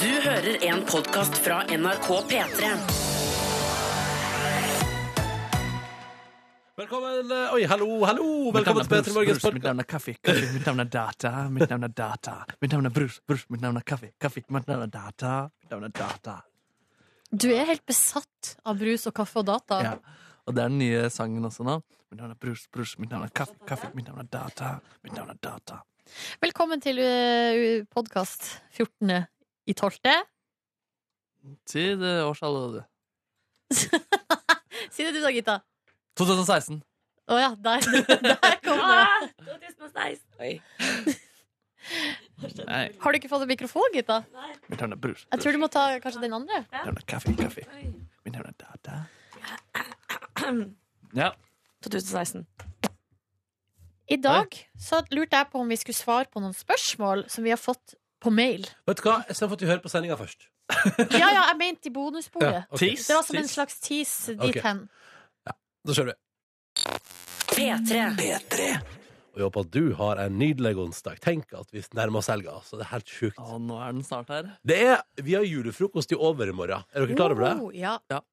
Du hører en podkast fra NRK P3. Velkommen, eh, oi, hallo, hallo, velkommen til Petter Morgens Mitt podcast navn er Kaffi. Kaffi. Mitt navn er Data. Mitt navn er Data. Mitt navn er Brus. Brus. Mitt navn er Kaffi. Kaffi. Mitt navn er Data. Mitt navn er Data. Du er helt besatt av brus og kaffe og data. Ja. Og det er den nye sangen også nå. Mitt navn er Brus. Brus. Mitt navn er Kaffi. Kaffi. Mitt navn er Data. Mitt navn er Data. Velkommen til eh, podkast 14. i 12. Si det årstallet, eh, du. Si det du da, Gita. 2016. Å ja, der, der kom det. 2016. Nei. Har du ikke fått en mikrofon, Gita? Mitt navn er Brus. Jeg tror du må ta kanskje den andre. Mitt navn er Kaffi. Kaffi. Mitt navn er Data. Ja. 2016. I dag så lurte jeg på om vi skulle svare på noen spørsmål som vi har fått på mail. Vet du hva, jeg skal få at vi hører på sendingen først Ja, ja, jeg mente i bonusbordet. ok. Tis. Det var som en slags tease dit Ok. hen. Da kjører vi P3. Og jeg håper at du har en nydelig onsdag Tenk at vi nærmer oss helga, altså det er helt sjukt Å, nå er den snart her. Det er, vi har julefrokost i over i morgen Er dere klar over det? Oh, ja. Er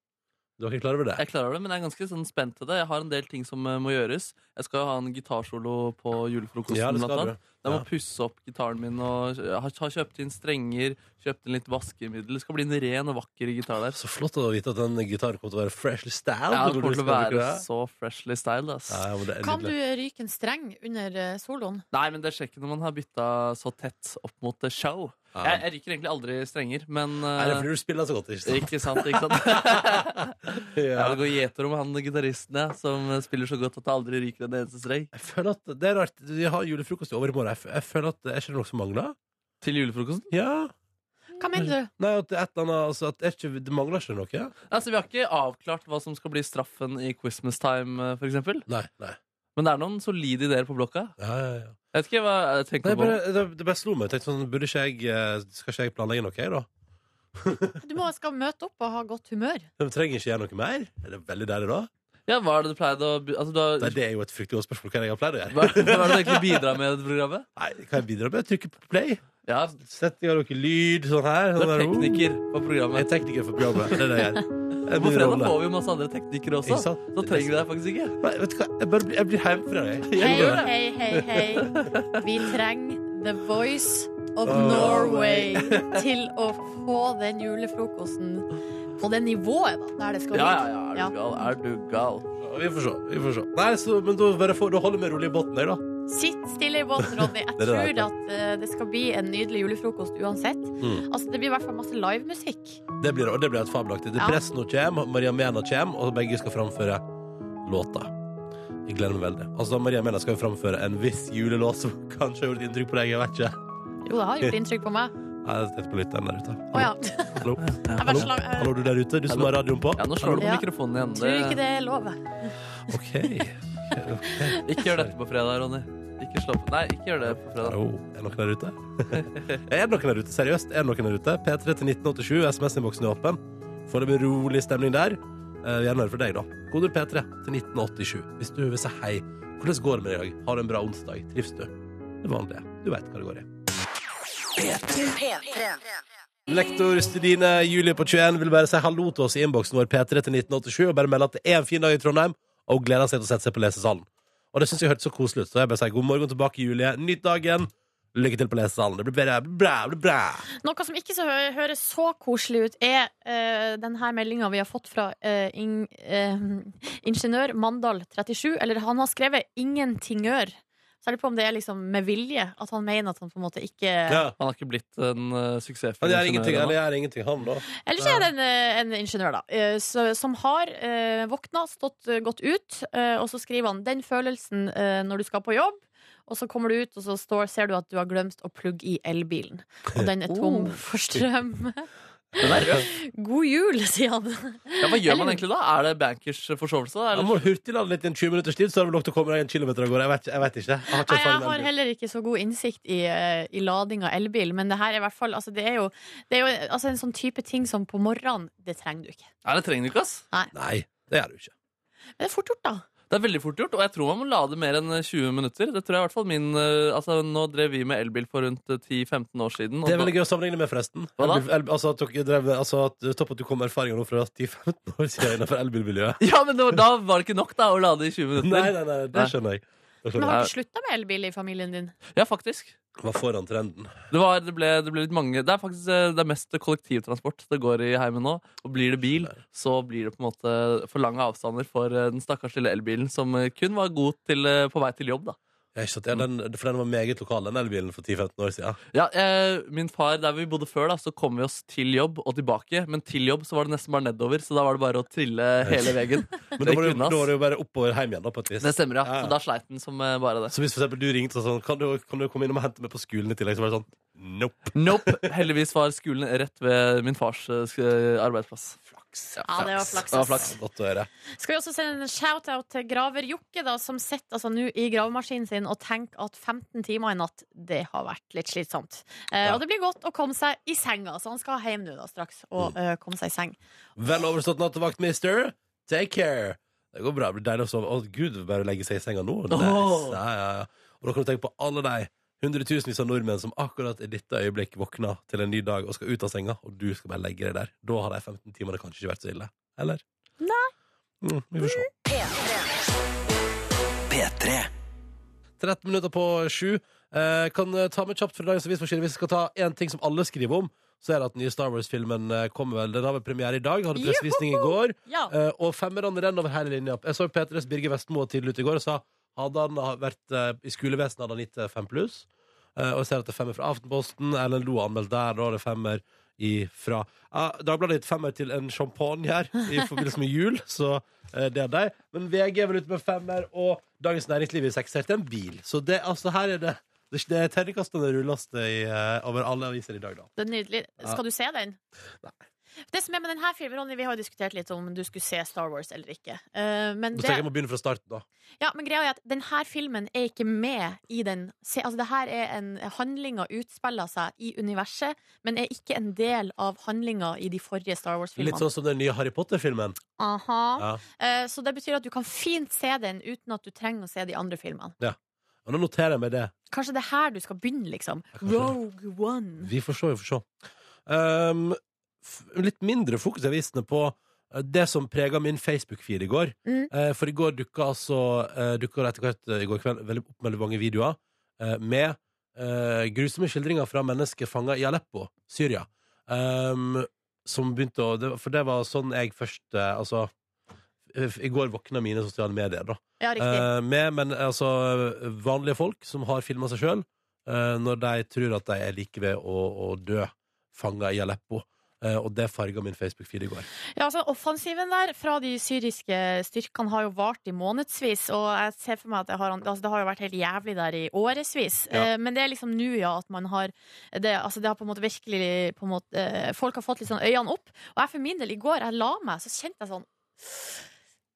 dere klar over det? Jeg klarer det, men jeg er ganske sånn spent til det. Jeg har en del ting som eh, må gjøres. Jeg skal ha en gitarsolo på julefrokosten. Ja, det blant skal annet. du Jeg må Ja. pusse opp gitaren min og jeg har har kjøpt inn strenger, kjøpt inn litt vaskemiddel. Det skal bli en ren og vakker gitar der. Så flott å vite at den gitaren kommer til å være freshly styled Ja, når Sånn det du kommer til å skal bruke være det. så freshly styled, ass. ja, men det er Kan du nydelig. ryke en streng under eh, soloen? Nei, men det skjer ikke når man har bytta så tett opp mot the show. Ja. Jeg, jeg ryker egentlig aldri strenger, men eh, Er det fordi du spiller så godt, ikke sant? Ikke sant, ikke sant? ja, Ja. det går gjeter om han gitaristen ja, som eh, spiller så godt at det aldri ryker en eneste streng. Jeg føler at det er rart Vi har julefrokost i over i morgen Jeg f- Jeg føler at det er ikke noe som mangler Til julefrokosten? Ja Hva mener du? Nei, at det, er et eller annet, altså, at det, er ikke, det mangler ikke noe. Altså, Vi har ikke avklart hva som skal bli straffen i Christmas time, eh, for eksempel. Nei, nei. Men det er noen solide ideer på blokka. Ja, ja, ja. Jeg vet ikke hva jeg nei tenker bare, det, det bare slo meg. Jeg tenkte sånn, burde ikke jeg, eh, Skal ikke jeg planlegge noe, jeg, da? Du må skal møte opp og ha godt humør. Jeg trenger ikke gjøre noe mer? Er det veldig deilig, da? på. Ja, Hva er det du pleide å by- altså, du har, Nei, det er jo et fryktelig godt spørsmål hva jeg har pleid å gjøre. hva, hva er det du egentlig bidrar med i dette programmet? Nei, Kan jeg bidra med å trykke på play? Ja, Setting av noe lyd sånn her. Du Sånn er der, tekniker på oh. Jeg er programmet. tekniker for programmet. Det er det jeg gjør. Det er På min fredag rolle. får vi jo masse andre teknikere Ikke også. sant? Da trenger vi deg faktisk ikke. Nei, vet du hva? Jeg, bare, blir- jeg blir hjemme fra deg. Hei, hei, hei, hei. Vi trenger The Voice of Oh. Norway til å få den julefrokosten på det nivået da, der det skal Ja, ligge. ja, ja, er du gal? Er du gal? Vi får se. vi får se Nei, så, Men da, bare får- da holder vi rolig i båten, jeg, da. Sitt stille i båten, Ronny. Jeg Det er det tror der. at eh, det skal bli en nydelig julefrokost uansett. Mm. Altså, det blir i hvert fall masse livemusikk. Det blir, og det blir et fabelaktig. Det Ja. Presten og Kjem, Maria Mena Kjem, og begge skal framføre låta. Jeg gleder meg veldig. Altså, da Maria Mena skal jo framføre en viss julelåt som kanskje har gjort inntrykk på deg. Jeg vet ikke. Jo, det har gjort inntrykk på meg. Nei, Jeg tenkte på lytteren der ute. Å ja. Hallo. Jeg bare Hallo. slag- jeg Hallo, du der ute, du som Hallo. har radioen på. Ja, nå slår du på Ja. mikrofonen igjen. tror ikke det er lov. OK. Ikke gjør dette på fredag, Ronny. Ikke slå på. Nei, ikke gjør det på fredag. Hallo. Er det noen der ute? er det noen der ute? Seriøst, er det noen der ute? P3 til 1987, SMS-innboksen er åpen. Får det med rolig stemning der. Eh, Gjerne høre fra deg, da. Koder P3 til 1987 hvis du vil si hei. Hvordan går det med deg i dag? Har du en bra onsdag? Trives du? Det vanlige. Du veit hva det går i. P3. Lektor Studine Julie på 21 vil bare si hallo til oss i innboksen vår P3 til 1987 og bare melde at det er en fin dag i Trondheim, og hun gleder seg til å sette seg på lesesalen. Og det syns jeg hørtes så koselig ut, så jeg bare sier god morgen tilbake, Julie. Nytt dagen. Lykke til på lesesalen. Det blir bra, bra, bra. bra. Noe som ikke så hø- høres så koselig ut, er eh, denne meldinga vi har fått fra eh, ing- eh, ingeniør Mandal 37. Eller han har skrevet 'ingentingør'. Så jeg lurer på om det er liksom med vilje at han mener at han på en måte ikke Ja. Han har ikke blitt en uh, Han suksessfull gjør ingeniør ingenting, ennå. eller gjør ingenting, han, da. Eller så er det en, eh, en ingeniør, da. eh, så- som har eh, våkna, stått eh, godt ut, eh, og så skriver han 'den følelsen eh, når du skal på jobb'. Og så kommer du ut, og så står, ser du at du har glemt å plugge i elbilen. Og den er tom for strøm. Den er rød. God jul, sier han. Ja, hva gjør man Eller- egentlig da? Er det bankers forsovelse? Han Da? Eller? må hurtiglade litt i en 20 minutters tid, så har du nok til å komme deg en kilometer av gårde. Jeg vet, jeg vet ikke. Jeg har ikke sånn Nei, jeg erfaring med har elbil. heller ikke så god innsikt i, eh, i lading av elbil, men det her er i hvert fall altså, Det er jo, det er jo altså, en sånn type ting som på morgenen, det trenger du ikke. Nei, det trenger du ikke, ass. Nei, det gjør du ikke. Men det er fort gjort, da. Det er veldig fort gjort, og jeg tror man må lade mer enn 20 minutter. Det tror jeg i hvert fall min eh, Altså, nå drev vi med elbil for rundt eh, 10-15 år siden. og Det er da- veldig gøy å sammenligne med, forresten. Hva da? Elbil- elbil- Altså, at dere drev, altså at, Topp at du kom med erfaringer nå fra 10-15 år siden innenfor elbilmiljøet. Ja, men det var, da var det ikke nok da å lade i 20 minutter. Nei, nei, nei, det Nei. skjønner jeg. Det Men skjønner jeg. har du slutta med elbil i familien din? Ja, faktisk. Hva foran trenden? Det, var, det, ble, det ble litt mange Det er faktisk eh, det er mest kollektivtransport det går i heimen nå. Og blir det bil, så blir det på en måte for lange avstander for eh, den stakkars lille elbilen som eh, kun var god til, eh, på vei til jobb, da. Ja, ikke sant? Ja, den, for den var meget lokal, den elbilen, for 10-15 år siden. Ja, eh, min far, Der vi bodde før, da, så kom vi oss til jobb og tilbake. Men til jobb så var det nesten bare nedover, så da var det bare å trille hele veien. Men Det da var det, kunne, ass. da var det jo bare oppover hjem igjen, da, på et vis. Det stemmer, ja. Ja, ja. Så da sleit den som eh, bare det. Så hvis for eksempel du ringte og sa sånn kan du, kan du komme innom og hente meg på skolen i tillegg, så var det sånn Nope. Nope. Heldigvis var skolen rett ved min fars eh, sk- arbeidsplass. Flaks. Ja, det var flaks, Det var ass. flaks. Godt å høre. Skal vi også sende en shout-out til graver Jokke, da, som sitter altså nå i gravemaskinen sin og tenker at 15 timer i natt, det har vært litt slitsomt. Eh, Ja. Og det blir godt å komme seg i senga, så han skal hjem nå da straks og eh, komme seg i seng. Vel overstått nattevakt, mister. Take care. Det går bra. Det blir deilig å sove. Å, gud, bare legge seg i senga nå. Nice. Åh. Ja, ja, ja. Og da kan du tenke på alle de hundretusenvis av nordmenn som akkurat i dette øyeblikk våkner til en ny dag og skal ut av senga, og du skal bare legge deg der. Da har de 15 timene kanskje ikke vært så ille. Eller? Nei. Mm, vi får se. 13 minutter på sju. Eh, kan eh, ta med kjapt fra dagens avisforside. Hvis vi skal ta én ting som alle skriver om, så er det at den nye Star Wars-filmen eh, kommer vel. Den har vel premiere i dag. Hadde pressevisning i går. Ja. Eh, og femmerne renner over hele linja. Jeg så P3s Birger Vestmo tidlig ute i går og sa hadde han ha vært eh, i skolevesenet, hadde han gitt eh, fem pluss. Eh, og jeg ser at det er femmer fra Aftenposten. Erlend Loe har anmeldt der, da er det femmer ifra Ja, Dagbladet har gitt femmer til en champagne her i forbindelse med jul, så eh, det er de. Men VG er vel ute med femmer, og Dagens Næringsliv i sekser til en bil. Så det, altså, her er det det det er terningkastene rulles det i, eh, over alle aviser i dag, da. Det er nydelig. Skal du se den? Nei. Det som er med denne filmen, Ronny, Vi har jo diskutert litt om du skulle se Star Wars eller ikke. Eh, men, Så det, tenker jeg må begynne fra starten, da. ja, men greia er at denne filmen er ikke med i den se, altså, det her er en Handlinga utspiller seg i universet, men er ikke en del av handlinga i de forrige Star Litt Wars-filmene. sånn som den nye Harry Potter-filmen. Aha. Ja. Eh, så det betyr at du kan fint se den uten at du trenger å se de andre filmene. Og nå noterer jeg meg det. Kanskje det er her du skal begynne, liksom. kanskje det. Rogue One. Vi får se, vi får se. Ehm, f litt mindre fokus i avisene på eh, det som prega min Facebook-feed i går. Mm. Eh, for i går dukka altså eh, dukka det etter hvert eh, i går kveld veldig opp veldig mange videoer eh, med eh, grusomme skildringer fra mennesker fanga i Aleppo, Syria. Ehm, som begynte å det, For det var sånn jeg først eh, Altså, eh, i går våkna mine sosiale medier, da. Ja, riktig. Eh, med, men altså, vanlige folk som har filma seg sjøl, når de tror at de er like ved å, å dø, fanga i Aleppo. Eh, og det farga min Facebook-feed i går. Ja, altså, offensiven der fra de syriske styrkene har jo vart i månedsvis, og jeg ser for meg at det har, altså, det har jo vært helt jævlig der i årevis. Ja. Eh, men det er liksom nå, ja, at man har det, altså, det har på en måte virkelig på en måte, eh, Folk har fått litt sånn øynene opp. Og jeg for min del, i går jeg la meg, så kjente jeg sånn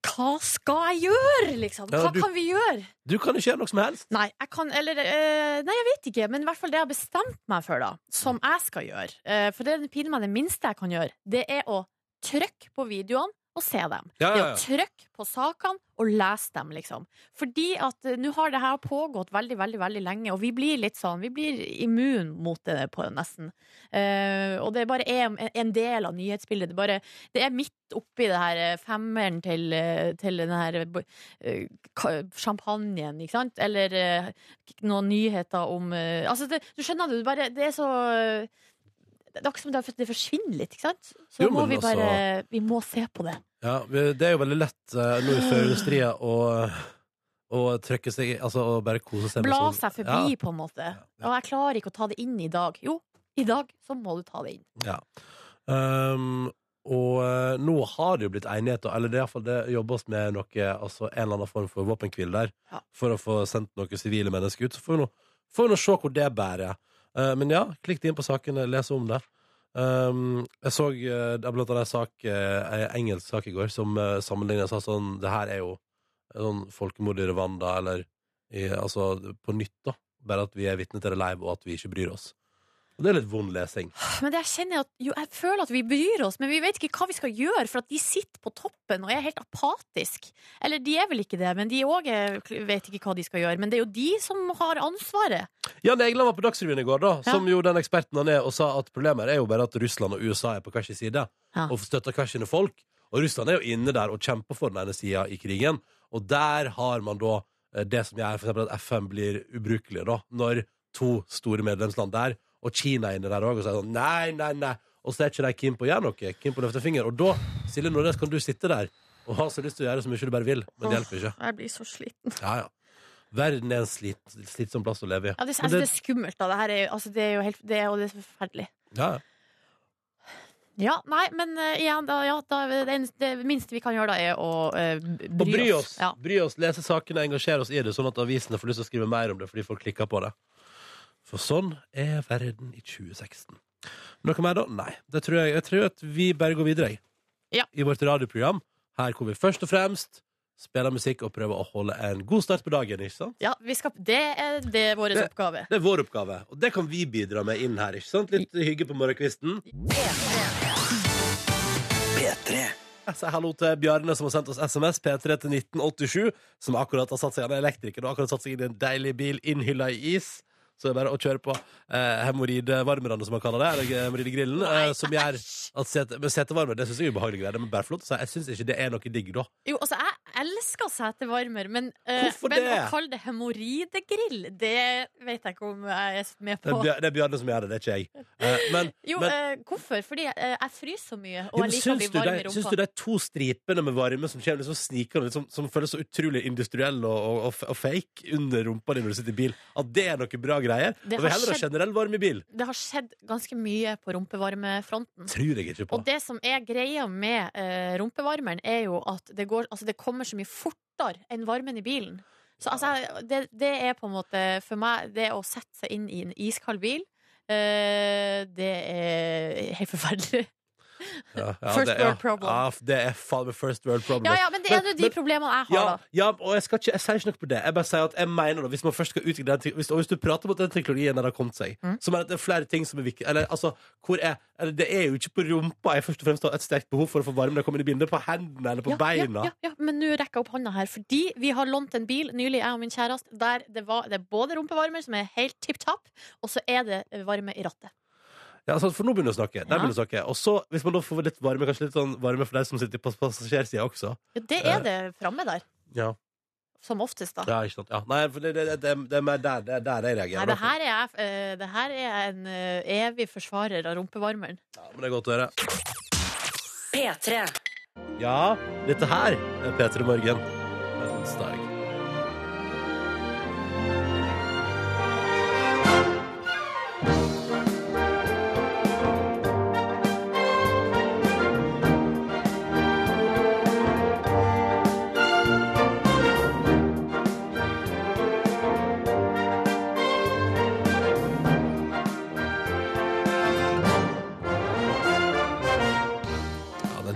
Hva skal jeg gjøre, liksom? Ja, Hva du- kan vi gjøre? Du kan ikke gjøre noe som helst! Nei, jeg kan, eller, eh, nei, jeg vet ikke, men i hvert fall det jeg har bestemt meg for, da, som jeg skal gjøre, eh, for det er pinlig meg det minste jeg kan gjøre, det er å trykke på videoene og se dem. Ja, Det ja, å ja. trykke på sakene og lese dem, liksom. Fordi at eh, nå har det her pågått veldig, veldig veldig lenge, og vi blir litt sånn Vi blir immun mot det, på nesten. Eh, og det er bare en, en del av nyhetsbildet. Det, er bare, det er midt oppi det her eh, femmeren til, eh, til den her eh, ka- champagnen, ikke sant? Eller eh, noen nyheter om eh, Altså, det, du skjønner det, det, bare, det er så eh, det er akkurat som det, det forsvinner litt, ikke sant? Så Jo, da må men vi altså- bare Vi må se på det. Ja, det er jo veldig lett eh, nå i førjulstria å, å trykke seg Altså å bare kose seg. med Bla sånn- seg forbi, på en måte. ja. Og jeg klarer ikke å ta det inn i dag. Jo, i dag så må du ta det inn. Ja. Ehm, og eh, nå har det jo blitt enighet, og- eller det, er i hvert fall det jobbes med noe, altså en eller annen form for våpenhvile der, Ja. for å få sendt noen sivile mennesker ut. Så får vi nå, får vi nå se hvor det bærer. Eh, men ja, klikk deg inn på sakene, les om det. Ehm, jeg så eh, det er blant annet en sak, eh, en engelsk sak i går, som uh, sammenlignet sa sånn Det her er jo sånn folkemord i Rwanda, eller i, altså på nytt, da. Bare at vi er vitne til det live, og at vi ikke bryr oss. Og det er litt vond lesing. Men det jeg kjenner er at jo, jeg føler at vi bryr oss, men vi vet ikke hva vi skal gjøre, for at de sitter på toppen og er helt apatiske. Eller de er vel ikke det, men de òg vet ikke hva de skal gjøre. Men det er jo de som har ansvaret. Jan Egeland var på Dagsrevyen i går, da, Ja. som jo den eksperten han er, og sa at problemet er jo bare at Russland og USA er på hver sin side Ja. og støtter hver sine folk. Og Russland er jo inne der og kjemper for den ene sida i krigen. Og der har man da eh, det som gjør for eksempel at FN blir ubrukelig, da, når to store medlemsland der, og Kina er inne der òg, og sier sånn nei, nei, nei. Og så er ikke de keen på å gjøre noe. Keen på å løfte en finger. Og da, Silje Nordnes, kan du sitte der og ha så lyst til å gjøre så mye du bare vil, men det hjelper ikke. Jeg blir så sliten. Ja, ja. Verden er en slit, slitsom plass å leve i. Ja, det, Men altså, det er skummelt, da. Det, her er, jo- altså, det er jo helt det er, og det er så forferdelig. ja, ja. Ja, nei, men eh, igjen, da, ja, da, det, en- det minste vi kan gjøre da, er å eh, bry, Og bry oss. Ja. Bry oss, Lese sakene, engasjere oss i det, sånn at avisene får lyst til å skrive mer om det fordi folk klikker på det. For sånn er verden i 2016. Noe mer, da? Nei. Det tror jeg, jeg tror at vi bare går videre jeg. Ja. i vårt radioprogram. Her hvor vi først og fremst spiller musikk og prøver å holde en god start på dagen. ikke sant? Ja, vi skal, det er, det er vår Det- oppgave. Det er vår oppgave, og det kan vi bidra med inn her. ikke sant? Litt hygge på morgenkvisten. Jeg sier hallo til Bjarne som har sendt oss SMS P3 til 1987, som akkurat har satt seg, han er elektriker, og akkurat satt seg inn i en deilig bil innhylla i is. Så det er bare å kjøre på eh, hemoroidevarmerne, som han kaller det, eller hemoroidegrillen, eh, som gjør at sete, men setevarme, det syns jeg er ubehagelige greier, det er bare flott, så jeg syns ikke det er noe digg da. Jo, altså, jeg elsker setevarmer, men, eh, Hvorfor men det? å kalle det hemoroidegrill, det vet jeg ikke om jeg er med Det på. er, Bjar- det er Bjarne som gjør det, det er ikke jeg. Eh, men Jo, men- eh, hvorfor? Fordi eh, jeg fryser så mye, og Ja, men jeg liker å syns, bli du varm i de, syns du rumpa. de to stripene med varme som kommer liksom snikende, liksom, som føles så utrolig industrielle og, og, og, f- og fake under rumpa di når du sitter i bil, at det er noe bra greier? Det Og vil har heller ha skjedd- generell varme i bil. Det har skjedd ganske mye på rumpevarmefronten. Tror jeg ikke på. Og det som er greia med eh, rumpevarmeren, er jo at det, går, altså, det kommer så mye fortere enn varmen i bilen. Så altså, jeg- det, det er på en måte for meg det å sette seg inn i en iskald bil. eh, det er helt forferdelig. Ja, First det, ja. world problem. Ja, f- det er faen meg first world problem. Ja, ja, men det er Men- nå de men- problemene jeg har, Ja, da. ja, og jeg, skal ikke, jeg sier ikke noe på det. Jeg bare sier at jeg mener da, hvis man først skal utvikle den tek- hvis, Og hvis du prater om at den teknologien der har kommet seg, Mm. så mener jeg at det er flere ting som er viktig Eller altså, hvor er eller, Det er jo ikke på rumpa jeg først og fremst har et sterkt behov for å få varme når jeg kommer inn i bildet. På hendene eller på ja, beina. Ja, ja, ja, men nå rekker jeg opp hånda her, fordi vi har lånt en bil nylig, jeg og min kjæreste, der det, var, det er både rumpevarmer, som er helt tipp topp, og så er det varme i rattet. Ja, sant, for nå begynner vi å snakke. Der Ja. begynner vi å snakke. Og så, hvis man da får litt varme, kanskje litt sånn varme for deg som sitter på passasjersida også. Ja, det Eh. er det framme der, Ja. som oftest, da. ja, ikke sant. Ja. Nei, for det, det, det, det er mer der, det er der jeg Nei, reagerer. det her er, jeg, eh, det her er jeg en eh, evig forsvarer av rumpevarmeren. ja, men det er godt å høre. P3. Ja, dette her er P3 Morgen. Det er Onsdag. Ja, den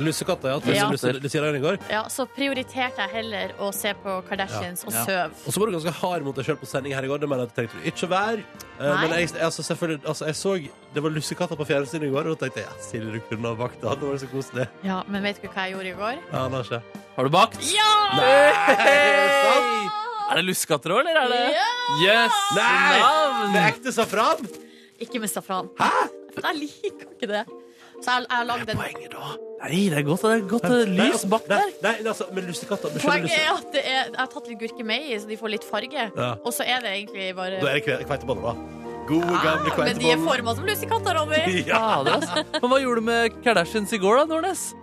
Lussekatta, ja. Ja. Lusse, lusse, Lucia i går. Ja, så prioriterte jeg heller å se på Kardashians og Ja. Og søv. så var du ganske hard mot deg sjøl på sending her i går. Det mener jeg at du tenkte du ikke å være. Eh, Nei. Men jeg, altså, selvfølgelig, altså, jeg så det var lussekatta på fjernsynet i går, og da tenkte jeg ja, Silje, du kunne ha bakt det. Det var så koselig. Ja, men vet du hva jeg gjorde i går? Ja, det har ikke. Har du bakt? Ja! Nei! sant? Er det luskatter òg, eller er det Ja! Yes! Nei! Navn! altså, Med ekte safran? Ikke med safran. Hæ? Jeg liker ikke det. Så jeg jeg har lagd en Poenget, da. Nei, det er godt. Det er godt eh, lys bak nei, der. Nei, altså, men lussekatta men skjønner Poenget lusse- er at det er, jeg har tatt litt gurkemeie, så de får litt farge. Ja. Og så er det egentlig bare Da er det kve- kveiteboller, da. Gode, gamle Ah, Men de er kveiteboller. forma som lussekatter, Ronny. Ja. Fader, altså. Men hva gjorde du med Kardashians i går, da, Nordnes?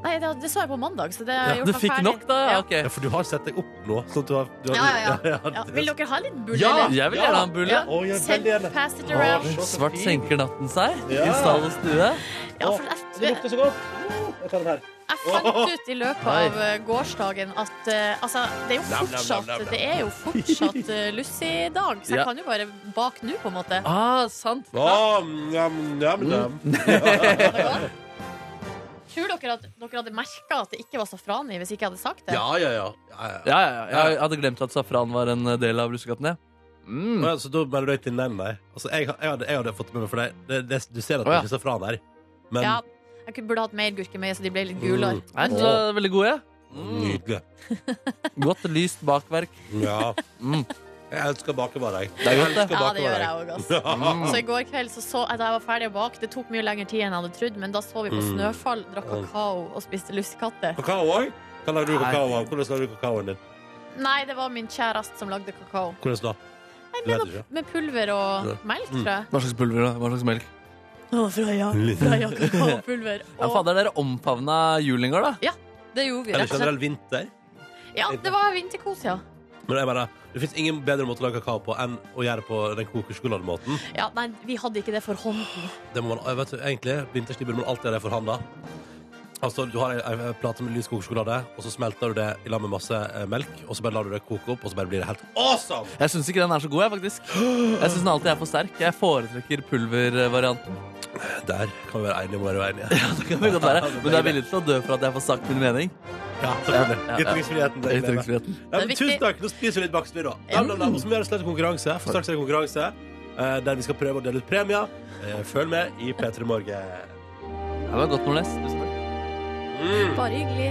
Nei, det, det så jeg på mandag, så det har jeg Du gjort meg fikk ferdig. nok, da? Ja. Ok. ja, for du har sett deg opp nå. Sånn at du har, du har, Ja, ja, ja. Ja, det- Vil dere ha litt bull, Ja! eller? Jeg vil Ja. gjerne ha en bulle. Ja. Å, jeg vil Send, gjerne. pass it around. Å, så Svart fin. senker natten seg Ja. i stall og stue. Ja, Å, for Det jeg, lukter så godt. Jeg tar den her. Jeg fant ut i løpet av eh, gårsdagen at eh, altså, det er jo Nam, nam, nam, nam, fortsatt, nam. det er jo fortsatt eh, Lucy-dag, så jeg Ja. kan jo bare bake nå, på en måte. Ah, sant. Å, njam, njam, njam. Har det gått? Tror dere at dere hadde merka at det ikke var safran i hvis ikke jeg hadde sagt det? Ja, ja, ja. ja, ja. Ja, ja, ja. Jeg hadde glemt at safran var en eh, del av russekatten, jeg. Mm. Å, ja, så da melder du deg til den, nei. Altså, jeg, jeg, hadde, jeg hadde fått med meg for deg. Det, det, du ser at Å, du ja. ikke ser fra der. Men Ja, jeg kunne- burde hatt mer gurkemeie, så de ble litt gulere. Nei, den var veldig god, jeg. nydelig. Godt lyst bakverk. Ja. Mm. Jeg elsker bakevarer, jeg. Det er godt, elsker det. Ja, det gjør bakevarer, jeg òg, altså. Mm. Så i går kveld så, så jeg da jeg var ferdig å bake. Det tok mye lengre tid enn jeg hadde trodd, men da så vi på Mm. snøfall, drakk Mm. kakao og spiste lussekatter. Kakao òg? Hva lager du Nei. kakao av? Hvordan lager du kakaoen din? Nei, det var min kjæreste som lagde kakao. Hvordan da? Nei, Du med, vet noe- ikke. med pulver og Ja. melk, Mm. tror jeg. Hva slags pulver da? Hva slags melk? Å, Freya. Freya kakaopulver. Ja, Og fader, dere omfavna julen i går, da. det gjorde vi, Eller rett og slett. generell vinter? Ja, det var vinterkos, ja. Men jeg bare, det fins ingen bedre måte å lage kakao på enn å gjøre det på den kokosjokolademåten. ja. Nei, vi hadde ikke det for hånden. Det må man, jeg vet, egentlig, Vinterstid burde man alltid ha det for hånda. Altså, du har ei- ei plate med lys kokosjokolade, og så smelter du det i lag med masse eh, melk, og så bare lar du det koke opp, og så bare blir det helt awesome! Jeg syns ikke den er så god, jeg, faktisk. Jeg syns den alltid er for sterk. Jeg foretrekker pulvervarianten. Der kan vi være enige om å være uenige. Det kan vel godt være. Men du er villig til å dø for at jeg får sagt min mening? Ja, selvfølgelig. Ja, ja, ja. Ytringsfriheten. det er glede. Ytringsfriheten. Ja, men Det er tusen viktig. takk. Nå spiser vi litt bakstid, da. Nam, nam, nam. Og så må vi gjøre en slett konkurranse. For straks er det konkurranse eh, der vi skal prøve å dele ut premier. Eh, Følg med i P3 Morgen. Ja, Det var godt, Nordnes. Tusen takk. Bare hyggelig.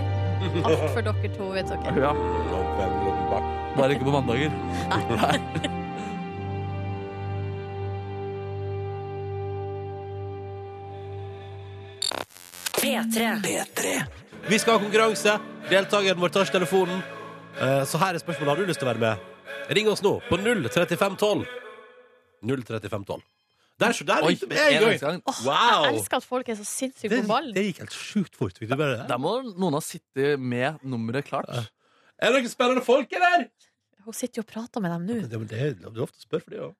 Alt for dere to, vet dere. Ja. Åpenbart. Bare ikke på mandager. P3. Vi skal ha konkurranse. Deltakeren vår tar telefonen. Eh, Så her er spørsmålet. Har du lyst til å være med? Ring oss nå på 03512. 03512. Der, så der Oi, gikk det med en gang. engangsgang. Åh, Jeg Wow! elsker at folk er så sinnssykt Det, på ballen. det gikk helt sjukt fort. Fikk du bare det? Der må noen ha sittet med nummeret klart. Er det noen spennende folk, eller? Hun sitter jo og prater med dem nå. Det, det, er- du er ofte spør for det òg.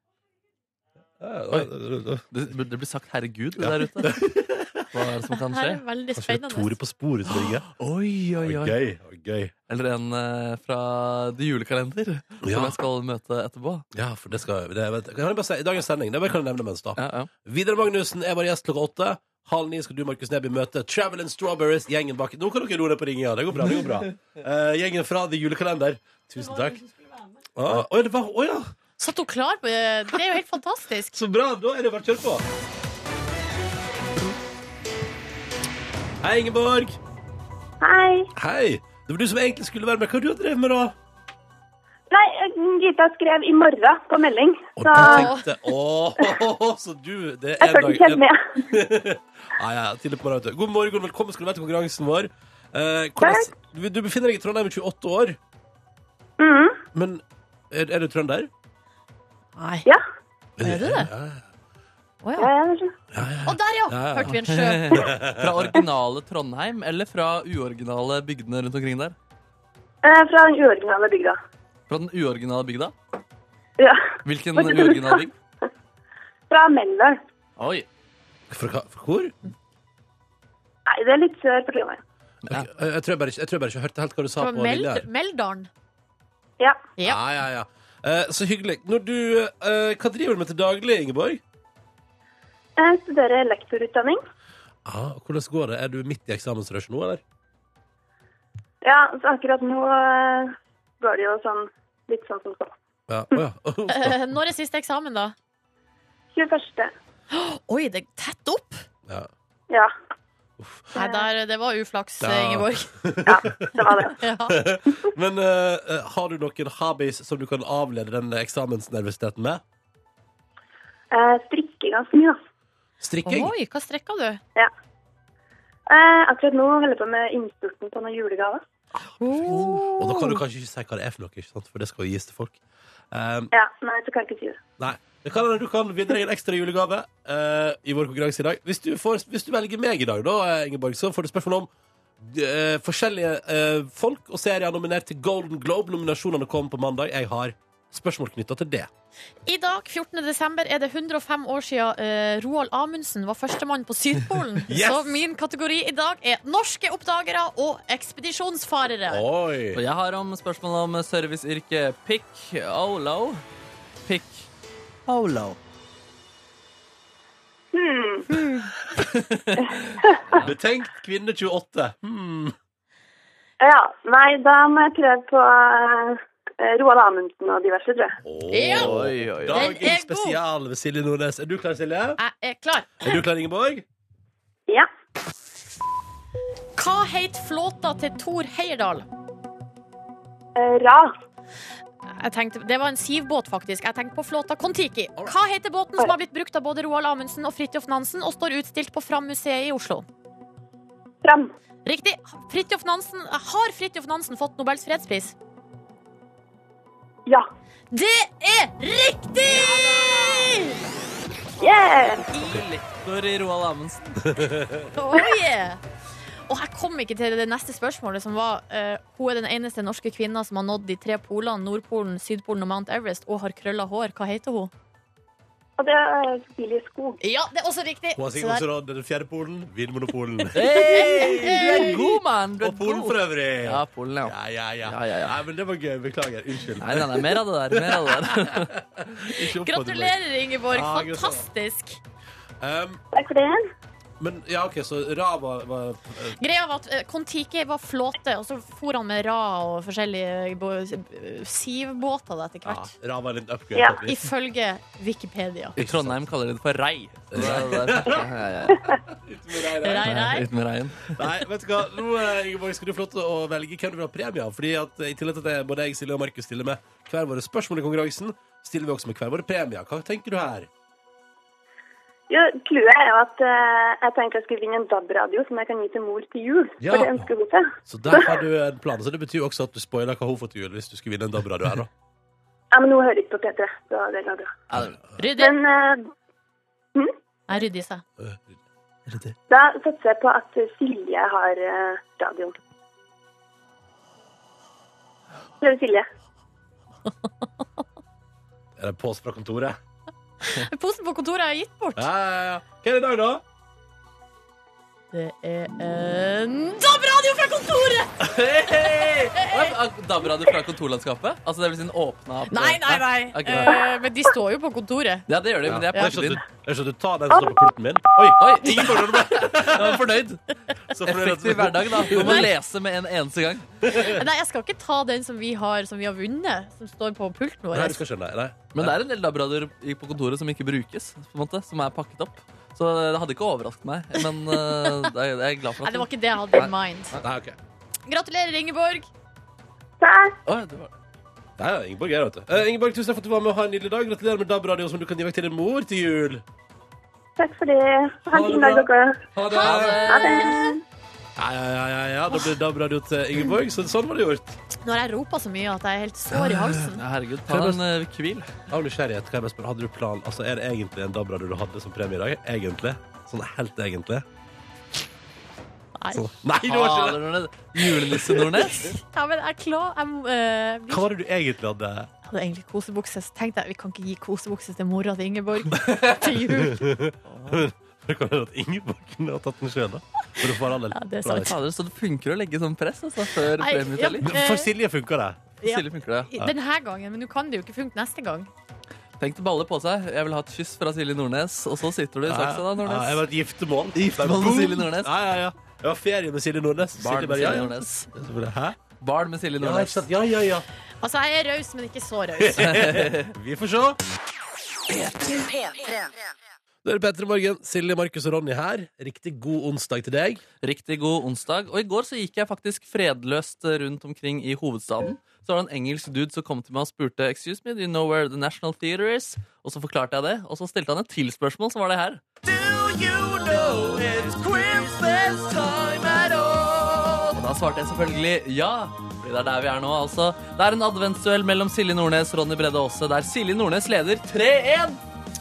Oi. Det, det blir sagt 'herregud' der ute. Hva er det som kan Her skje? er veldig Kanskje det er Tore spennende. på sporet som ringer. Oi, oi, Det var oi. Gøy. det var Gøy. Eller en eh, fra The Julekalender, Ja. som jeg skal møte etterpå. Ja, for det skal det, vet, kan jeg bare si, I dagens sending det bare kan jeg nevne mens, da. Ja, ja. Vidar Magnussen er vår gjest klokka åtte. Halv ni skal du, Markus Neby, møte Travel and Strawberries, gjengen bak Nå kan dere roe ned på ringinga. Det går bra. det går bra Eh, Gjengen fra The Julekalender. Tusen takk. Å å, det var, å, ja. Satt hun klar på det? Det er jo helt fantastisk. Så bra. Da er det bare å kjøre på. Hei, Ingeborg. Hei. Hei. Det var du som egentlig skulle være med. Hva har du drevet med, da? Nei, Gita skrev i morgen på melding. Og Så da tenkte Åh, så du Det er en jeg følte dag ikke en, helt med. Nei, Ah, ja, tidlig på morgenen, vet du. God morgen, velkommen skal du være til konkurransen vår. Eh, hvordan, du, du befinner deg i Trondheim i 28 år, Mhm. men er, er du trønder? Nei. Ja. Er du det? Ja, Å Ja, ja. ja, det er sånn. Å, der, ja! Ja, ja. Hørte vi en sjø. Fra originale Trondheim, eller fra uoriginale bygdene rundt omkring der? Eh, Fra den uoriginale bygda. Fra den uoriginale bygda? Ja. Hvilken Hva tror du? uoriginal bygd? Fra Meldal. Oi. Fra, hva- fra hvor? Nei, det er litt eh, sør for Trondheim. Ja. Ok, Jeg, jeg, tror jeg, bare, ikke- jeg tror jeg bare ikke hørte helt hva du sa Fra på linja Meld her. Meldalen. Ja. Ja. Ja, ja, ja. Eh, så hyggelig. Når du, eh, hva driver du med til daglig, Ingeborg? Jeg studerer lektorutdanning. Ah, hvordan går det? Er du midt i eksamensrushet nå, eller? Ja, så akkurat nå eh, går det jo sånn litt sånn som så. Ja, Oh, åja. ja. Eh, Når er siste eksamen, da? 21. Oi, det er tett opp! ja. Ja. Nei, der, det var uflaks, Ja. Ingeborg. Ja, det var det. Ja. Men eh, eh, har du noen hobbies som du kan avlede den eksamensnervøsiteten med? Eh, Strikker ganske mye, da. Strikking? Oi, hva strekka du? Eh, Akkurat nå holder jeg på med innspurten på noen julegaver. Oh. Og da kan du kanskje ikke si hva det er for noe, ikke sant? for det skal jo gis til folk. Ehm, Ja, nei, så kan jeg ikke si det. nei, det kan, hende Du kan vinne deg en ekstra julegave eh, i vår konkurranse i dag. Hvis du, får, hvis du velger meg i dag, da, eh, Ingeborg, så får du spørsmål om eh, forskjellige eh, folk og serier nominert til Golden Globe. Nominasjonene kom på mandag. Jeg har spørsmål knytta til det. I dag, 14. desember, er det 105 år siden eh, Roald Amundsen var førstemann på Sydpolen. Yes! Så min kategori i dag er norske oppdagere og ekspedisjonsfarere. Og Oi! jeg har om spørsmål om serviceyrket pick olo. Pick olo. Betenkt kvinne 28. Hmm. Ja, nei, da må jeg prøve på eh, Roald Amundsen og diverse, tror jeg. Ja. Oi, oi, oi. Den er god. Dagens spesial ved Silje Nordnes. Er du klar, Silje? Jeg er klar. Er du klar, Ingeborg? Ja. Hva het flåta til Thor Heyerdahl? Eh, Ra. Jeg tenkte, det var en sivbåt, faktisk. Jeg tenkte på flåta Kon-Tiki. Hva heter båten som har blitt brukt av både Roald Amundsen og Fridtjof Nansen, og står utstilt på Fram-museet i Oslo? Fram. Riktig. Fridtjof Nansen, har Fridtjof Nansen fått Nobels fredspris? Ja. Det er riktig! Yeah! Lektor i Roald Amundsen. Oh, yeah. Og jeg kom ikke til det neste spørsmålet, som var eh, Hun er den eneste norske kvinna som har nådd de tre polene, Nordpolen, Sydpolen og Mount Everest, og har krølla hår. Hva heter hun? Og det er Silje Skog. Ja, det er også riktig. Hun har Så sikkert der- også råd til den fjerde polen, Vinmonopolen. Hey, du er god, mann! Du er Og Polen for god. øvrig. Ja, Polen, ja. Ja, ja, ja. Ja, ja, ja. Nei, men det var gøy. Beklager. Unnskyld. Nei, nei, nei, mer av det der. Mer av det der. Ikke oppfordring. Gratulerer, Ingeborg. Ja, gratulerer. Fantastisk. Um, Takk for det. men ja, OK, så Ra var, var eh, Greia var at eh, Kon-Tiki var flåte, og så for han med ra og forskjellige bo- sivbåter da etter ja, hvert. ah, Ra var litt upgrade. Ja. på et vis. Ifølge Wikipedia. I Trondheim kaller de det for rei. Det er- det er- ja, ja, Rei, ja. rei. Ut med reien. Nei, vet du hva? Nå eh, Ingeborg, skal du få lov til å velge hvem du vil ha premie av. Fordi at eh, I tillegg til at jeg- både jeg, Silje og Markus stiller med hver våre spørsmål i konkurransen, stiller vi også med hver våre premier. Hva tenker du her? Jo, Clouet er jo at eh, jeg tenkte jeg skulle vinne en DAB-radio som jeg kan gi til mor til jul. Ja. For det ønsker hun seg. Så der har du en plan. Så Det betyr jo også at du spoiler hva hun får til jul hvis du skulle vinne en DAB-radio her, da. Ja, men hun hører ikke på P3, så det går bra. Ja, det- Ryddig. Men eh, Nei, ryddig seg. Eh, er det det? da satser jeg på at Silje har eh, radioen. Prøv Silje. Er det en pose fra kontoret? Posen på kontoret er gitt bort. Ja, ja, ja. Hva er det i dag, da? Det er en DAB-radio fra kontoret! Hey! DAB-radio fra kontorlandskapet? Altså, det vil si den åpna opp- Nei, nei, nei. Ok, Eh, men de står jo på kontoret. Ja, det gjør de, men det er Jeg plugget inn. skjønner at sånn du tar den som står på pulten min. Oi, Oi, ingen forstår det! jeg var fornøyd. Så fornøyd at- Effektiv hverdag, da. Du må lese med en eneste gang. Nei, jeg skal ikke ta den som vi har, som vi har vunnet, som står på pulten Nei, vår. du skal skjønne. Nei. Men det er en del DAB-radioer i- på kontoret som ikke brukes, på en måte, som er pakket opp. Så det hadde ikke overrasket meg, men eh, det er, jeg er glad for Nei, at det var ikke det jeg hadde in mind. Nei, ok. Gratulerer, Ingeborg. Der. Oi, det var... Nei, ja, Ingeborg er her, vet du. Eh, Ingeborg, tusen takk for at du var med og ha en nydelig dag. Gratulerer med DAB-radio som du kan gi vekk til din mor til jul. Takk for det. Ha Ha en det fin dag, bra. dere. Ha det. Ha det. Ja, ja, ja, ja, ja. Da blir det DAB-radio til Ingeborg. Så sånn var det gjort. Nå har jeg ropa så mye at jeg er helt sår i halsen. Ja, herregud, ta deg en eh, hvil. Av nysgjerrighet, hva er best, hadde du plan Altså, er det egentlig en DAB-radio du hadde som premie i dag? Egentlig? Sånn helt egentlig? Nei. Sånn. Nei, det var ikke Fader, det! Nordnes. Julenisse Nordnes. Ja, men jeg er klar. Jeg, må, eh, vi Hva var det du egentlig hadde? hadde egentlig kosebukse. Så tenkte jeg vi kan ikke gi kosebukse til mora til Ingeborg til jul. Det kan hende at Ingeborg kunne ha tatt den sjøl, da. For, å få all del. Ja, det er sant. Fader, så det funker å legge sånn press altså, før Nei, premieutdeling. ja. Men for Silje funka det. Ja. Silje funker det. Denne gangen, men nå kan det jo ikke funke neste gang. Tenk til baller på seg. Jeg vil ha et kyss fra Silje Nordnes, og så sitter du i saksa Ja, da, jeg Nordnes. var et giftermål. Giftermål med Boom! Silje Nordnes. Ja, ja, ja. Jeg var ferie med Silje Nordnes. Barn Silje med bare, ja, Silje ja. Nordnes. Så bare, Hæ? Barn med Silje Ja, ikke Nordnes. sant? ja, ja, ja. Altså, jeg er raus, men ikke så raus. Vi får se. P3. Da er det Petter i morgen. Silje, Markus og Ronny her. Riktig god onsdag til deg. Riktig god onsdag. Og i går så gikk jeg faktisk fredløst eh, rundt omkring i hovedstaden. Så var det en engelsk dude som kom til meg og spurte Excuse me, do you know where the National Theatre is? Og så forklarte jeg det, og så stilte han et til spørsmål, så var det her. Og da svarte jeg selvfølgelig ja. Fordi det er der vi er nå, altså. Det er en adventsduell mellom Silje Nordnes og Ronny Brede Aase, der Silje Nordnes leder 3-1.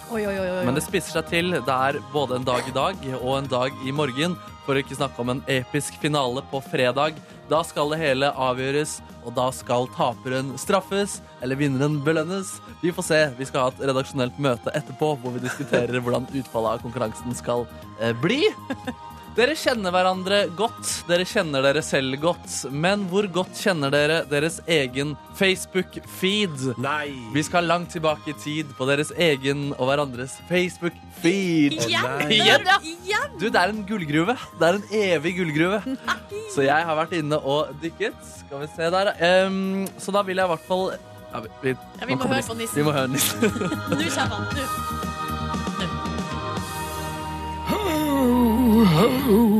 Oi, oi, oi, oi. Men det spisser seg til. Det er både en dag i dag og en dag i morgen. For å ikke snakke om en episk finale på fredag, Da skal det hele avgjøres, og da skal taperen straffes, eller vinneren belønnes. Vi får se. Vi skal ha et redaksjonelt møte etterpå hvor vi diskuterer hvordan utfallet av konkurransen skal eh, bli. Dere kjenner hverandre godt, dere kjenner dere selv godt, men hvor godt kjenner dere deres egen Facebook-feed? Nei! Vi skal langt tilbake i tid på deres egen og hverandres Facebook-feed. Å, Igjen! nei. Igjen! Igjen! Du, det er en gullgruve. Det er en evig gullgruve. Så jeg har vært inne og dykket. Skal vi se der. Ehm, så da vil jeg i hvert fall ja, vi, vi, Ja, nå vi må kommer høre på nissen. Vi må høre nissen. Nå kommer han. Nå.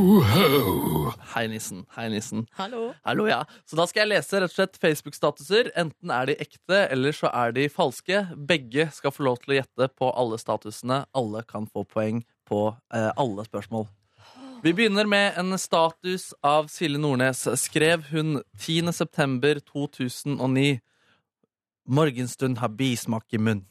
Hei, nissen. Hei, nissen. Hallo. Hallo, ja. Så da skal jeg lese rett og slett Facebook-statuser. Enten er de ekte, eller så er de falske. Begge skal få lov til å gjette på alle statusene. Alle kan få poeng på eh, alle spørsmål. Vi begynner med en status av Silje Nordnes. Skrev hun 10. september 2009 Morgenstund har bismak i munn.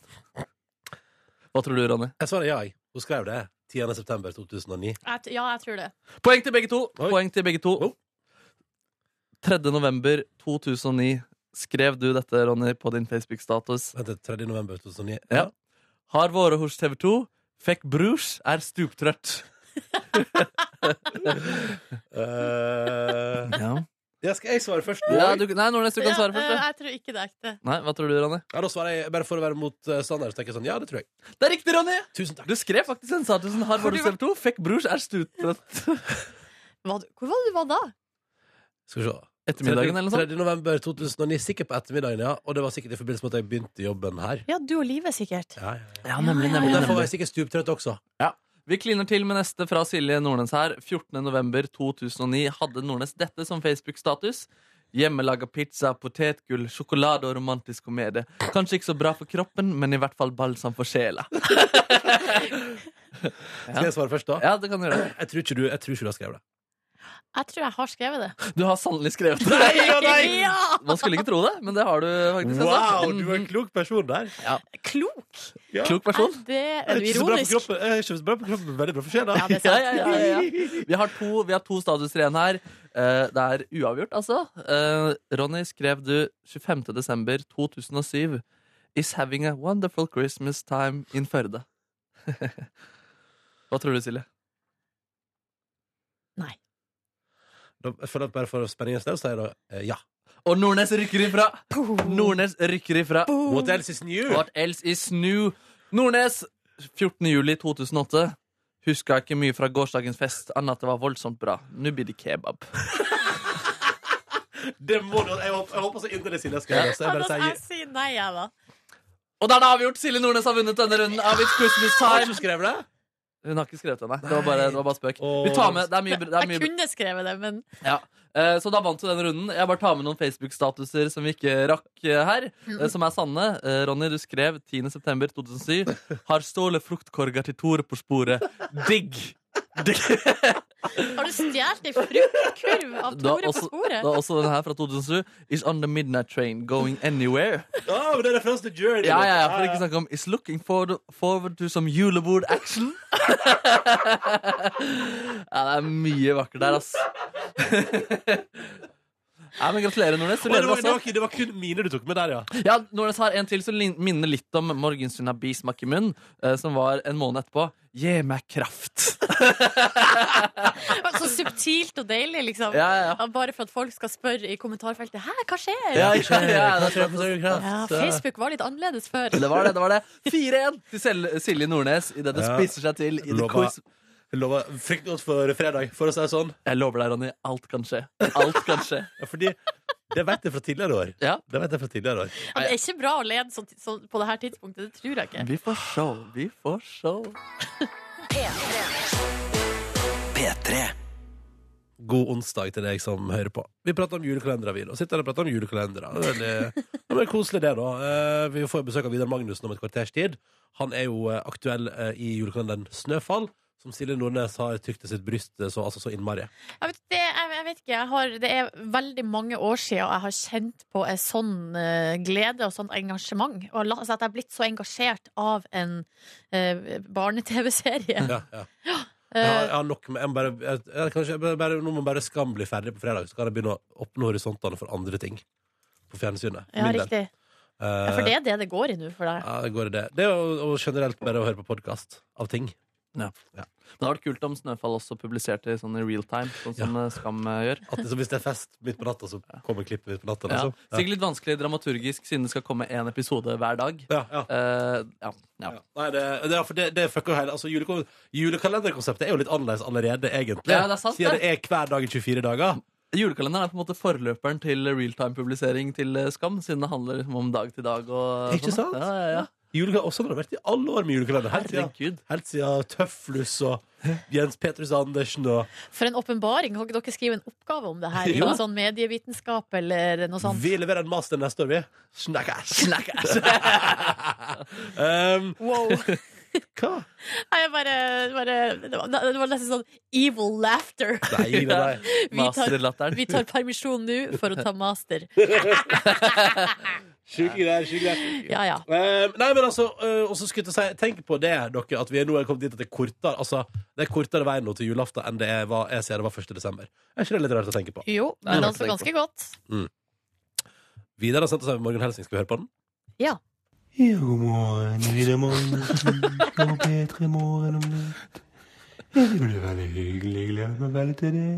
Hva tror du, Ronny? Jeg svarer ja, jeg. Hun skrev det 10. september 2009. Jeg, t- ja, jeg tror det. Poeng til begge to! Oi. Poeng til begge to. Jo. 3. november 2009 skrev du dette, Ronny, på din Facebook-status. Vent, det er 3. november 2009. Ja. Har vært hos TV 2, fikk brus, er stuptrøtt. Eh, Ja. ja, skal jeg svare først? du, nei, Nordnes, du kan svare Ja, først. eh, du. jeg tror ikke det er ekte. Nei, Hva tror du, Ronny? Ja, da svarer jeg bare for å være mot eh, standard. Så tenker jeg sånn, ja, det tror jeg. Det er riktig, Ronny! Tusen takk. Du skrev faktisk en status som har vært hos TV 2, fikk brus, er stuptrøtt. Hva, du- hvor var det du var da? Skal vi se. Ettermiddagen eller noe sånt. 3. november 2009, sikkert på ettermiddagen, ja. Og det var sikkert i forbindelse med at jeg begynte jobben her. Ja, du og Live, sikkert. Ja, ja, ja. Ja, nemlig, nemlig, Og derfor var jeg sikkert stuptrøtt også. Vi kliner til med neste fra Silje Nordnes her. 14. november 2009 hadde Nordnes dette som Facebook-status. Hjemmelaga pizza, potetgull, sjokolade og romantisk komedie. Kanskje ikke så bra for kroppen, men i hvert fall balsam for sjela. Skal jeg svare først, da? Ja, det kan du gjøre. Jeg tror ikke du, jeg tror ikke du har skrevet det. Jeg tror jeg har skrevet det. Du har sannelig skrevet det. Ja! Man skulle ikke tro det, men det har du faktisk. altså. Wow, du er en klok person der. Klok! Ja. Klok person. Er, det, Jeg er du ikke så bra på ironisk? kroppen, jeg er ikke så bra på kroppen, men veldig bra for sjela. Ja, det er Ja, sant. ja, ja, ja, ja. Vi, har to, vi har to statuser igjen her. Eh, Det er uavgjort, altså. Eh, Ronny, skrev du 25. desember 2007 Is having a wonderful Christmas time in Førde. Hva tror du, Silje? Da- Jeg føler at bare for spenningens del, så er det eh, ja. Og Nordnes rykker ifra! Nordnes rykker ifra. What else is new? What else is new? Nordnes, 14. juli 2008. Huska ikke mye fra gårsdagens fest, annet at det var voldsomt bra. Nå blir det kebab. Det må du, jeg, håper, jeg håper så inderlig Silje skal gjøre det. Så jeg Ja, bare da skal sier jeg si nei, jeg, da. Og da er det avgjort! Silje Nordnes har vunnet denne runden av It's Christmas Har Time. du skrevet det? Hun har ikke skrevet den, nei. Det var bare, det var bare spøk. Åh. Vi tar med, det er mye, det er Jeg mye kunne skrevet det, men ja. Eh, Så da vant du den runden. Jeg bare tar med noen Facebook-statuser som vi ikke rakk eh, her, Mm. eh, som er sanne. Eh, Ronny, du skrev 10.9.2007 Har stålet fruktkorga til Tore på sporet. Digg! Digg. har du stjålet ei fruktkurv av Da Tore også- på sporet? Og også denne her fra 2007. Is on the midnight train going anywhere. Ja, men det er referanse til Journey. Ja, ja, ja, for ikke snakke om Is looking forward, forward to some julebord action. ja, det er mye vakkert der, ass. ja, men gratulerer, Nordnes. Du Oi, det, var, leder det, også. var, ikke- det var kun mine du tok med der, ja. Ja, Nordnes har en til som lin- minner litt om Morgenstund har bismak i munn, eh, som var en måned etterpå. Gi meg kraft. Så subtilt og deilig, liksom. ja, ja, ja. Ja, Bare for at folk skal spørre i kommentarfeltet Hæ, hva skjer? Ja, Det skjer, ja, det skjer på Sørøya Kraft. Ja, Facebook var litt annerledes før. Det var det. det var det 4-1 til Sel- Silje Nordnes idet det Ja. spisser seg til i det Lover. quiz. Jeg lover fryktelig godt for fredag, for å si det sånn. Jeg lover deg, Ronny. Alt kan skje. Alt kan skje. Ja, Fordi det vet jeg fra tidligere år. Ja. Det vet jeg fra tidligere år. Ja, det er ikke bra å lede sånn, sånn på det her tidspunktet. Det tror jeg ikke. Vi får sjå, vi får sjå. God onsdag til deg som hører på. Vi prater om julekalendere, vi. nå. Sitter her og prater om julekalendere. Det er veldig ja, men koselig, det, da. Eh, Vi får besøk av Vidar Magnussen om et kvarters tid. Han er jo eh, aktuell eh, i julekalenderen Snøfall, som Silje Nordnes har trykt til sitt bryst eh, så, altså, så innmari. Jeg vet, det, jeg, jeg vet ikke, jeg har, det er veldig mange år siden jeg har kjent på en sånn eh, glede og sånn engasjement. Og la, altså at jeg har blitt så engasjert av en eh, barne-TV-serie. Ja, ja. Jeg Eh, har, jeg har nok med jeg må bare, jeg, jeg, kanskje, jeg, bare, Nå må bare Skam bli ferdig på fredag, så kan jeg begynne å åpne horisontene for andre ting. På fjernsynet. ja, Min del. riktig. Eh, Ja, for det er det det går i nå for deg. ja, det går i det. Det er jo og generelt bare å høre på podkast av ting. Men det hadde vært kult om Snøfall også publiserte sånn i real time, sånn som eh, Skam eh, gjør. At det, så hvis det er fest midt på natta, så kommer klippet midt på natta. Ja. Liksom. Ja. Sikkert litt vanskelig dramaturgisk, siden det skal komme én episode hver dag. Ja, ja. Eh, ja, ja. Ja. Nei, det, det, er for det, det fucker jo hele altså, juleko- Julekalenderkonseptet er jo litt annerledes allerede, egentlig. Ja, det er sant, Siden det. det er hver dag i 24 dager. Julekalenderen er på en måte forløperen til realtime-publisering til eh, Skam, siden det handler liksom om dag til dag. Og sånn, Ikke sant? Ja, ja, ja. Juleka og sånn har det vært i alle år med julekalender. Helt siden, Herregud. helt siden Tøflus og Jens Petrus Andersen og For en åpenbaring. Kan ikke dere skrive en oppgave om det her? I Jo. noe sånn medievitenskap eller noe sånt? Vi leverer en master neste år, vi. Snakkes! um, Wow. hva? Nei, jeg bare, bare det, var, det var nesten sånn evil laughter. Nei, nei, nei. Vi tar, Masterlatteren. vi tar permisjon nå for å ta master. Sjuke greier. Sjuke greier. Ja, ja. Um, nei, men altså, uh, og så skulle jeg til å si Tenk på det, dere, at vi er nå er kommet dit at det er kortere Altså, det er kortere vei nå til julaften enn det var, jeg ser det var 1. desember. Er ikke det litt rart å tenke på? Jo, Nei, men det altså var ikke ganske godt. Vidar har sendt oss en morgenhelsing. Skal vi høre på den? Ja, god morgen, lille morgen. Og bedre morgen om natt. Ja, det blir veldig hyggelig. Gleder meg veldig til det.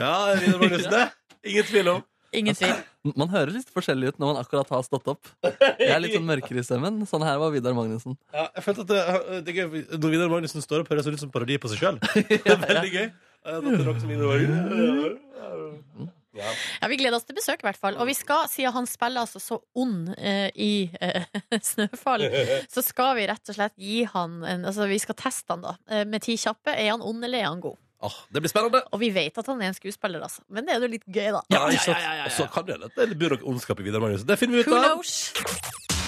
Ja, Vidar Magnussen, det. Ingen tvil om. Ingen Altså. tvil. Man hører litt forskjellig ut når man akkurat har stått opp. Jeg er litt sånn mørkere i stemmen. Sånn her var Vidar Magnussen. Ja, jeg følte at eh, det, det er gøy, Når Vidar Magnussen står opp, høres han ut som parodi på seg sjøl. Det er veldig gøy. Eh, At det er noe som Vidar Magnussen- Ja, Vi gleder oss til besøk, i hvert fall. Og vi skal, siden han spiller altså så ond eh, i eh, Snøfall, så skal vi rett og slett gi han en Altså, vi skal teste han, da. eh, med ti kjappe. Er han ond, eller er han god? Åh, det blir spennende. Og vi vet at han er en skuespiller, altså. Men det er jo litt gøy, da. Ja, ikke sant? Og så kan det hende at det blir noe ondskap i Vidar Magnussen. Det finner vi ut Who av. knows?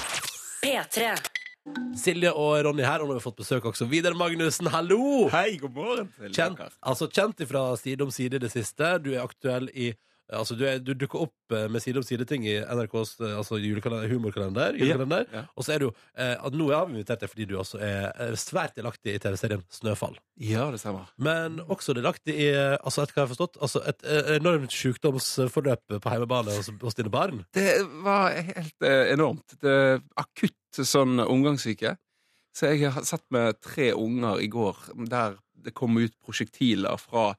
P3. Silje og Ronny her, og nå har vi fått besøk også. Vidar Magnussen, hallo! Hei, god morgen. Kjent, altså kjent ifra Side om side i det siste. Du er aktuell i Altså, du, er, du dukker opp eh, med Side om side-ting i NRKs eh, altså, julekalender, humorkalender. julekalender. ja. Og så er du jo eh, at Nå har vi invitert deg fordi du også er er svært delaktig i TV-serien Snøfall. Ja, det stemmer. Men også delaktig i eh, altså, etter hva jeg har forstått, altså et eh, enormt sykdomsforløp på hjemmebane hos, hos dine barn. Det var helt eh, enormt. Det er akutt sånn omgangssyke. Så jeg har satt med tre unger i går der det kom ut prosjektiler fra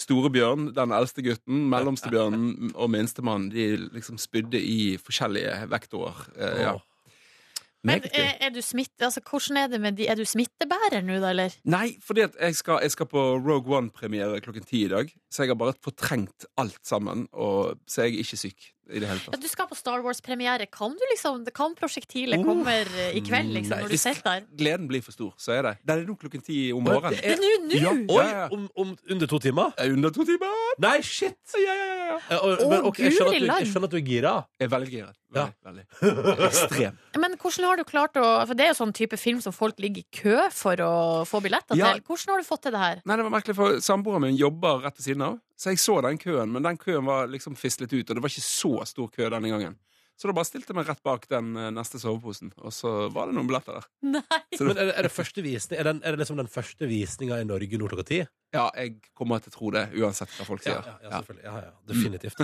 Storebjørn, den eldste gutten, mellomste bjørnen og minstemann. De liksom spydde i forskjellige vektorer. Eh, ja. Åh. Men Meget gøy. er, er du smitt, altså, hvordan er det med de Er du smittebærer nå, da, eller? Nei, fordi at jeg skal, jeg skal på Rogue One-premiere klokken ti i dag. Så jeg har bare fortrengt alt sammen, og, så jeg er ikke syk i det hele tatt. Ja, du skal på Star Wars-premiere. Kan du liksom Kan prosjektilet Oh. kommer eh, i kveld, liksom, nei, når du hvis- sitter der? gleden blir for stor, så er det. Den er nå klokken ti om Men morgenen. det Men nå, nå! Eh, Ja, Oi! ja, ja. Om, om under to timer? Jeg er Under to timer! Nei, shit! Ja, ja, ja, ja. Eh, og- Å, men, ok, jeg, skjønner at guri du, land. jeg skjønner at du er gira. Jeg er veldig giret. Ja. Veldig, veldig. Ekstrem. Men hvordan har du klart å For det er jo sånn type film som folk ligger i kø for å få billetter Ja. til. Hvordan har du fått til det her? Nei, det var merkelig, for samboeren min jobber rett ved siden av, så jeg så den køen, men den køen var liksom fislet ut, og det var ikke så stor kø denne gangen. Så da bare stilte jeg meg rett bak den eh, neste soveposen, og så var det noen billetter der. Nei. Så Men det, er det, er det, første visning, er den, er det liksom den første visninga i Norge nå klokka ti? ja, jeg kommer til å tro det, uansett hva folk sier. ja, Ja. selvfølgelig. Ja, ja, definitivt.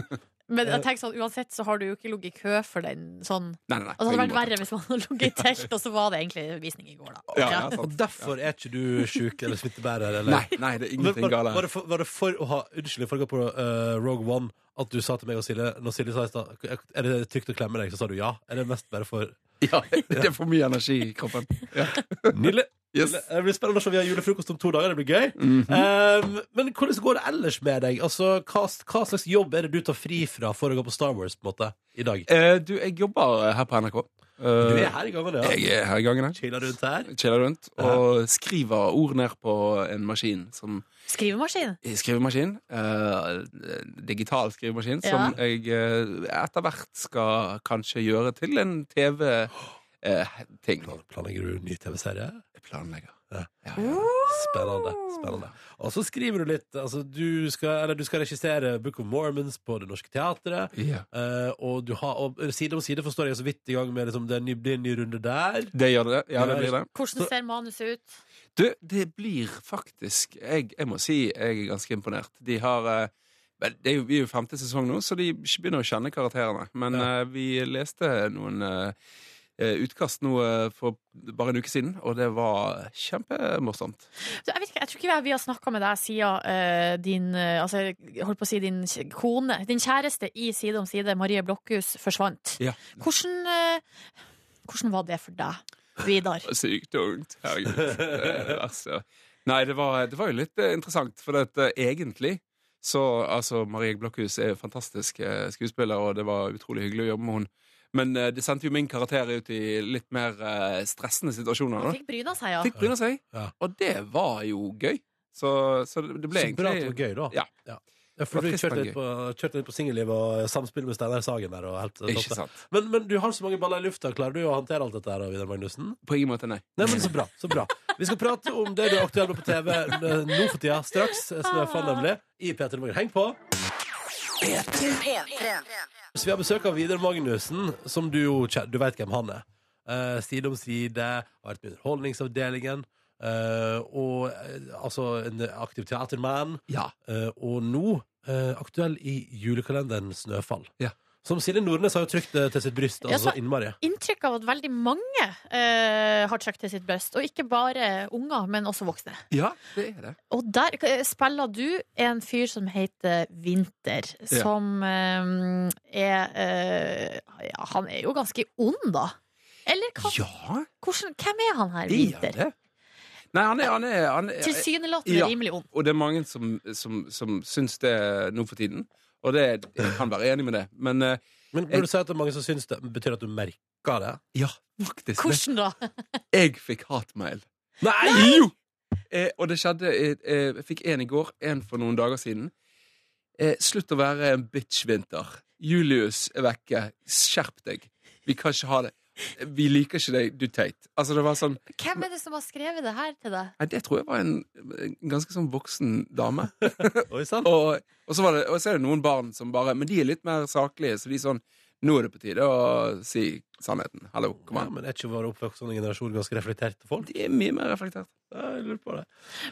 Men Eh. jeg tenker sånn, uansett så har du jo ikke ligget i kø for den sånn Nei, nei, nei. Altså, det hadde på ingen vært måte. verre hvis man hadde ligget i telt, og så var det egentlig visning i går, da. Ja, ja, Ja. Og sant. derfor er ikke du sjuk eller smittebærer? Eller? Nei, nei, det er Men var, ingenting galt. var, det for, var det for å ha Unnskyld for å gå på eh, Rogue One at du sa til meg og Silje Når Silje sa i stad Er det trygt å klemme deg, så sa du ja? Er det mest bare for Ja, det er for mye energi i kroppen. Ja. Nydelig! Yes. Mhm. Det blir spennende å se. Vi har julefrokost om to dager. Det blir gøy. Eh, men hvordan går det ellers med deg? Altså, hva, hva slags jobb er det du tar fri fra for å gå på Star Wars på en måte, i dag? Eh, du, jeg jobber eh, her på NRK. Eh, Du er her i gangen, ja. Jeg er her i gangen, jeg. Chiller rundt her. Chiller rundt og skriver ord ned på en maskin som Skrivemaskin. Skrivemaskin. eh, digital skrivemaskin, Ja. som jeg eh, etter hvert skal kanskje gjøre til en TV-ting. Planlegger du ny TV-serie? Jeg planlegger. Ja. Ja, ja. Spennende. spennende Og så skriver du litt. Altså, du, skal, eller, du skal regissere Book of Mormons på Det Norske Teatret. Ja. eh, og, du har, og side om side forstår jeg så vidt i gang med liksom, det er en ny- blir en ny runde der. Det gjør det. Ja, det blir det. Hvordan ser manuset ut? Du, det blir faktisk Jeg, jeg må si jeg er ganske imponert. De har eh, vel, det er jo, Vi er jo i femte sesong nå, så de begynner å kjenne karakterene. Men eh, vi leste noen eh, eh, utkast nå eh, for bare en uke siden, og det var kjempemorsomt. Så Jeg, vet ikke, jeg tror ikke vi har snakka med deg siden eh, din, eh, altså, jeg holdt på å si din kj- kone, din kjæreste i Side om side, Marie Blokhus, forsvant. Ja. Hvordan, eh, hvordan var det for deg, Vidar? Sykt tungt. Herregud. Eh, altså. Nei, det var, det var jo litt eh, interessant, for at, eh, egentlig så Altså, Marie Blokhus er en fantastisk eh, skuespiller, og det var utrolig hyggelig å jobbe med henne. Men eh, det sendte jo min karakter ut i litt mer eh, stressende situasjoner. Han Da. fikk bryna seg, ja. Fikk bryne seg. Ja. Og det var jo gøy. Så, så det det ble Så bra at det var egentlig gøy, da. Ja. Ja, for du Det var kjørte fristende litt på, kjørte litt på singelliv og samspill med Steinar Sagen der. Og helt, eh, topp Ikke det. sant. men, men du har så mange baller i lufta. Klarer du å håndtere alt dette her, da, Vidar Magnussen? På ingen måte, nei. Nei, men så bra, så bra. Vi skal prate om det du er aktuell med på TV n- nå for tida, straks. Snøfall, nemlig. I P3 Morgen. Heng på! P3. Så vi har besøk av Vidar Magnussen, som du jo kjen- Du veit hvem han er. Eh, side om side, har vært med i Underholdningsavdelingen. eh, og eh, altså en aktiv teaterman. Ja. Eh, og nå eh, aktuell i julekalenderen Snøfall. Ja. Som Silje Nordnes har jo trykt det til sitt bryst. Ja, Altså så- så innmari. Inntrykk av at veldig mange eh, har trøkt til sitt bryst. Og ikke bare unger, men også voksne. ja, det er det. Og der eh, spiller du en fyr som heter Winter, Ja. som eh, er eh, ja, Han er jo ganske ond, da. Eller hva, Ja, hvordan, hvem er han her, er Winter? det? Nei, han er, han er, han er Tilsynelatende Ja. rimelig ond. Og det er mange som, som, som syns det nå for tiden. Og det, jeg kan være enig med det. Men eh, Men burde du si at det er mange som syns det betyr at du merker det? ja, faktisk. det- Hvordan da? Jeg fikk hatmail. Nei! Jo! Eh, og det skjedde eh, eh, Jeg fikk en i går, en for noen dager siden. Eh, slutt å være en bitch, Vinter. Julius er vekke. Skjerp deg. Vi kan ikke ha det. Vi liker ikke deg, du teit. Altså, det var sånn Hvem er det som har skrevet det her til deg? Nei, det tror jeg var en, en ganske sånn voksen dame. Oi sann! Og, og, så var det, og så er det noen barn som bare Men de er litt mer saklige, så de er sånn Nå er det på tide å si sannheten. Hallo, kom Ja, an. men er ikke vår oppvoksende generasjon ganske reflekterte folk? De er mye mer reflektert. Ja, Jeg lurer på det.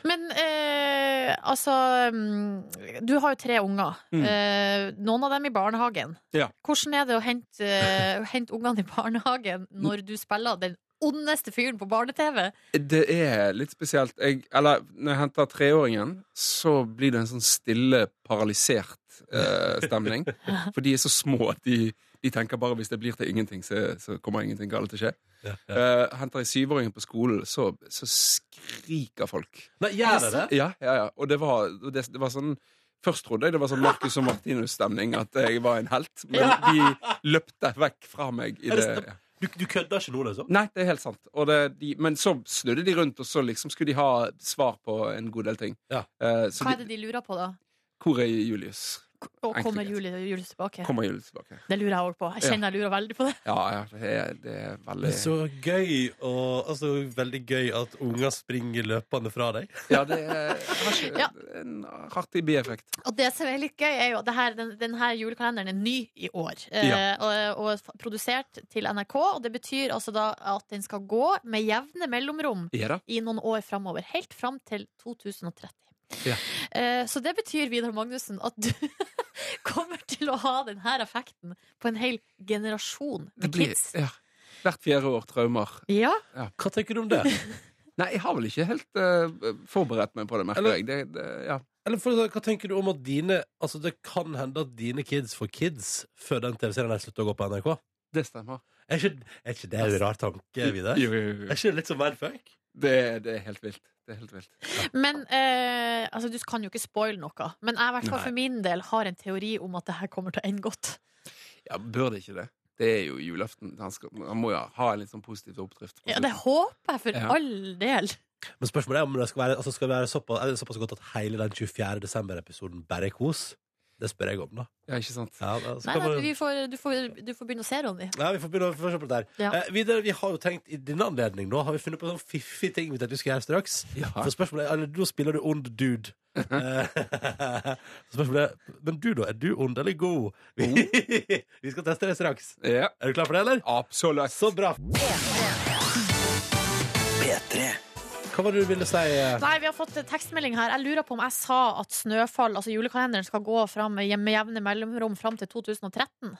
Men eh, altså mm, Du har jo tre unger. Mm. Eh, noen av dem i barnehagen. Ja. Hvordan er det å hente, eh, hente ungene i barnehagen når du spiller den ondeste fyren på barne-TV? Det er litt spesielt. Jeg, eller, når jeg henter treåringen, så blir det en sånn stille, paralysert eh, stemning. For de er så små at de, de tenker bare hvis det blir til ingenting, så, så kommer ingenting galt til å skje. Ja, Eh, henter jeg syvåringen på skolen, så, så skriker folk. Nei, gjør det det? Ja, ja, ja. Og det var, og det, det var sånn Først trodde jeg det var sånn Marcus og Martinus-stemning, at jeg var en helt. Men de løpte vekk fra meg. I Er det det, sant? Du, du kødder ikke nå, liksom? Nei, det er helt sant. Og det, de, men så snudde de rundt, og så liksom skulle de ha svar på en god del ting. Ja. Eh, så Hva er de, det de lurer på, da? hvor er Julius? Og Enkelt og kommer greit. Julie, Julius tilbake? Kommer Julius tilbake? Det lurer jeg òg på. Jeg kjenner jeg lurer veldig på det. Ja, ja, det er, det er Det veldig er så gøy og altså, veldig gøy at unger springer løpende fra deg. Ja, det er jeg har ikke, Ja. en artig bieffekt. Og det som er litt gøy, er jo at det her, den, den her julekalenderen er ny i år. Eh, og, og f- produsert til NRK. Og det betyr altså da at den skal gå med jevne mellomrom Ja da. i noen år framover. Helt fram til 2030. Ja. Eh, så det betyr, Vidar Magnussen, at du kommer til å ha denne effekten på en hel generasjon Det med blir kids. ja. hvert fjerde år traumer. Ja, Hva tenker du om det? Nei, jeg har vel ikke helt eh, forberedt meg på det, merker Eller- jeg. Det, det, ja. Eller for, å si, hva tenker du om at dine Altså, det kan hende at dine kids får kids før den TV-serien der slutter å gå på NRK? det stemmer. Er ikke, er ikke det en rar tanke, Vidar? Jo, jo, jo. Er ikke det litt som mindfuck? Det, det er helt vilt. Det er helt vilt. Men eh, altså, du kan jo ikke spoile noe. Men jeg i hvert fall Nei. for min del har en teori om at det her kommer til å ende godt. Ja, bør det ikke det? Det er jo julaften. Han, skal, han må jo ha en litt sånn positiv oppdrift. på Ja, slutten. det håper jeg for Ja. all del. Men spørsmålet er om det skal være, altså skal det være såpass, er det såpass godt at hele den 24. desember-episoden bare er kos? Det spør jeg om, da. Ja, ikke sant? Ja, da Nei, skal nei, man- vi får, du, får, du får begynne å se, Ronny. Nei, vi får begynne å vi får se på det der. Ja. Eh, videre, vi har jo tenkt i denne anledning, da har vi funnet på sånn fiffig ting vi tenkte vi skulle gjøre straks. Ja. For spørsmålet er, eller da spiller du ond dude. Eh, spørsmålet er, men du da, er du ond eller god? Vi, vi skal teste det straks. Ja, Er du klar for det, eller? absolutt. Så bra. Hva var det du ville si? eh? Nei, vi har fått eh, tekstmelding her. Jeg lurer på om jeg sa at Snøfall, altså julekalenderen, skal gå fram med jevne- jevne mellomrom fram til 2013.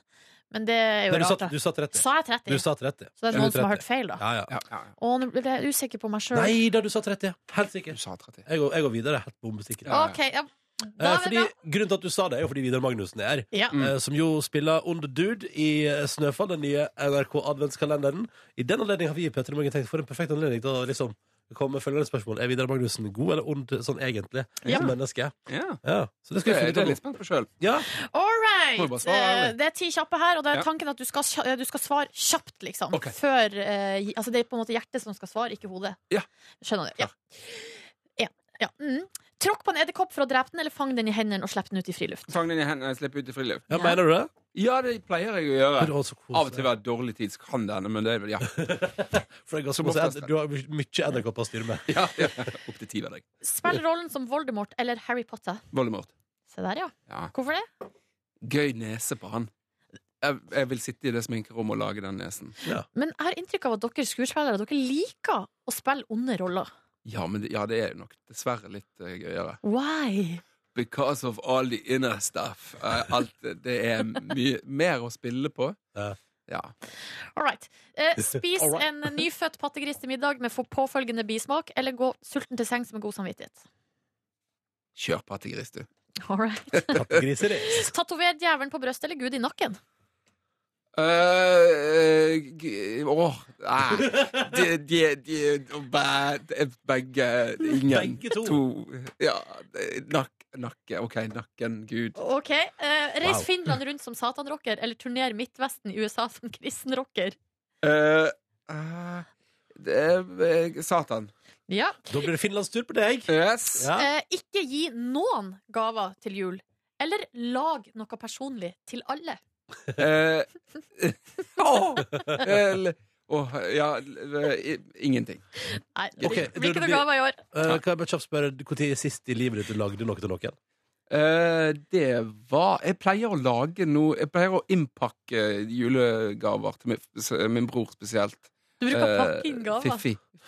Men det er jo Nei, du, rart. satt, da. du satt 30. Sa jeg 30? Du satt 30. Så det er noen som 30. har hørt feil, da. Ja, ja. Ja, ja, ja. Å, nå ble jeg usikker på meg sjøl. Nei da, du sa 30. Helt Du sikkert. sa 30. Jeg går, jeg går videre, helt bombesikker. Ja. OK. Ja. Da Eh, er det fordi, bra. grunnen til at du sa det, er jo fordi Vidar Magnussen er her. Ja. eh, Som jo spiller Ond Dude i eh, Snøfall, den nye NRK-adventskalenderen. I den anledning har vi i Petter Morgen tenkt for en perfekt anledning til å liksom komme med følgende spørsmål. Er Vidar Magnussen god eller ond sånn egentlig? Ja. Som menneske? Ja. Ja. Så det Det skal vi er finne jeg ut av litt nå. spent på sjøl. Ja, All Må right. du bare svare, eller? Eh, Det er ti kjappe her, og da er Ja. tanken at du skal, kja- eh, du skal svare kjapt, liksom. Ok. Før eh, gi- Altså, det er på en måte hjertet som skal svare, ikke hodet. Ja. Skjønner du? Ja. En, ja. Mm. Tråkk på en edderkopp for å drepe den, eller fang den i hendene og slipp den ut i friluft. Fang den i hendene og slipp ut i friluft. ja mener du det? Ja, det pleier jeg å Det er gjøre. også koselig. Av og til ved dårlig tid så kan det hende, men det er vel ja. For det er ganske Som masse oftest. edder- Du har mye edderkopper å styre med. ja, ja. Opp til ti hver dag. Spill rollen som Voldemort eller Harry Potter. Voldemort. Se der, ja. Ja. Hvorfor det? Gøy nese på han. Jeg, jeg vil sitte i det sminkerommet og lage den nesen. Men jeg har inntrykk av at dere skuespillere Dere liker å spille onde roller. Ja, men det, ja, det er jo nok dessverre litt eh, gøyere. Why? Because of all the inner stuff. Eh, alt, det er mye mer å spille på. Ja. Ja. All right. Eh, spis All right. en nyfødt pattegris til middag med for- påfølgende bismak, eller gå sulten til sengs med god samvittighet. Kjør pattegris, du. All right. Kattegriser i. Tatover djevelen på brystet eller Gud i nakken. Eh, eh, g- Åh, nei. De, de, de, bæ- de, begge Ingen. Begge to. Ja, eh, nak, nakke. OK, nakken. Gud. Ok. Eh, reis Wow. Finland rundt som satanrocker, eller turner Midtvesten i USA som kristenrocker. Eh, eh, det er eh, Satan. Ja. Da blir det finlandstur på deg. Yes. Ja. Eh, ikke gi noen gaver til jul. Eller lag noe personlig til alle. Eh, åh, el- åh, ja, eh, i- ingenting. Nei, det Ok, blir det- ikke noe gaver i år. Eh, kan jeg bare kjapt spørre, Når sist i livet ditt du lagde noe til noen? Eh, det var Jeg pleier å lage noe Jeg pleier å innpakke julegaver til min, s- min bror spesielt. Du bruker Eh, pakke inn gaver.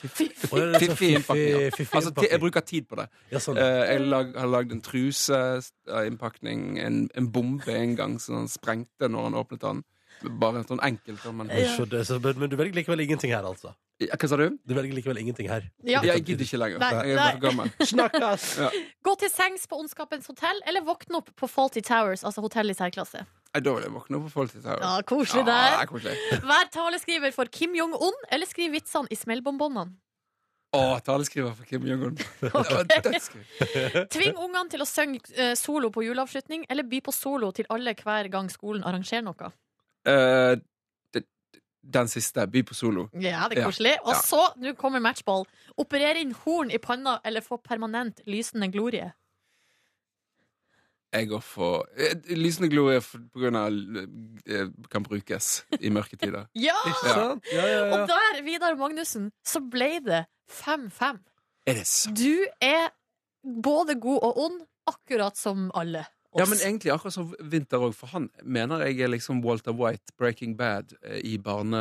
Fiffi. Å, er det så Fiffi innpakning. Ja. fiffig Altså, ti- jeg innpakning? bruker tid på det. Ja, sånn. Eh, jeg lag, har lagd en truse, s- eh, innpakning, en, en bombe en gang som han sprengte når han åpnet den. Bare sånn enkelt. Men, Ja. Så det, så, men, men du velger likevel ingenting her, altså? ja, hva sa du? Du velger likevel ingenting her? Ja. Jeg gidder ikke altså. lenger. Nei, jeg er for nei. gammel. Snakkes! Gå til sengs på Ondskapens hotell, eller våkne opp på Faulty Towers, altså hotell i særklasse. Eh, Da vil jeg våkne opp og få litt tau. Ja, koselig Ja, det der. er koselig. Vær taleskriver for Kim Jong-un, eller skriv vitsene i smellbonbonene. Å, taleskriver for Kim Jong-un. Det var dødsgøy. Tving ungene til å synge eh, solo på juleavslutning, eller by på solo til alle hver gang skolen arrangerer noe. Eh, d- d- den siste. By på solo. Ja, det er Ja. koselig. Og Ja. så, nå kommer matchball. Operere inn horn i panna, eller få permanent lysende glorie. Jeg går for eh, Lysende glorie for- på grunn av eh, kan brukes i mørketider. Ja! Ikke sant? Ja, ja, ja. Og der, Vidar Magnussen, så ble det 5-5. Er det sant? Du er både god og ond, akkurat som alle oss. Ja, men egentlig akkurat som Vinter òg, for han mener jeg er liksom Walter White, Breaking Bad, eh, i barne,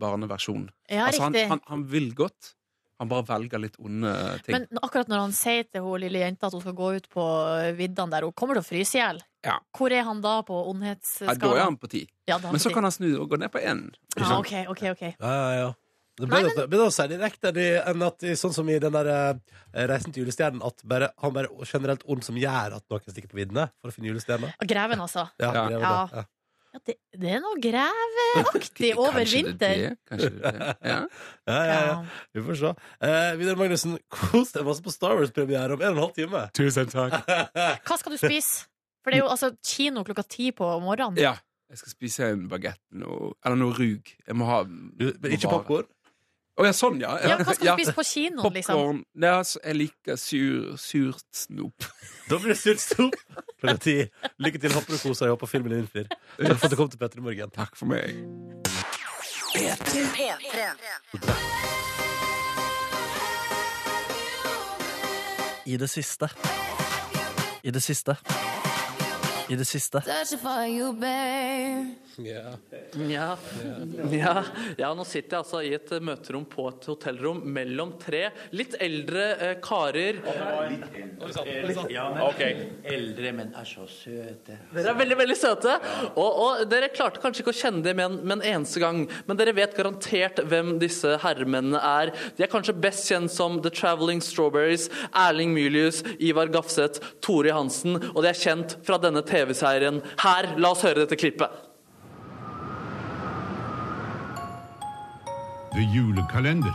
barneversjon. Ja, altså, han, riktig. han, han vil godt. Han bare velger litt onde ting. Men akkurat når han sier til hun lille jenta at hun skal gå ut på viddene der, hun kommer til å fryse i hjel, Ja. hvor er han da på ja, da er ondhetsskalaen? han på ti. Ja, da er Men så han kan han snu og gå ned på én. ti. ja, OK, OK. ok Ja, ja, ja. Det Nei, ble men... å si direkte det- enn at i- sånn som i den der eh, Reisen til julestjernen, at bare, han bare er generelt ond som gjør at noen stikker på viddene for å finne julestjerna. Og Greven, altså. Ja, Ja. det er jo Ja. det. Ja. Ja, det, det er noe greveaktig over Kanskje Det vinter. er det, kanskje det er det. Ja. Ja, ja, ja. Ja. Vi får se. Eh, Vidar Magnussen, kos deg masse på Star Wars-premiere om en og en halv time. Tusen takk. Hva skal du spise? For det er jo altså kino klokka ti på morgenen. ja. Jeg skal spise en bagett nå. Eller noe rug. Jeg må ha Du, men ikke popkorn? Å ja, sånn, ja. Ja, hva skal Ja, du spise på kinoen, liksom? Popcorn. Nei, altså, jeg liker sur, surt snop. Da blir det surt sopp klokka ti. Lykke til, håper du koser deg, håper filmen innfrir. Takk for at du kom til Petter i morgen. Takk for meg. P3. I det siste. I det siste. I det siste. Ja. Ja. ja, nå sitter jeg altså i et eh, møterom på et hotellrom mellom tre litt eldre eh, karer. Eldre, men er så søte. Dere er veldig, veldig søte. Og, og dere klarte kanskje ikke å kjenne dem med en, med en eneste gang, men dere vet garantert hvem disse herremennene er. De er kanskje best kjent som The Traveling Strawberries, Erling Mylius, Ivar Gafseth, Tore Hansen, og de er kjent fra denne TV-serien. Her, la oss høre dette klippet. The Julekalender.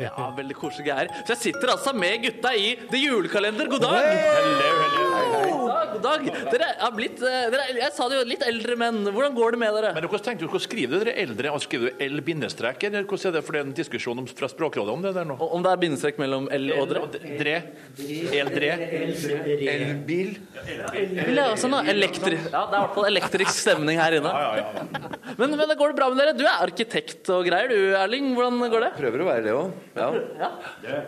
Ja, veldig koselige greier. Så jeg sitter altså med gutta i The Julekalender. God dag! God dag, god dag. Dere er blitt eh, dere, er- Jeg sa det jo, litt eldre menn. Hvordan går det med dere? Men hvordan tenkte du, hvordan skriver dere eldre? Altså, skriver du L bindestrek, eller hvordan er det? For det er en diskusjon om, fra Språkrådet om det der nå. O- Om det er bindestrek mellom L og dere? Dre. Eldre. Elbil. Vil jeg også nå? sånn Elektri ja, det er i hvert fall elektrisk stemning her inne. Men, men det går det bra med dere? Du er arkitekt og greier, du, Erling. Hvordan går det? Prøver å være det òg. Ja.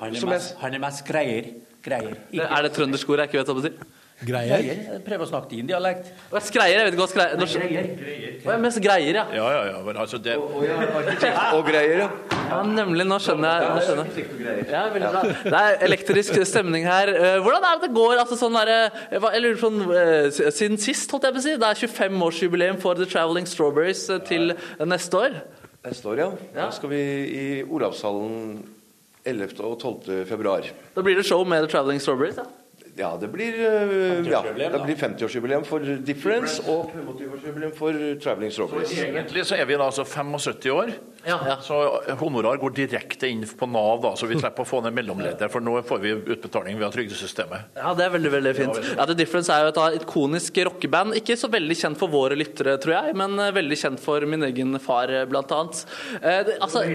Han er mest, han er mest greier. Greier. Er det trøndersk ord jeg ikke vet hva det betyr? Greier. Prøver å snakke din dialekt. Å, Skreier? Jeg vet ikke hva skreier norsk- Å, jeg er mest greier, ja. Ja, ja, ja. Men altså, det Og greier, ja. Ja, nemlig. Nå skjønner jeg. Nå skjønner. jeg. Ja, veldig bra. Det er elektrisk stemning her. Eh, Hvordan er det det går? altså sånn der, eh, hva- Jeg lurer på, sånn, eh, s- Siden sist, holdt jeg på å si. Det er 25-årsjubileum for The Traveling Strawberries eh, til eh, neste år. Neste år, ja. Da skal vi i Olavshallen 11. og 12. februar. Da blir det show med The Traveling Strawberries. Ja. Ja, det blir, øh, ja, det blir 50-årsjubileum for Difference og 25-årsjubileum for Traveling Strawberries. Egentlig så er vi da altså 75 år, Ja, ja. så honorar går direkte inn på Nav, da, så vi slipper å få ned mellomleddet, for nå får vi utbetaling via trygdesystemet. Ja, Det er veldig veldig fint. Ja, The Difference er jo et av- ikonisk rockeband. Ikke så veldig kjent for våre lyttere, tror jeg, men eh, veldig kjent for min egen far, eh, blant annet. Eh, det, altså,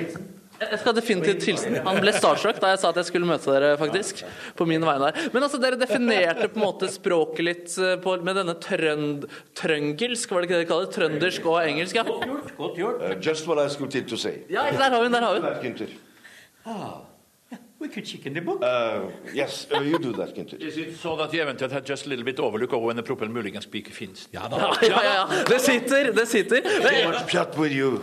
jeg skal definitivt hilsen. Han ble starstruck da jeg sa at jeg skulle møte dere, faktisk. På min vegne der. Men altså, dere definerte på en måte språket litt eh, på, med denne trønd, trøngelsk, var det ikke det de kaller det? Trøndersk og engelsk, ja. Uh, just what I was going to say. ja. Der har vi den, der har vi den. Günther. We could chicken the book. Uh, yes, uh, you do that, Günther. Is it so that you eventuelt had just a little bit overlook over when the proper mulligan speaker finns? Ja da. Ja, ja, ja. Det sitter, det sitter. Men- Too much chat with you.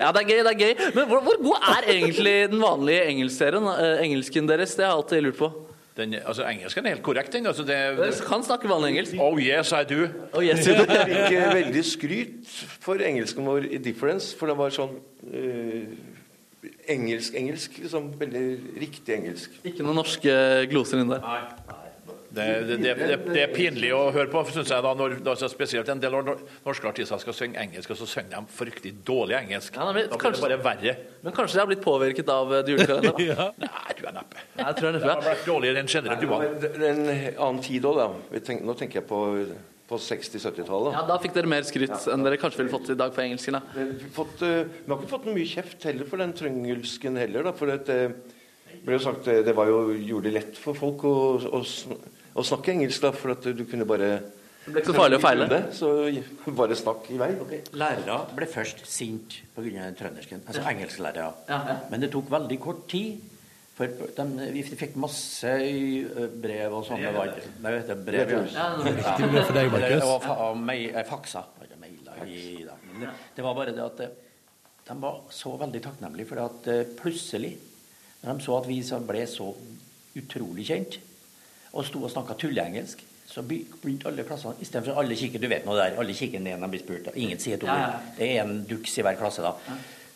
Ja, det er gøy, det er gøy. Men hvor, hvor god er egentlig den vanlige engelskserien, eh, engelsken deres? Det har jeg alltid lurt på. Den, altså, engelsken er helt korrekt, den. Altså, det, Dere kan snakke vanlig engelsk. oh yes, I do. Oh, yes, you do. Jeg fikk eh, veldig skryt for engelsken vår i Difference, for det var sånn eh, engelsk, engelsk, liksom veldig riktig engelsk. Ikke noen norske gloser inn der. Det, det, det, det, det er pinlig å høre på, synes jeg, da, når, da, så spesielt en del av nor- norske artister skal synge engelsk, og så synger de fryktelig dårlig engelsk. Ja, nei, men da blir kanskje- det bare verre. Men kanskje de har blitt påvirket av eh, de julekalenderne? da? Nei, du er neppe. Nei, Jeg tror jeg Det har neppe. vært dårligere enn generelt. Du var Men det er en annen tid òg, da. Vi tenk, nå tenker jeg på, på 60-70-tallet. Ja, Da fikk dere mer skryt enn dere kanskje ville fått i dag for engelsken. da. Vi har fått, eh, vi har ikke fått mye kjeft heller for den trøngelsken heller, da. For at, eh, ble jo sagt, eh, det var jo, gjorde det lett for folk å, å, sn- å snakke engelsk, da. For at du kunne bare Det ble ikke så farlig å feile. Så bare snakk i vei. Lærere ble først sint pga. den trøndersken, altså engelsklærere. Ja, ja. Men det tok veldig kort tid. For de, vi fikk masse ø, brev og sånne brev. Nei, vet du, brev, ja. Til og med for deg, Eller, Markus. og fa- og mei- eh, faksa. Eller mailer i dem. Men det- Det var bare det at eh, de var så veldig takknemlige for at eh, plutselig, når de så at vi så ble så utrolig kjent, og sto og snakka tulleengelsk, så be- begynte alle klassene Istedenfor alle kikker Du vet nå det der. Alle kikker ned når de blir spurt. og Ingen sier et ord. Ja, ja. Det er en duks i hver klasse, da.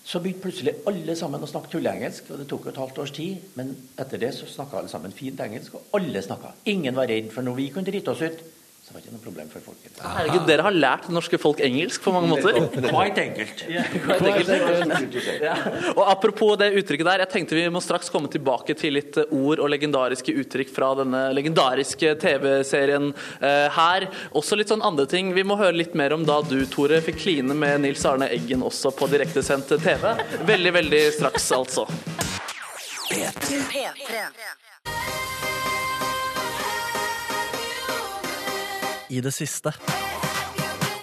Så begynte plutselig alle sammen å snakke tulleengelsk, og det tok jo et halvt års tid. Men etter det så snakka alle sammen fint engelsk, og alle snakka. Ingen var redd for når vi kunne drite oss ut, Så det var ikke noe problem for folk. Herregud, dere har lært det norske folk engelsk på mange måter. Quite enkelt. Ja, quite enkelt. Ja. Og apropos det uttrykket der, jeg tenkte vi må straks komme tilbake til litt eh, ord og legendariske uttrykk fra denne legendariske TV-serien eh, her. Også litt sånn andre ting. Vi må høre litt mer om da du, Tore, fikk kline med Nils Arne Eggen også på direktesendt TV. Veldig, veldig straks, altså. P3. I det siste.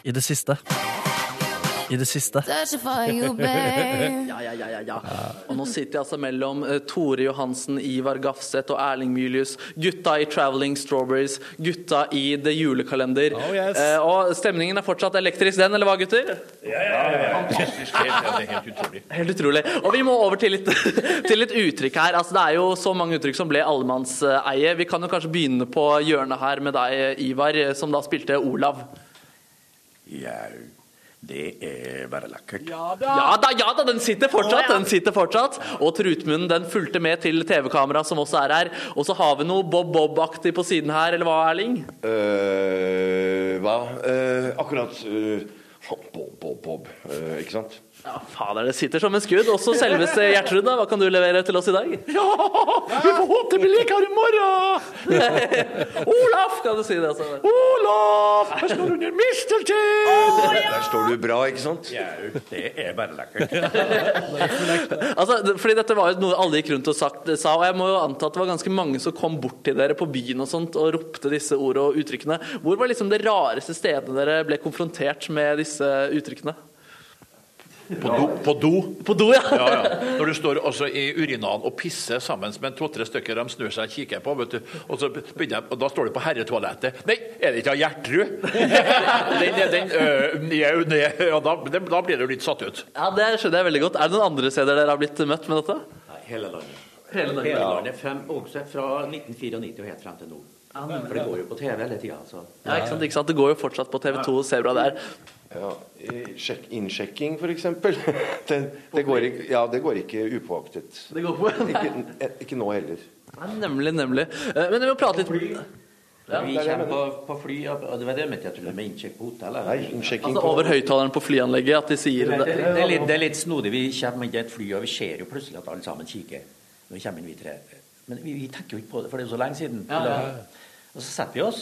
I det siste. I det siste. Ja, ja, ja, ja, ja. Og nå sitter jeg altså mellom eh, Tore Johansen, Ivar Gafseth og Erling Mylius. Gutta i Traveling Strawberries, gutta i The Julekalender. Eh, og stemningen er fortsatt elektrisk, den, eller hva, gutter? Fantastisk. Helt, det er helt utrolig. Helt utrolig. Og vi må over til litt, til litt uttrykk her. Altså, det er jo så mange uttrykk som ble allemannseie. Vi kan jo kanskje begynne på hjørnet her med deg, Ivar, som da spilte Olav. Jau, det er bare lekkert. Ja da, ja da, den sitter fortsatt! Den sitter fortsatt. Og Trutmunnen den fulgte med til TV-kamera, som også er her. Og så har vi noe Bob Bob-aktig på siden her, eller hva, Erling? Eh, hva? Eh, akkurat eh, Bob, Bob, Bob. Eh, ikke sant? Ja, fader, det sitter som en skudd. Også selveste Gjertrud, da. Hva kan du levere til oss i dag? Ja, vi får håpe det blir likere i morgen! Olaf, kan du si det, altså. Olaf! Her skal du under mistelten! Der står du bra, ikke sant? det er bare lekkert. Altså, det- fordi dette var jo noe alle gikk rundt og sagt, eh, sa, og jeg må jo anta at det var ganske mange som kom bort til dere på byen og sånt og ropte disse ord og uttrykkene. Hvor var liksom det rareste stedet dere ble konfrontert med disse uttrykkene? På do. På do. På do, ja. Ja, ja. Når du står også i urinalen og pisser sammen med to-tre stykker de snur seg og kikker på, vet du. Og, så begynner de, og da står du på herretoalettet. Nei, er det ikke av Gjertrud? den, den, øh, jau, nei, ja, da, den, da blir du litt satt ut. Ja, Det skjønner jeg veldig godt. Er det noen andre steder dere har blitt møtt med dette? Nei, hele landet. Hele landet. frem, også fra 1994 og helt frem til nå. For det går jo på TV hele tida, altså. Ja, ikke sant, ikke sant? Det går jo fortsatt på TV2, Sebra der. Ja, eh, sjekk, innsjekking, for eksempel. Det, det går ikke, ja, det går ikke upåaktet. Det går på. Ikke, eh, ikke nå heller. Nei, nemlig, nemlig. Eh, Men vi må prate litt Ja, vi kommer på, på fly, og og det var det jeg mente jeg tulla med innsjekk på hotellet. Nei, innsjekking altså, over høyttaleren på flyanlegget at de sier Det, det, det, er litt, det er litt snodig. Vi kommer inn i et fly, og vi ser jo plutselig at alle sammen kikker. Når vi kommer inn, vi tre. Men vi, vi tenker jo ikke på det, for det er jo så lenge siden. Og så setter vi oss,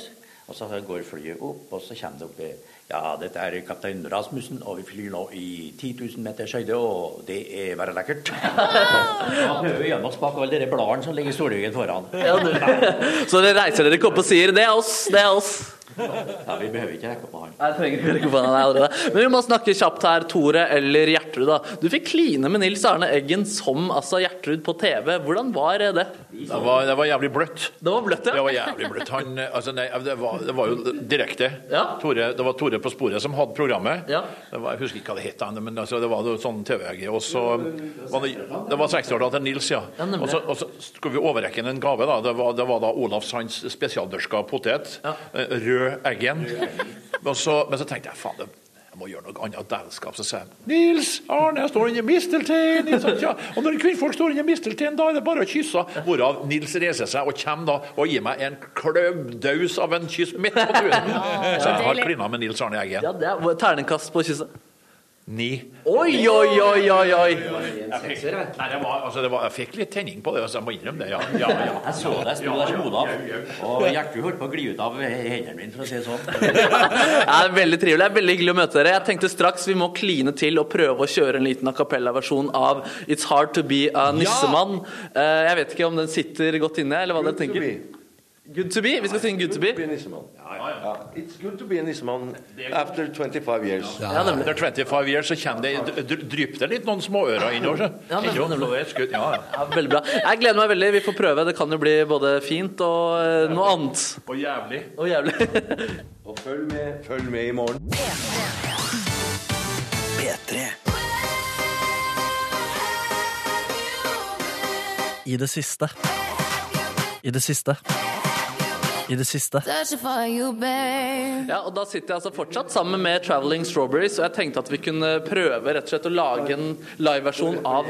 og så går flyet opp, og så kommer det opp i Ja, dette er kaptein Rasmussen, og vi flyr nå i 10 000 meters høyde, og det er bare lekkert. Da prøver vi gjennom oss bak alle de bladene som ligger i stolryggen foran. Ja, det- Så dere reiser dere ikke opp og sier 'det er oss', 'det er oss'. Ja, vi behøver ikke rekke opp med han. Nei, Jeg trenger ikke rekke på den allerede. Men vi må snakke kjapt her, Tore eller Gjertrud. da. Du fikk kline med Nils Arne Eggen som altså Gjertrud på TV. Hvordan var det? Det var, det var jævlig bløtt. Det var bløtt, Det ja. var jævlig bløtt. Han, eh, altså, nei, det, var, det var jo direkte. Ja. Tore, det var Tore på sporet som hadde programmet. Ja. Det var, jeg husker ikke hva det het, men altså, det var noe sånn TV-greie. Og så var det, det var 60-åra til Nils, ja. Ja, nemlig. og, så, og så skulle vi overrekke ham en gave. da. Det var, det var da Olav Sands spesialdørska potet. Ja. eh, Rød Eggen. Og så, men så tenkte jeg faen, det- jeg må gjøre noe annet dævelskap. Så sa jeg Nils Arne, jeg står under mistelteinen! Nils Arne, ja. Og når kvinnfolk står under mistelteinen, da er det bare å kysse. Hvorav Nils reiser seg og kommer da og gir meg en kløvdaus av en kyss midt på trynet. Så jeg har Deilig. klina med Nils Arne Eggen. ja det er terningkast på kysset. Ni. Oi, oi, oi, oi! oi. Jeg fikk, nei, det var, altså, det var, jeg fikk litt tenning på det, så jeg må innrømme det. Ja, ja, ja. Jeg så deg sto der som Olav, og Gjertrud holdt på å gli ut av hendene mine, for å si det sånn. Ja, det er veldig trivelig. Det er veldig hyggelig å møte dere. Jeg tenkte straks vi må kline til og prøve å kjøre en liten a cappella-versjon av It's Hard To Be A Nissemann. Eh, Jeg vet ikke om den sitter godt inne, eller hva dere tenker. Good to be. Vi skal synge Good to be. Be a nissemann. Ja, It's good to be a nissemann after 25 years. Ja, nemlig. Etter 25 years så kommer det, dr- drypper det litt noen småører innover. så. Ja, men- Jo, så det er et altså. skudd, ja, ja. Ja, veldig bra. Jeg gleder meg veldig. Vi får prøve. Det kan jo bli både fint og eh, noe annet. Og jævlig. Og jævlig. Og følg med, Eh, følg med i morgen. P3. I det siste. I det siste. I det siste. Ja, og da sitter jeg altså fortsatt sammen med Traveling Strawberries, og jeg tenkte at vi kunne prøve rett og slett å lage en liveversjon av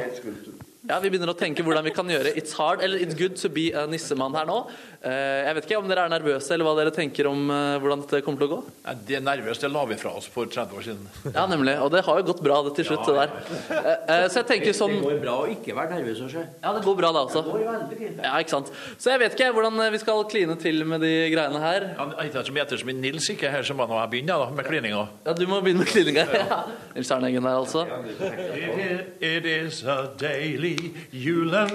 Ja, Vi begynner å tenke hvordan vi kan gjøre It's hard eller It's good to be a nissemann her nå. Eh, Jeg vet ikke om dere er nervøse, eller hva dere tenker om eh, hvordan dette kommer til å gå? Nei, Det nervøse det la vi fra oss for 30 år siden. Ja, nemlig. Og det har jo gått bra det til slutt, det der. Eh, eh, Så jeg tenker sånn Det går bra å ikke være nervøs. Også. Ja, det går bra, da også. Ja, ikke sant. Så jeg vet ikke jeg, hvordan eh, vi skal kline til med de greiene her. Han han som heter som en Nils ikke er her, så må nå jeg begynne da, med klininga. Ja, du må begynne med klininga. Ja. Nils Arneggen der, altså. It, it is a daily julenei.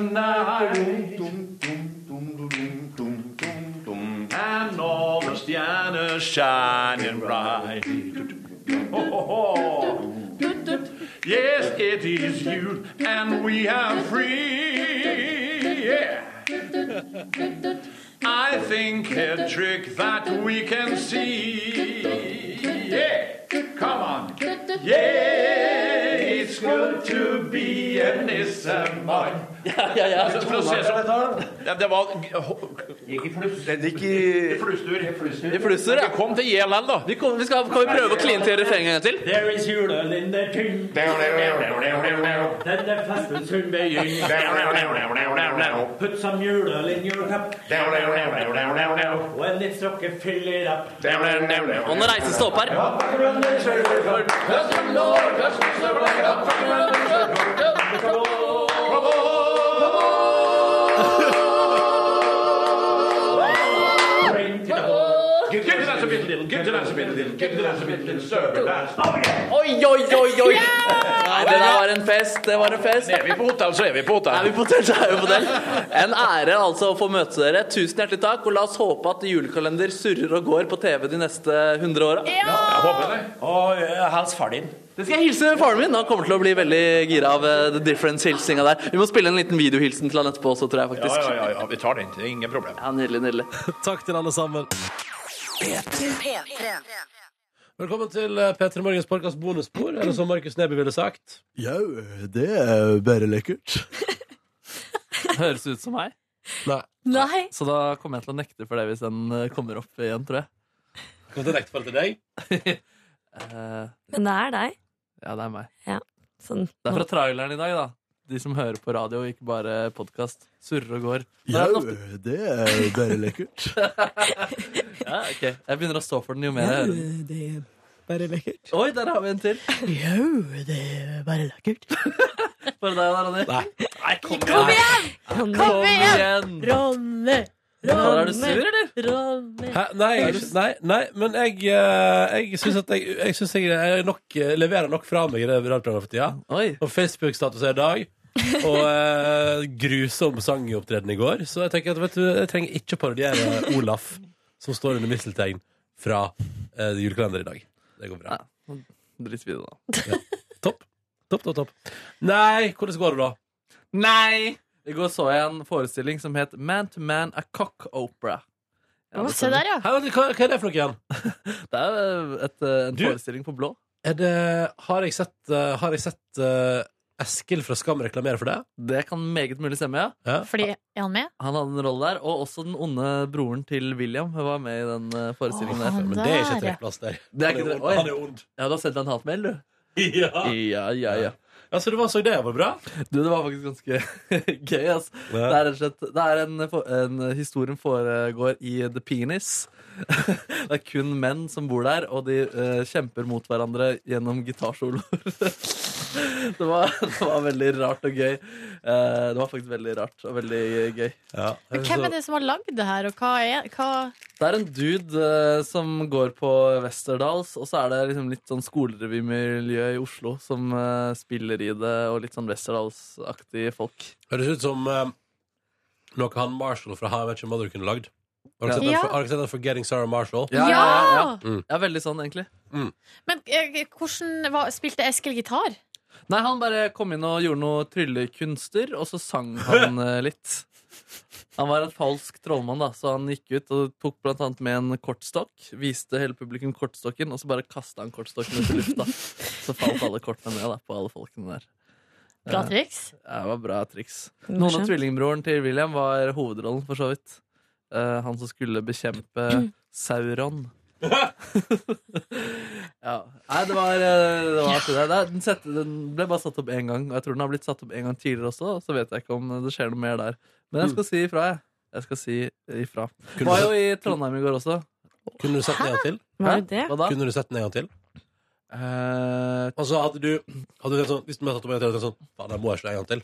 And all the stjerner shining bright. Ho, ho, ho. Yes, it is you, and we are free. Yeah. I think a trick that we can see. Yeah, come on. Yeah, it's good to be a nissemann. Ja, ja, ja. For å se sånn Ja, Det var Gikk i fluss. I flusstur. I flusstur, ja. Vi kom til JLL, da. Vi, kommer- vi skal, kan vi prøve å kline til refrenget en gang til? There is julen in the tynn Denne festen sun begynn Put some julen in your cup Og en litt strokke fyller opp Og nå reises det opp her. Give give the dance a bit, little. Give the dance a bit, little. Give the dance a bit, little. Serve and dance. Oh, yeah. Oi, oi, oi, oi! Nei, det der var en fest. Det var en fest. Er vi på hotell, så er vi på hotell. Er vi på hotell, så er vi på hotell. En ære altså å få møte dere. Tusen hjertelig takk, og la oss håpe at julekalender surrer og går på TV de neste 100 åra. Jeg håper det. Og eh, hils far din Det skal jeg hilse faren min. Han kommer til å bli veldig gira av eh, The Difference-hilsinga der. Vi må spille en liten videohilsen til han etterpå også, tror jeg Ja, faktisk. ja, ja, ja, vi tar den. Det er ingen problem. Ja, Nydelig, nydelig. Takk til alle sammen. P3. Velkommen til eh, P3 Morgens podkast bonusspor, eller som Markus Neby ville sagt. Ja, det er bare lekkert. Høres ut som meg. Nei. Nei. Så da kommer jeg til å nekte for det hvis den eh, kommer opp igjen, tror jeg. Kommer til å nekte for det til deg? Eh, Men det er deg. ja, det er meg. Ja. Sånn. Det er fra traileren i dag, da. De som hører på radio, ikke bare podkast. Surrer og går. Nå Ja, er den ofte- det er bare lekkert. Ja, ok. Jeg begynner å stå for den jo mer jeg hører den. det er bare lekkert. Oi, der har vi en til. Jo, det er bare lekkert. Bare deg da, Ronny. Nei, kom, Kom igjen! Kom igjen! Ronny! Ronny! Er du sur, eller? Ronny. Hæ? Nei, Er jeg, nei, nei, men jeg, eh, jeg syns at jeg, jeg, synes jeg er nok, eh, leverer nok fra meg i det radioprogrammet for tida. Og Facebook-status er i dag. Og eh, grusom sangopptreden i går. Så jeg tenker at vet du, jeg trenger ikke å parodiere Olaf, som står under misteltein fra eh, julekalender i dag. Det går bra. Drit vi i det, da. Topp, topp, topp. Nei, hvordan går det, da? Nei! I går så jeg en forestilling som het Man to Man a Cock Opera. Å, se der, ja. hva, er det for noe igjen? det er jo et, eh, en forestilling på blå. Er det, har jeg sett, eh, har jeg sett eh, Eskil fra Skam reklamere for det? Det kan meget mulig stemme, ja. Fordi, er han med? Han hadde en rolle der, og også den onde broren til William var med i den eh, forestillingen Å, der. han Men det er ikke der, ja. trekkplass der. Det er Han er ond, ikke det. Oi. han er ond. Ja, du har sendt deg en hatmail, du? Ja. ja, ja, Så det var så det var bra? Du, det var faktisk ganske gøy, ass. Det er rett og slett Det er en, for- en Historien foregår i The Penis. det er kun menn som bor der, og de eh, kjemper mot hverandre gjennom gitarsoloer. det, var, det var veldig rart og gøy. Eh, det var faktisk veldig rart og veldig gøy. Men hvem er det som har lagd det her, og hva er hva... Det er en dude eh, som går på Westerdals, og så er det liksom litt sånn skolerevymiljø i Oslo som eh, spiller i det, og litt sånn Westerdals-aktige folk. Høres ut som eh, noe han Marshall fra How I Met Your Mother kunne lagd. Har Ja. du sett den Ja. for- har dere sett den Forgetting Sarah Marshall? Ja, ja, ja, ja. Mm. Ja, veldig sånn, egentlig. Men eh, hvordan var, spilte Eskil gitar? Nei, han bare kom inn og gjorde noe tryllekunster, og så sang han eh, litt. Han var en falsk trollmann, da, så han gikk ut og tok blant annet med en kortstokk. Viste hele publikum kortstokken, og så bare kasta han kortstokken ut i lufta. Så falt alle kortene ned da, på alle folkene der. Bra Eh, triks. Ja, det var bra triks. Morsomt. Noen av tvillingbroren til William var hovedrollen, for så vidt. Eh, han som skulle bekjempe Sauron. ja. Nei, det var, eh, det var artig, det. Det- Den, sette, den ble bare satt opp én gang. Og jeg tror den har blitt satt opp én gang tidligere også, så vet jeg ikke om det skjer noe mer der. Men jeg skal si ifra, jeg. Jeg skal si ifra. Mm. Kunne var du- jo i Trondheim i går også. Kunne du sett den en gang til? Hæ? Var det det? Hva da? Eh, Kunne du sett den en gang til? altså, hadde du, hadde du tenkt sånn, Hvis du hadde tatt opp en gang til, hadde du tenkt sånn Faen, jeg må jeg se den en gang til.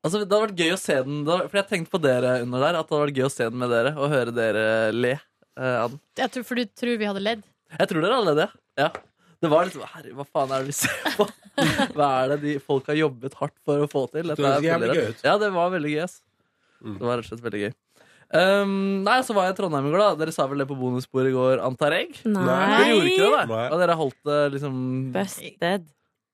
Altså, det hadde vært gøy å se den da, For jeg tenkte på dere under der. At det hadde vært gøy å se den med dere og høre dere le eh, av den. Jeg tror, for du tror vi hadde ledd? Jeg tror dere alle det. Ja. Det var liksom Herre, hva faen er det vi ser på? Hva er det de folk har jobbet hardt for å få til? Det høres er jævlig veldig gøy rart. ut. Mm. Ja, det var veldig gøy. ass. Det var rett og slett veldig gøy. Um, nei, så var jeg i Trondheim i går, da. Dere sa vel det på bonusbordet i går, antar jeg? Nei. Dere gjorde ikke det, da? Og dere holdt det liksom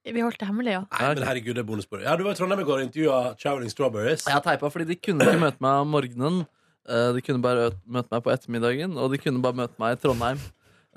Vi holdt det hemmelig, ja. Nei, men herregud, det er bonusbord. Ja, du var i Trondheim i går og intervjua Chowling Strawberries. Jeg teipa fordi de kunne ikke møte meg om morgenen. Eh, De kunne bare ø- møte meg på ettermiddagen, og de kunne bare møte meg i Trondheim.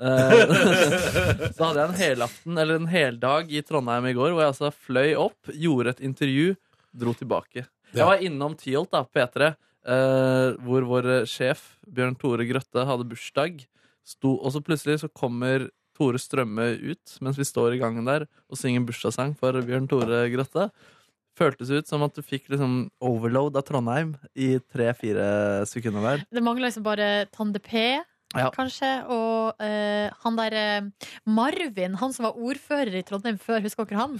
Eh, Så hadde jeg en helaften, eller en heldag, i Trondheim i går, hvor jeg altså fløy opp, gjorde et intervju, dro tilbake. Jeg var innom Tyholt, da, P3, eh, hvor vår sjef, Bjørn Tore Grøtte, hadde bursdag. Sto, og så plutselig så kommer Tore Strømme ut mens vi står i gangen der og synger bursdagssang for Bjørn Tore Grøtte føltes ut som at du fikk liksom overload av Trondheim i tre-fire sekunder hver. Det mangler liksom bare Tande P, Ja. kanskje. Og eh, han der eh, Marvin, han som var ordfører i Trondheim før, husker dere han?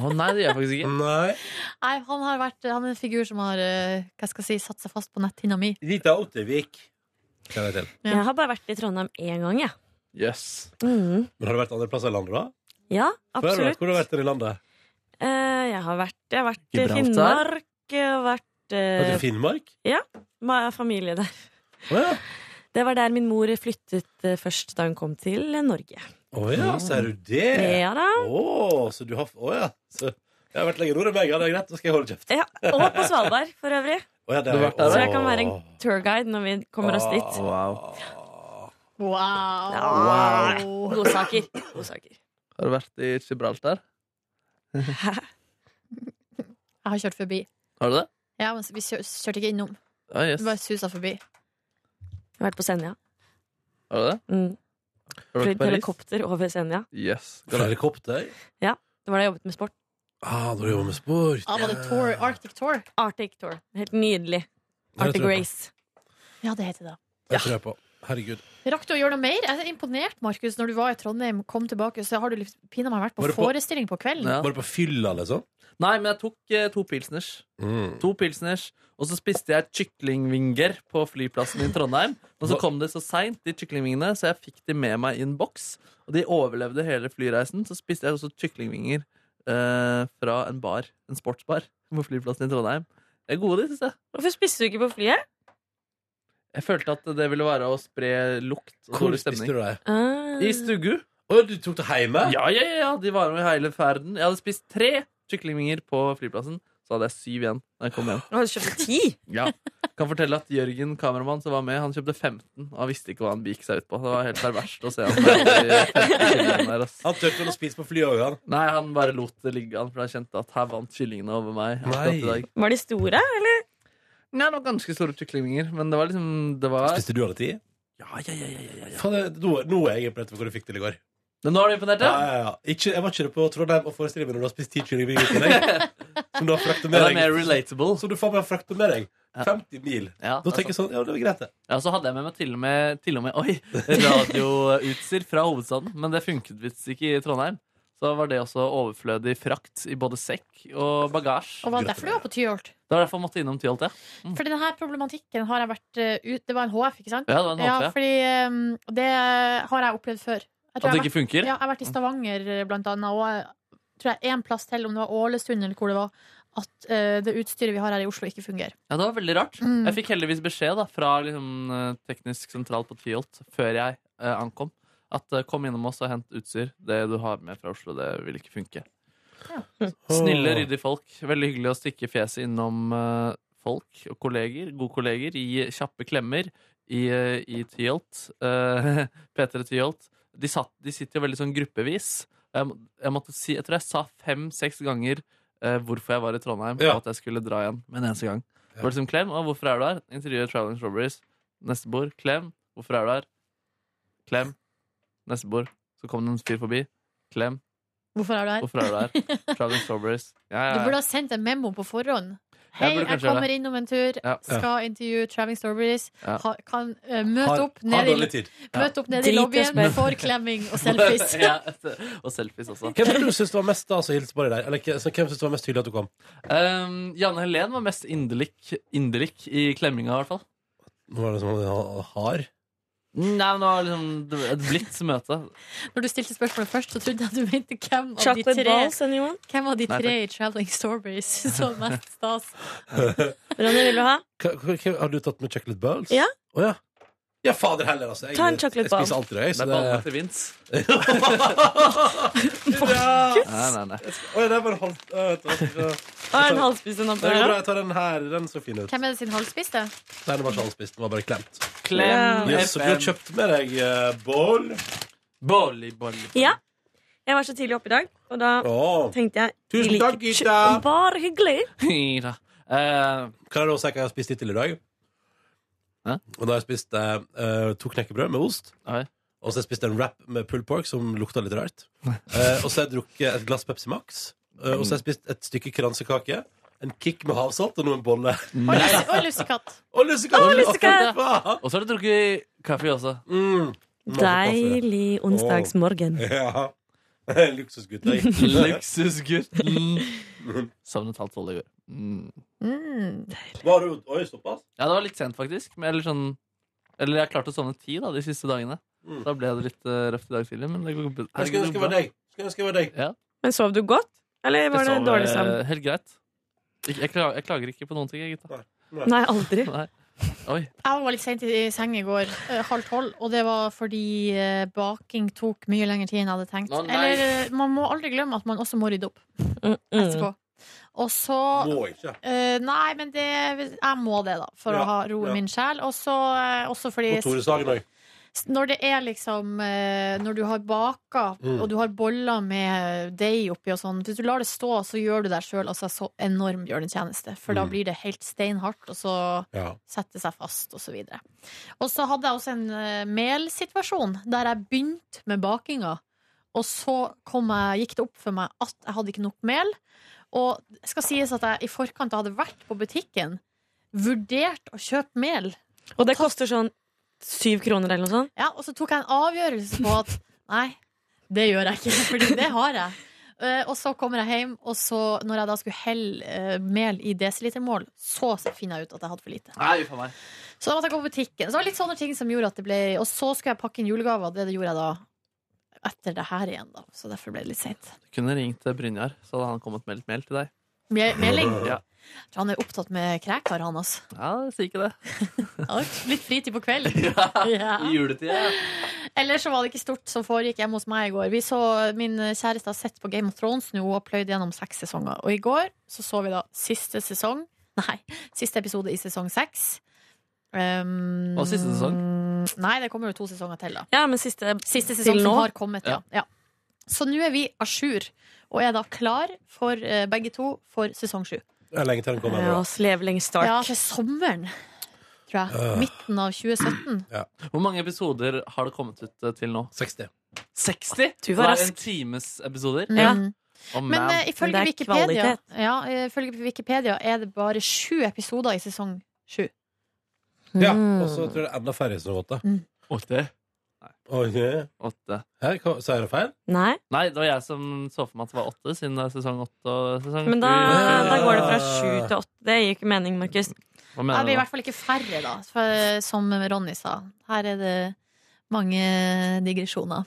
Å nei, det gjør jeg faktisk ikke. Nei, han, har vært, han er en figur som har eh, hva skal jeg si, satt seg fast på netthinna mi. Rita Ottervik. Kjenner jeg til. Jeg har bare vært i Trondheim én gang, jeg. Yes. Mhm. Men har du vært andre plasser i landet, da? Ja, Hvor har du vært? absolutt. Hvor har du vært i landet? Eh, jeg har vært, jeg har vært i Gibraltar? Finnmark. Jeg har vært Har du eh, vært i Finnmark? Ja. ma- Familie der. Det var der min mor flyttet eh, først da hun kom til eh, Norge. Å ja, ser du det? Ja da. Å, så du har Å ja. Så jeg har vært lenger nord enn meg, ja, det er greit. Da skal jeg holde kjeft. Ja, og på Svalbard, for øvrig. Å, ja, det Så har jeg- jeg Å. kan være en tourguide når vi kommer oss dit. Wow. Wow! Ja. Godsaker. Godsaker. Har du vært i Gibraltar? Jeg har kjørt forbi. Har du det? Ja, men vi kjør, kjørte ikke innom. Ja, yes. Vi bare susa forbi. Jeg har vært på Senja. Har du det? Mm. Har du vært i Fløyet Paris? helikopter over Senja. Yes. Fra helikopter? Ja, Det var da jeg jobbet med sport. Ah, da jobber med sport. Ah, var det tour, Arctic Tour? Arctic Tour. Helt nydelig. Ja, det Arctic tror jeg på. Race. Ja, det heter det. Det tror jeg på. Herregud. Rakk du å gjøre noe mer? Jeg er imponert, Markus. Når du var i Trondheim, kom tilbake, så har du liksom pinadø meg vært på Var det på- forestilling på kvelden. Var det på fylla, liksom? Nei, men jeg tok eh, to pilsners. To pilsners, Og så spiste jeg kyklingvinger på flyplassen i Trondheim. Og så kom det så seint, de kyklingvingene, så jeg fikk de med meg i en boks. Og de overlevde hele flyreisen. Så spiste jeg også kyklingvinger eh, fra en bar, en sportsbar, på flyplassen i Trondheim. Det er gode, de, syns jeg. Hvorfor spiste du ikke på flyet? Jeg følte at det ville være å spre lukt og Hvor dårlig stemning. spiste du det? I stugu. Å, du tok det hjemme? Ja, ja, ja, de var med i hele ferden. Jeg hadde spist tre kyklingvinger på flyplassen. Så hadde jeg syv igjen da jeg kom hjem. Å, du kjøpte ti? Ja. Kan fortelle at Jørgen, kameramann som var med, han kjøpte 15. Og han visste ikke hva han begikk seg ut på. Det var helt perverst å se han med de 15 kyllingene der. ass. Han turte vel å spise på flyet òg, han? Nei, han bare lot det ligge, han, for han kjente at her vant kyllingene over meg. akkurat i Nei. dag. Var de store, eller? Nei, det var ganske store kyklingvinger, men det var liksom det var... Spiste du alle ti? Ja, ja, ja, ja, ja, ja. Faen, det- Nå nå er jeg imponert over hvor du fikk til i går. Men nå er du imponert, ja? ja, ja. Ikke, jeg var ikke på Trondheim og forestiller meg når du har spist ti kyllingvinger i tillegg. Som du har fraktet med Ja, det deg. er mer relatable. Som du får bare fraktet med deg. 50 mil. Ja, da det er tenker jeg sånn, ja, det var greit, det. Ja, så hadde jeg med meg til og med, til og med Oi, radioutstyr fra hovedstaden, men det funket visst ikke i Trondheim. Så var det også overflødig frakt i både sekk og bagasje. Og var det derfor du var på Tyholt? Det var derfor jeg måtte innom Tyholt, ja. Mm. For denne problematikken har jeg vært eh, ut Det var en HF, ikke sant? Ja, det var en HF, ja. fordi eh, det har jeg opplevd før. Jeg tror At det jeg ikke har vært- funker? Mm. Ja, jeg har vært i Stavanger eh, blant annet, og jeg tror jeg en plass til, om det var Ålesund eller hvor det var, at eh, det utstyret vi har her i Oslo, ikke fungerer. Ja, det var veldig rart. Mm. Jeg fikk heldigvis beskjed da, fra liksom, eh, teknisk sentral på Tyholt før jeg eh, ankom, at eh, kom innom oss og hent utstyr. Det du har med fra Oslo, det vil ikke funke. Snille, ryddige folk. Veldig hyggelig å stikke fjeset innom eh, folk og kolleger. Gode kolleger. Gi kjappe klemmer i, eh, i Tyholt. Eh, P3 Tyholt. De, satt, de sitter jo veldig sånn gruppevis. Jeg, må- jeg, måtte si, jeg tror jeg sa fem-seks ganger eh, hvorfor jeg var i Trondheim, Ja. og at jeg skulle dra igjen med en eneste gang. Det var liksom klem, og hvorfor er du her? Intervjuet Traveling Strawberries. Neste bord, klem. Hvorfor er du her? Klem. neste bord. Så kom det en fyr forbi. Klem. Hvorfor er du her? Hvorfor er du her? Traveling Strawberries. Ja, ja, Du ja. burde ha sendt en memo på forhånd. Jeg Hei, burde jeg, kanskje gjøre kommer det. innom en tur, Ja. skal intervjue Traveling Strawberries. Ja. Ha, kan eh, Har- møte opp har nede dårlig i, tid. møt Ja. opp nede i Drit i lobbyen, smell. får klemming og selfies. ja, og selfies også. Hvem tror du synes det var mest stas å hilse på deg der? Eller altså, hvem synes det var mest hyggelig at du kom? Um, Janne Helen var mest inderlik, inderlik i klemminga, i hvert fall. Var det sånn ha- hard? Nei, men det var liksom det var et blidt møte. Når du stilte spørsmålet først, så trodde jeg du mente hvem av de Chocolate tre, balls, anyone? hvem av de Nei, tre i Traveling Strawberries som var mest stas. Ronny, vil du ha? Hva- hva- hva- Har du tatt med chocolate balls? Ja. Å ja. Ja, fader heller, altså. Jeg, Ta en chocolate Jeg spiser ball. alltid det. jeg, så Det er ballene til Vince. Nei, nei, nei. Å ja, det var en halv... Å, vet du hva, jeg skal- Har en halvspist en Det går bra, oppe? jeg tar den her. Den så fin ut. Hvem er det sin halvspiste? Nei, den var ikke halvspist. Den var bare klemt. Klem, Ja, så du har FM. kjøpt med deg uh, bål. Bolly, bolly. Ja. Jeg var så tidlig oppe i dag, og da Å. tenkte jeg Tusen vi liker takk, Gita. kjø- Bare hyggelig. Hira. Eh, Kan jeg da si hva jeg har spist hittil i dag? Og da har jeg spist eh, eh, to knekkebrød med ost. Og så har jeg spist en wrap med pulled pork som lukta litt rart. Eh, og så har jeg drukket et glass Pepsi Max. eh, og så har jeg spist et stykke kransekake. En kick med havsalt og noen boller. Og lussekatt. Og lussekatt! Og lussekatt. Og så har du drukket kaffe også. Mm. Deilig onsdagsmorgen. Ja. Luksusgutt. jeg. Luksusgutten. Sovnet halvt tolv i går. Mm. Var du, oi, såpass? Ja, det var litt sent, faktisk. Men, eller, sånn, eller jeg klarte å sovne ti da, de siste dagene. Mm. Da ble det litt uh, røft i dag tidlig. Men det går, det Jeg skulle ønske det var deg. Skulle ønske det var deg. Ja. Men sov du godt? Eller var Jeg det sov, dårlig eh, søvn? Helt greit. Jeg, jeg, klager, jeg klager ikke på noen ting, jeg, gutta. Nei, aldri. Nei. Oi. Jeg var litt sent i i seng i går, eh, halv tolv, og det var fordi eh, baking tok mye lengre tid enn jeg hadde tenkt. Å, nei. Eller eh, man må aldri glemme at man også må rydde opp Mm, etterpå. Og så Må ikke. Eh, nei, men det, jeg må det, da, for Ja, å ha roe ja. min sjel. Og så eh, også fordi På Toresdagen òg. når det er liksom eh, Når du har baka, Mm. og du har boller med deig oppi og sånn Hvis du lar det stå, så gjør du deg sjøl altså, så enorm bjørnetjeneste. For da Mm. blir det helt steinhardt, og så Ja. setter det seg fast, og så videre. Og så hadde jeg også en eh, melsituasjon der jeg begynte med bakinga. Og så kom jeg, gikk det opp for meg at jeg hadde ikke nok mel. Og det skal sies at jeg i forkant hadde vært på butikken, vurdert å kjøpe mel. Og det koster sånn syv kroner eller noe sånt? Ja, og så tok jeg en avgjørelse på at nei, det gjør jeg ikke, for det har jeg. Eh, og så kommer jeg hjem, og så, når jeg da skulle helle eh, mel i desilitermål, så finner jeg ut at jeg hadde for lite. Nei, faen meg. Så da måtte jeg gå på butikken. Så det var litt sånne ting som gjorde at det ble Og så skulle jeg pakke inn julegaver, og det gjorde jeg da etter det her igjen, da. Så derfor ble det litt seint. Du kunne ringt eh, Brynjar, så hadde han kommet med litt mel til deg. Me- Meling? Ja. Jeg tror han er opptatt med krækar, han, altså. Ja, si ikke det. litt fritid på kvelden. Ja. I juletida. Ellers så var det ikke stort som foregikk hjemme hos meg i går. Vi så, min kjæreste har sett på Game of Thrones nå og pløyd gjennom seks sesonger. Og i går så så vi da siste sesong Nei, siste episode i sesong seks. Um, Og siste sesong? Nei, det kommer jo to sesonger til, da. Ja, men siste, Siste til sesong som nå. har kommet, ja. ja. Så nå er vi à jour, og er da klar for eh, begge to for sesong sju. Det Sånn er lenge til den kommer. Ja, bra. og slevling start. Ja, til sommeren, tror jeg. Øh. Midten av 2017. Hvor mange episoder har det kommet ut eh, til nå? 60. 60? Du var Hver rask. en times episoder? Ja. Oh, Men man. eh, ifølge, Wikipedia, ja, eh, ifølge Wikipedia er det bare sju episoder i sesong sju. Mm. Ja, og så tror jeg det er enda færre som har gått det. Åtte? Oi, Åtte. Her, hva- sa jeg det feil? Nei. Nei, det var jeg som så for meg at det var åtte, siden det er sesong åtte og sesong Men da, sju. da går det fra sju til åtte. Det gir ikke mening, Markus. Hva Det mener blir i du? hvert fall ikke færre, da, for, eh, som Ronny sa. Her er det mange digresjoner.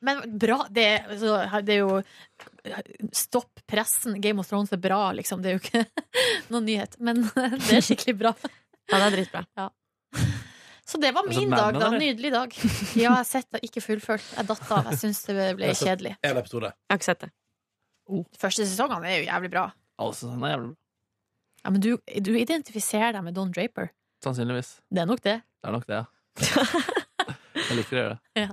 Men bra. Det, er- altså, her- det er jo Stopp pressen. Game of Thrones er bra, liksom. Det er jo ikke noen nyhet. Men det er skikkelig bra. Ja, det er dritbra. Så det var Altså, min Mad dag, Men, da. eller? Nydelig dag. Ja, jeg har sett det, ikke fullført. Jeg datt av. Jeg syns det ble Jeg har sett kjedelig. En episode. Jeg har ikke sett det. Første sesongene er jo jævlig bra. Altså, den er jævlig bra. Ja, men du, du identifiserer deg med Don Draper. Sannsynligvis. Det er nok det. Det er nok det, ja. jeg liker å gjøre det.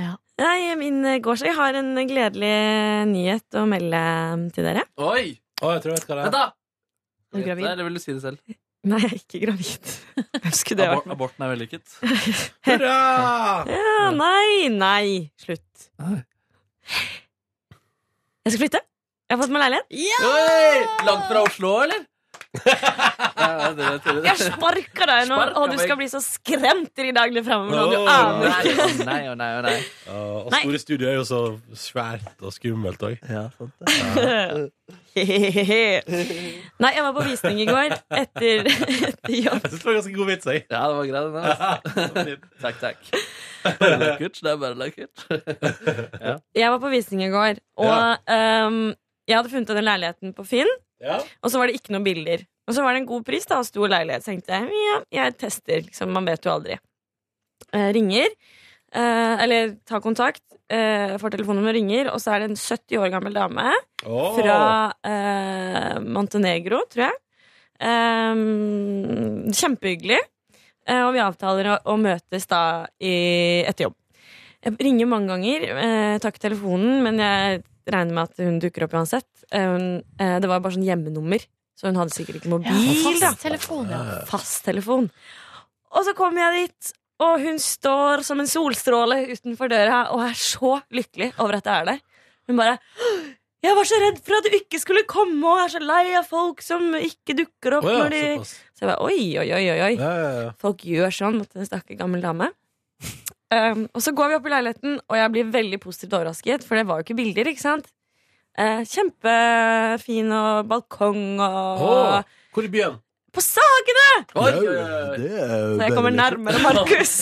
Ja. Nei, min eh, går seg. Jeg har en gledelig nyhet å eh, melde til dere. Oi! Å, jeg tror jeg vet hva det Vent, da! Er du gravid? Eller vil du si det selv? Nei, jeg er ikke gravid. Hvem skulle det Abor- vært? Aborten er vellykket. Hurra! Ja, nei, nei. Slutt. Jeg skal flytte. Jeg har fått meg leilighet. Oi! Langt fra Oslo, eller? Nei, det er det Jeg sparker deg nå, Sparker og du skal meg. bli så skremt i de dagene fremover. nå, Du Ah, Åh, aner nei. ikke. Nei og nei og nei. og Nei. store studio er jo så svært og skummelt òg. Ja, Nei, jeg var på visning i går etter, etter jobb. Jeg synes det var ganske god vits, jeg. Ja, det var grei, den. altså. takk, takk. Bare lekkert. Det er bare lekkert. ja. Jeg var på visning i går, og ehm, jeg hadde funnet denne leiligheten på Finn. Og så var det ikke noen bilder. Og så var det en god pris da, og stor leilighet. Så tenkte jeg ja, jeg tester, liksom. Man vet jo aldri. Eh, ringer. eh, eller tar kontakt. eh, får telefonen og ringer, og så er det en 70 år gammel dame Åh. fra eh, Montenegro, tror jeg. Eh, kjempehyggelig. Eh, og vi avtaler å, å møtes da i, etter jobb. Jeg ringer mange ganger, eh, tar ikke telefonen, men jeg regner med at hun dukker opp uansett. Eh, hun, eh, det var bare sånn hjemmenummer, så hun hadde sikkert ikke mobil. da. Fasttelefon, ja. Fasttelefon. Og så kommer jeg dit, og hun står som en solstråle utenfor døra og er så lykkelig over at jeg er der. Hun bare jeg var så redd for at du ikke skulle komme, og er så lei av folk som ikke dukker opp. Å ja, når de... såpass. Så jeg bare oi, oi, oi, oi. oi. Folk gjør sånn mot en stakkars gammel dame. Um, og så går vi opp i leiligheten, og jeg blir veldig positivt overrasket, for det var jo ikke bilder, ikke sant? Eh, kjempefin og balkong og Åh, hvor i byen? På Sagene! Det er Så jeg kommer bare lekkert. nærmere Markus.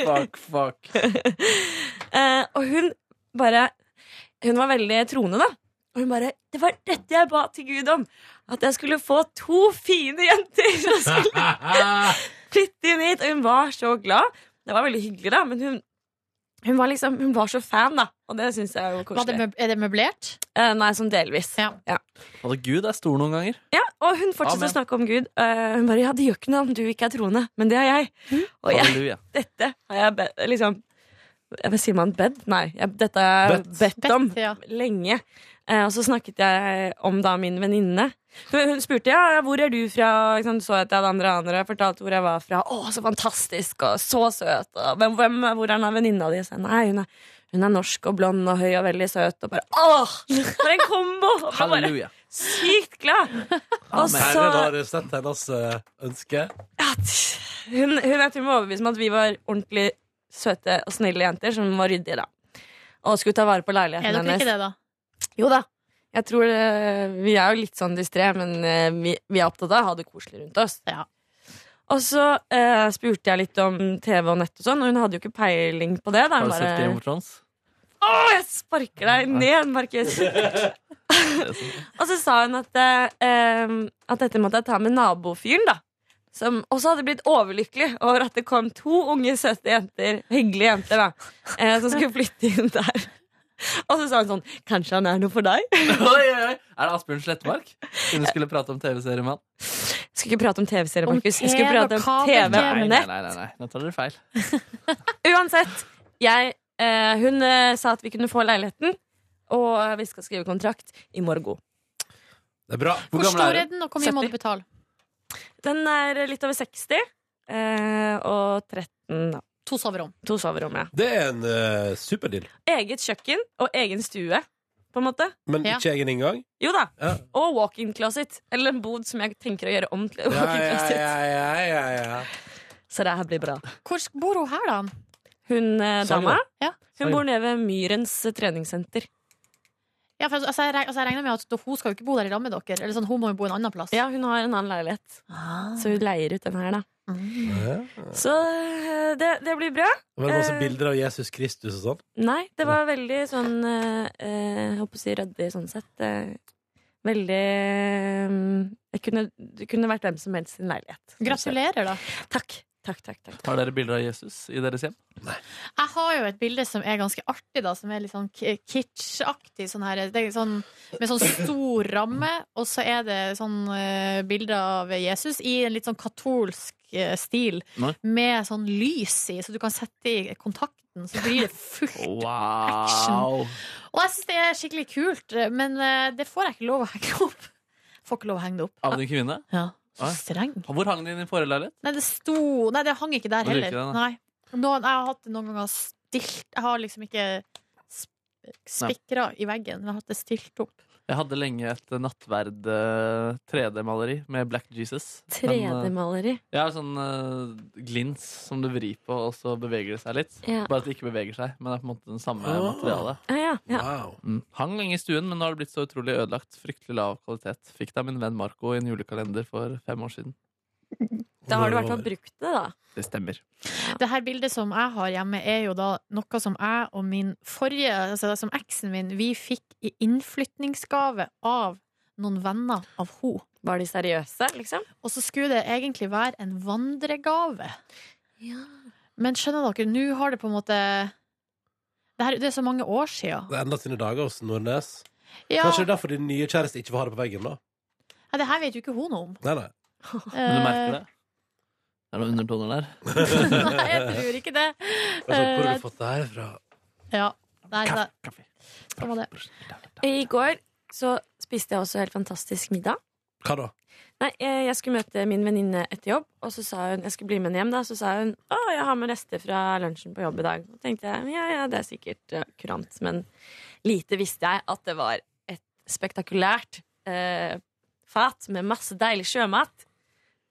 fuck, fuck. Eh, og hun bare Hun var veldig troende, da. Og hun bare 'Det var dette jeg ba til Gud om. At jeg skulle få to fine jenter som skulle flytte inn hit.' Og hun var så glad. Det var veldig hyggelig, da, men hun hun var, liksom, hun var så fan, da. Og det syns jeg er jo Var det koselig. møb- er det møblert? Eh, nei, sånn delvis. Ja. Hadde Altså, Gud er stor noen ganger. Ja, og hun fortsatte Amen. å snakke om Gud. Eh, hun bare 'Ja, det gjør ikke noe om du ikke er troende, men det er jeg'. Og jeg, Halleluja. dette har jeg be, liksom jeg, Sier man bedt? Nei. Jeg, dette har jeg bedt, om lenge. Eh, og så snakket jeg om da min venninne. Hun, hun spurte ja, ja, hvor er du fra. Ikke sant, så at jeg hadde andre anere, fortalte hvor jeg var fra. Å, så fantastisk, og så søt. Og, hvem, hvem, hvor er den av venninna di? Jeg sa, Nei, hun er, hun er norsk og blond og høy og veldig søt. Og bare åh! For en kombo! Og jeg bare- Halleluja. Sykt glad! Og så Herren har sett hennes eh, ønske. hun, hun jeg tror må overbevise meg at vi var ordentlig søte og snille jenter som var ryddige, da. Og skulle ta vare på Er leiligheten dere ikke det, da? Jo da. Jeg tror eh, Vi er jo litt sånn distré, men eh, vi, vi er opptatt av å ha det koselig rundt oss. Og så eh, spurte jeg litt om TV og nett og sånn, og hun hadde jo ikke peiling på det. Da. Har Hun du sett Game of bare Thrones? Å, jeg sparker deg ned, Markus! Og så sa hun at, eh, em, at dette måtte jeg ta med nabofyren, da. Som også hadde blitt overlykkelig over at det kom to unge, søte jenter, hyggelige jenter, da, eh, som skulle flytte inn der. Og så sa hun sånn Kanskje han er noe for deg? Oi, oi, oi. Er det Asbjørn Slettemark? Hun skulle prate om TV-serier med han. Jeg skulle ikke prate om TV-serier, Om Markus. Jeg skulle TV og prate om kabel-TV. TV Nei, nei, og nett. nei, nei, nei. Nå tar dere feil. Uansett, jeg, eh, hun eh, sa at vi kunne få leiligheten, og vi skal skrive kontrakt i morgen. Det er bra. Hvor stor er den, og hvor mye må du betale? Den er litt over 60, eh, og 13, da. To soverom. To soverom, ja. Det er en eh, superdeal. Eget kjøkken og egen stue, på en måte. Men ikke egen inngang. Jo da. Ja. Og walk-in closet. Eller en bod som jeg tenker å gjøre om til Ja, en walk-in ja, closet. ja, ja, ja, ja. Så det her blir bra. Hvor bor hun her, da? Hun eh, Sånn, Sagene. dama Ja. Hun bor nede ved Myrens eh, treningssenter. Ja, for, altså, jeg reg- altså, jeg regner med at hun skal jo ikke bo der i lag med dere. Eller sånn, hun Ah, må jo bo en annen plass. Ja, hun har en annen leilighet. Så hun leier ut den her, da. Ah. Så eh, det, det blir bra. Men masse Eh, bilder av Jesus Kristus og sånn. Nei, det var veldig sånn eh, eh, Jeg holdt på å si ryddig sånn sett. eh, veldig eh, jeg kunne, Det kunne vært hvem som helst sin leilighet. Gratulerer, da. Takk. Takk, takk, takk. Har dere bilder av Jesus i deres hjem? Jeg har jo et bilde som er ganske artig, da, som er litt sånn ki- kitschaktig. Sånn her, det er sånn, med sånn stor ramme, og så er det sånn eh, bilder av Jesus i en litt sånn katolsk eh, stil, Nei. med sånn lys i, så du kan sette i kontakten, så blir det fullt. Wow! Og jeg syns det er skikkelig eh, kult, men eh, det får jeg ikke lov å henge opp. Får ikke lov å henge det opp. Av din kvinne? Ja. Nei. Streng. Hvor hang den i din forrige leilighet? Nei, det sto Nei, det hang ikke der Det gjorde heller. ikke det, nei. Noen, jeg har hatt det noen ganger stilt Jeg har liksom ikke sp- spikra i veggen, men jeg har hatt det stilt opp. Jeg hadde lenge et eh, nattverd eh, 3D-maleri med Black Jesus. Men, eh, 3D-maleri. Ja, sånn eh, glins som du vrir på, og så beveger det seg litt. Ja. Bare at det ikke beveger seg, men det er på en måte den samme Ah. materialet. Ja, ja, ja. Mm. Hang lenge i stuen, men nå har det blitt så utrolig ødelagt. Fryktelig lav kvalitet. Fikk det av min venn Marco i en julekalender for fem år siden. Da har du i hvert fall brukt det, da. Det stemmer. Det her bildet som jeg har hjemme, er jo da noe som jeg og min forrige, altså det som eksen min, vi fikk i innflytningsgave av noen venner av ho. Var de seriøse, liksom? Og så skulle det egentlig være en vandregave. Men skjønner dere, nå har det på en måte det, her, det er så mange år sia. Det er enda sine dager hos Nordnes. Ja. Kanskje det er derfor din nye kjæreste ikke får ha det på veggen, da? Nei, det her vet jo ikke hun noe om. Nei, nei. Men du merker Eh. det? Er det noen undertoner der? Eh, Nei, jeg tror ikke det. Hvor har Eh, du fått det her fra? Ja. Nei, det- Sånn var det. I går så spiste jeg også helt fantastisk middag. Hva da? Nei, eh, jeg skulle møte min venninne etter jobb, og så sa hun jeg skulle bli med henne hjem. da, Så sa hun å, jeg har med rester fra lunsjen på jobb i dag. Og tenkte jeg, ja, ja, det er sikkert eh, kurant, men lite visste jeg at det var et spektakulært eh, fat med masse deilig sjømat.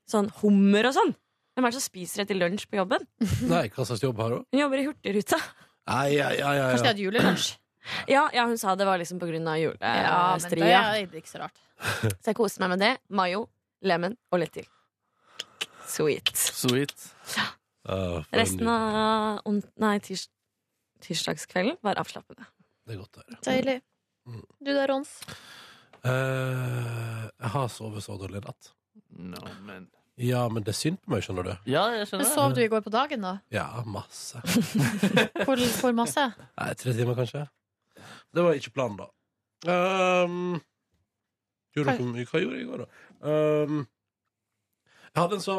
Sånn hummer og sånn. Hvem er det som spiser det til lunsj på jobben? Nei, hva slags jobb har hun? Hun jobber i Hurtigruta. Nei, ja, ja, ja, Kanskje ja. det er Ja, ja, hun sa det var liksom på grunn av Ja, men det julestria. er det er ikke så rart. Så jeg koste meg med det. Mayo, lemon og litt til. Sweet. Sweet. Ah, for en Resten av on- nei, tirs tirsdagskvelden var avslappende. Det er godt å høre. Deilig. Mm. Du da, Rons? Eh, jeg har sovet så dårlig i natt. No, men... Ja, men det er synd på meg, skjønner du. Ja, jeg Men sov du i går på dagen, da? Ja, masse. Hvor, hvor masse? Nei, tre timer kanskje. Det var ikke planen, da. Ehm, gjorde dere, hva gjorde jeg i går, da? Ehm, jeg hadde en så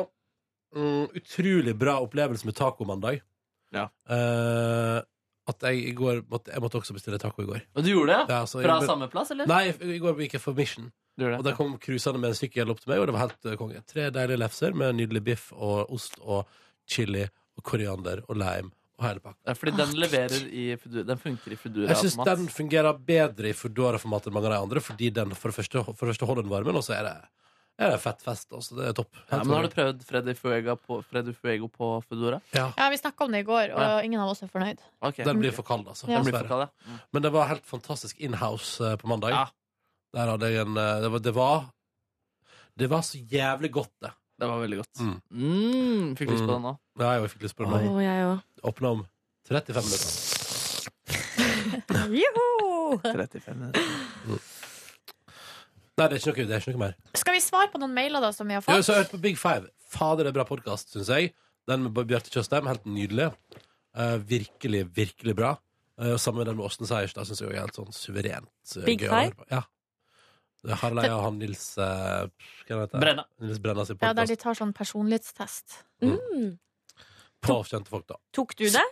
mm, utrolig bra opplevelse med tacomandag ja. at jeg i går måtte, Jeg måtte også bestille taco i går. Og du gjorde det? Ja, så jeg Fra ble- samme plass, eller? Nei, i går gikk jeg for Mission. det. Og der kom cruiserne med en sykkel opp til meg, og det var helt eh, konge. Tre deilige lefser med nydelig biff og ost og chili og koriander og lime og hele pakka. Ja, fordi den leverer i Foodora. Den funker i Foodora. Jeg syns automat. den fungerer bedre i Foodora-format enn mange av de andre, fordi den for det første, for det første holder den varmen, og så er det, er det fett fest. Altså, det er topp. Ja, Helt men har konge. du prøvd Freddy Fuego på, Freddy Fuego på Foodora? Ja. Ja, vi snakka om det i går, og Ja. ingen av oss er fornøyd. Ok. Den blir for kald, altså. Ja. Den blir dessverre. for kald, Men det var helt fantastisk inhouse eh, på mandag. Der hadde jeg en eh, Det var Det var, det var så jævlig godt, det. Det var veldig godt. Mm. Mm, fikk lyst på den nå. Ja, jeg fikk lyst på den Å, jeg òg. Åpna om 35 minutter. Joho! 35 minutter. Nei, det er ikke noe, det er ikke noe mer. Skal vi svare på noen mailer da som vi har Jeg har også fått? hørt på Big Five. Fader, det er bra podkast, syns jeg. Den med Bjarte Tjøstheim, helt nydelig. Eh, virkelig, virkelig bra. Eh, og sammen med den med Åsten Seierstad syns jeg også er helt sånn suverent eh, Big gøy å Five? høre på. Ja. Det er Harleia og han Nils eh, hva heter det? Brenna. Nils Brenna sin Ja, der de podkast. tar sånn personlighetstest. På kjente folk, da. Tok du det?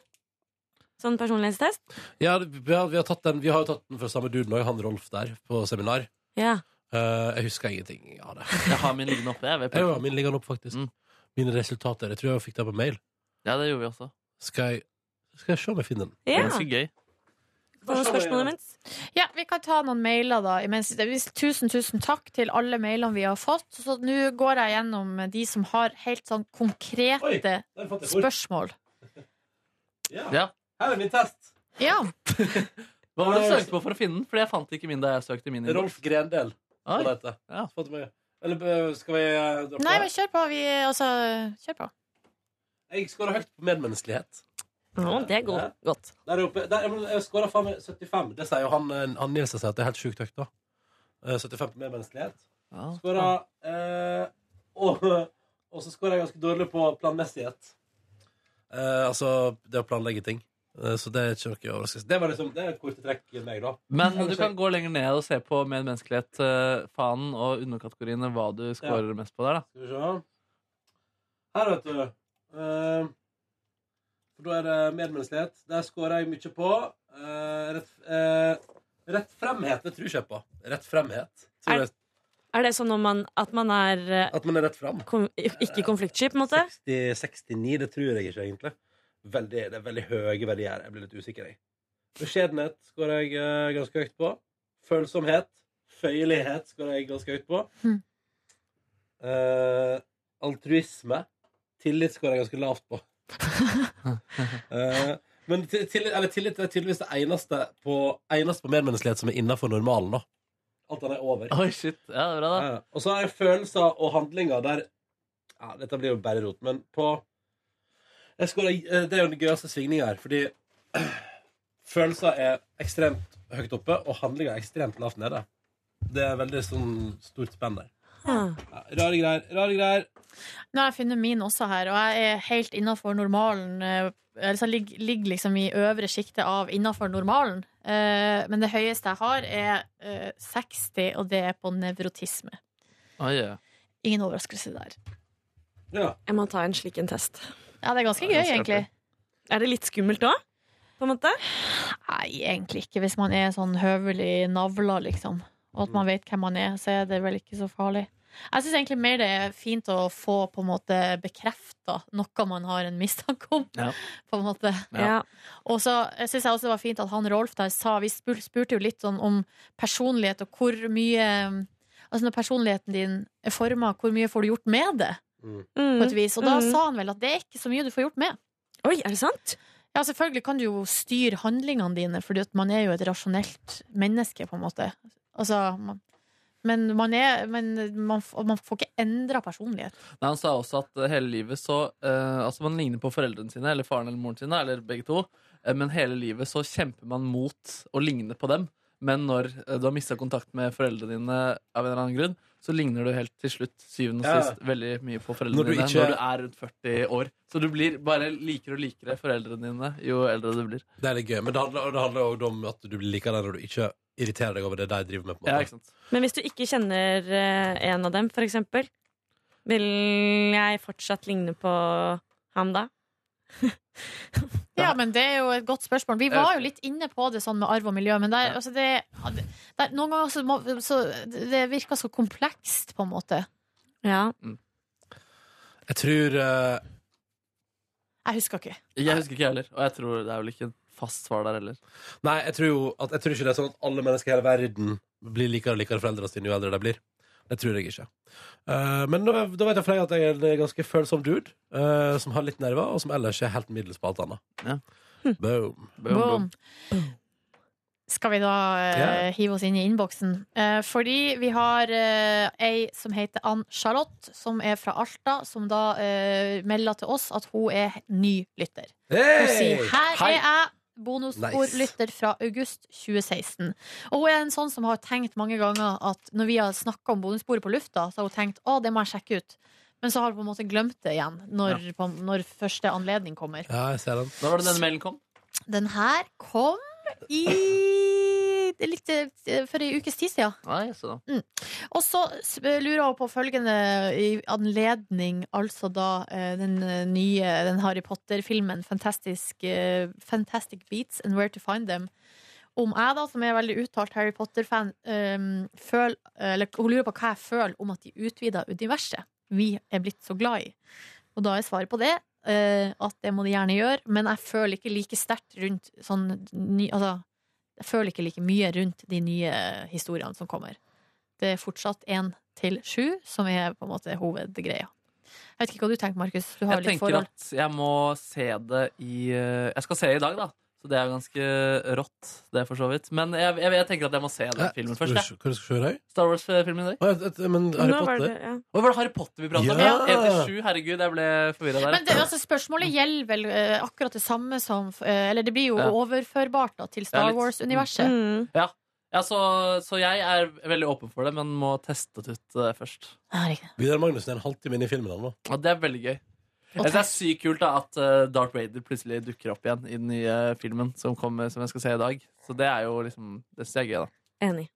Sånn personlighetstest? Ja, det- vi, har, vi, har tatt den, vi har jo tatt den fra samme duden òg, han Rolf der, på seminar. Ja. Eh, jeg husker ingenting av det. Jeg har min liggende oppe. Jeg ved Jeg pulten. var min liggende opp, faktisk. Mm. Mine resultater. Jeg tror jeg fikk det på mail. Ja, det gjorde vi også. Skal jeg, skal jeg se om jeg finner den? Ja. Det var ganske gøy. Får noen spørsmål imens? Ja, vi kan ta noen mailer da imens. Det er- Tusen, tusen takk til alle mailene vi har fått. Så nå går jeg gjennom de som har helt sånn Oi, konkrete der fant jeg ord. spørsmål. Ja. Her er min test. Ja. Hva var det du søkte på for å finne den? Fordi jeg fant ikke min da jeg søkte min. innboks. Rolf Grendel. Oi. Hva heter det? Fant du meg? Eller eh, skal vi eh, dra på? Nei, men kjør på. Vi, altså, kjør på. Jeg skåra høyt på medmenneskelighet. Ja, det er go- godt. Der oppe, der, jeg må- jeg skåra faen meg 75. Det sier jo han, eh, han Nils sier at det er helt sjukt høyt, da. Eh, 75 på medmenneskelighet. Skåra eh, og, og så skåra jeg ganske dårlig på planmessighet. Eh, altså det å planlegge ting. Eh, så det er ikke noe overraskelse. Det var liksom det er et korte trekk i meg, da. Men Ellers du kan gå lenger ned og se på med menneskelighet, eh, fanen og underkategoriene hva du scorer mest på der. da Skal vi se. Her, vet du. Eh, for da er det medmenneskelighet. Der scorer jeg mye på. Eh, rett, uh, rett fremhet, det tror jeg ikke på. Rett fremhet. Tror jeg- Er Er det sånn om man, at man er eh, At man er rett fram? Kon ikke konfliktsky, på en måte? 60, 69, det tror jeg ikke egentlig. Veldig, det er veldig høye verdier. Jeg blir litt usikker, jeg. Beskjedenhet går jeg eh, ganske høyt på. Følsomhet, føyelighet går jeg ganske høyt på. Hm. Mm. Eh, altruisme. Tillit går jeg ganske lavt på. Eh, men til- tillit, eller tillit er tydeligvis det eneste på, eneste på medmenneskelighet som er innafor normalen, da. Alt annet er over. Oi, shit. Ja, det er bra, da. Ja, ja. Og så har jeg følelser og handlinger der ja, Dette blir jo bare rot, men på jeg skårer, eh, Det er jo den gøyeste svingninga her, fordi følelser er ekstremt høyt oppe, og handlinger er ekstremt lavt nede. Det er veldig sånn stort spenn der. Ja, rare greier. Rare greier. Nå har jeg funnet min også her, og jeg er helt innafor normalen. eh, Altså, jeg ligger, ligger liksom i øvre sjiktet av innafor normalen. Eh, men det høyeste jeg har, er eh, 60, og det er på nevrotisme. Oi, ja. Ingen overraskelse der. Jeg må ta en slik en test. Ja, det er ganske Ja, gøy, ganske egentlig. artig. Er det litt skummelt òg? På en måte? Nei, egentlig ikke. Hvis man er sånn høvelig navla, liksom, og at man vet hvem man er, så er det vel ikke så farlig. Jeg syns egentlig mer det er fint å få på en måte bekrefta noe man har en mistanke om. På en måte. Ja. Og så syns jeg også det var fint at han Rolf der sa Vi spur- spurte jo litt sånn om personlighet og hvor mye Altså når personligheten din er forma, hvor mye får du gjort med det? På et vis. Og da Mm. sa han vel at det er ikke så mye du får gjort med. Oi, er det sant? Ja, selvfølgelig kan du jo styre handlingene dine, fordi at man er jo et rasjonelt menneske, på en måte. Altså, man, men man er Men man, f- man får ikke endra personlighet. Nei, Han sa også at eh, hele livet så eh, Altså man ligner på foreldrene sine eller faren eller moren sine, eller begge to, eh, men hele livet så kjemper man mot å ligne på dem. Men når eh, du har mista kontakt med foreldrene dine av en eller annen grunn, så ligner du helt til slutt syvende og Ja. sist veldig mye på Når du foreldrene dine ikke- når du er rundt 40 år. Så du blir bare likere og likere foreldrene dine jo eldre du blir. Det er litt gøy, men det handler, det handler også om at du blir like der når du ikke irriterer deg over det de driver med. på en måte. Men hvis du ikke kjenner eh, en av dem, for eksempel, vil jeg fortsatt ligne på ham da? Ja, men det er jo et godt spørsmål. Vi var jo litt inne på det sånn med arv og miljø, men der, altså det, ja, det- der, noen ganger så, må, så Det virker så komplekst, på en måte. Ja. Jeg tror eh, Jeg husker ikke. Jeg husker ikke jeg heller, og jeg tror det er vel ikke et fast svar der heller. Nei, jeg tror, jo at, jeg tror ikke det er sånn at alle mennesker i hele verden blir likere og likere foreldrene sine jo eldre de blir. Det tror jeg ikke. Eh, men da, da vet jeg for deg at jeg er en ganske følsom dude, eh, som har litt nerver, og som ellers er helt middels på alt annet. Boom. Boom. Skal vi da eh, Ja. hive oss inn i innboksen? Eh, fordi vi har eh, ei som heter Ann-Charlotte, som er fra Alta, som da eh, melder til oss at hun er ny lytter. Hey! Hun sier 'Her Hei!» er jeg'. Bonusbordlytter fra august 2016. Og hun er en sånn som har tenkt mange ganger at når vi har snakka om bonusbordet på lufta, så har hun tenkt 'Å, det må jeg sjekke ut'. Men så har hun på en måte glemt det igjen når, på, når første anledning kommer. Ja, jeg ser den. Da var det denne mailen kom. Den her kom i det er litt eh, for ei ukes tid siden. Nei, så da. Mm. Og så s- eh, lurer hun på følgende i anledning, altså da eh, den eh, nye den Harry Potter-filmen Fantastic, eh, Fantastic Beats and Where to Find Them. Om jeg, da, som er veldig uttalt Harry Potter-fan, eh, føl- eller hun lurer på hva jeg føler om at de utvider universet vi er blitt så glad i. Og da er svaret på det eh, at det må de gjerne gjøre, men jeg føler ikke like sterkt rundt sånn ny, Altså, jeg føler ikke like mye rundt de nye historiene som kommer. Det er fortsatt én til sju som er på en måte hovedgreia. Jeg vet ikke hva du tenker, Markus. Du har Jeg jo litt tenker forhold. at jeg må se det i eh, Jeg skal se det i dag, da. Så det er ganske rått, det for så vidt. Men jeg, jeg, jeg tenker at jeg må se den filmen Skal du først. se- Hva du skal du kjøre i? Star Wars-filmen i dag. Men Harry Nå Potter var det- ja. Hva var det Harry Potter vi pratet om? Ja. Ja. 1 til 7, herregud, jeg ble forvirra der. Men det, altså, spørsmålet gjelder vel eh, akkurat det samme som eh, Eller det blir jo Ja. overførbart da, til Ja, Star litt. Wars-universet. Mm. Ja. ja, så, så jeg er veldig åpen for det, men må teste det ut eh, først. Vidar Magnussen er en halvtime inn i filmen han nå. Og det er veldig gøy. Jeg synes det er sykt kult da at eh, Darth Vader plutselig dukker opp igjen i den nye filmen som, kommer, som jeg skal se i dag. Så det er jo liksom Det synes jeg er gøy, da. Enig.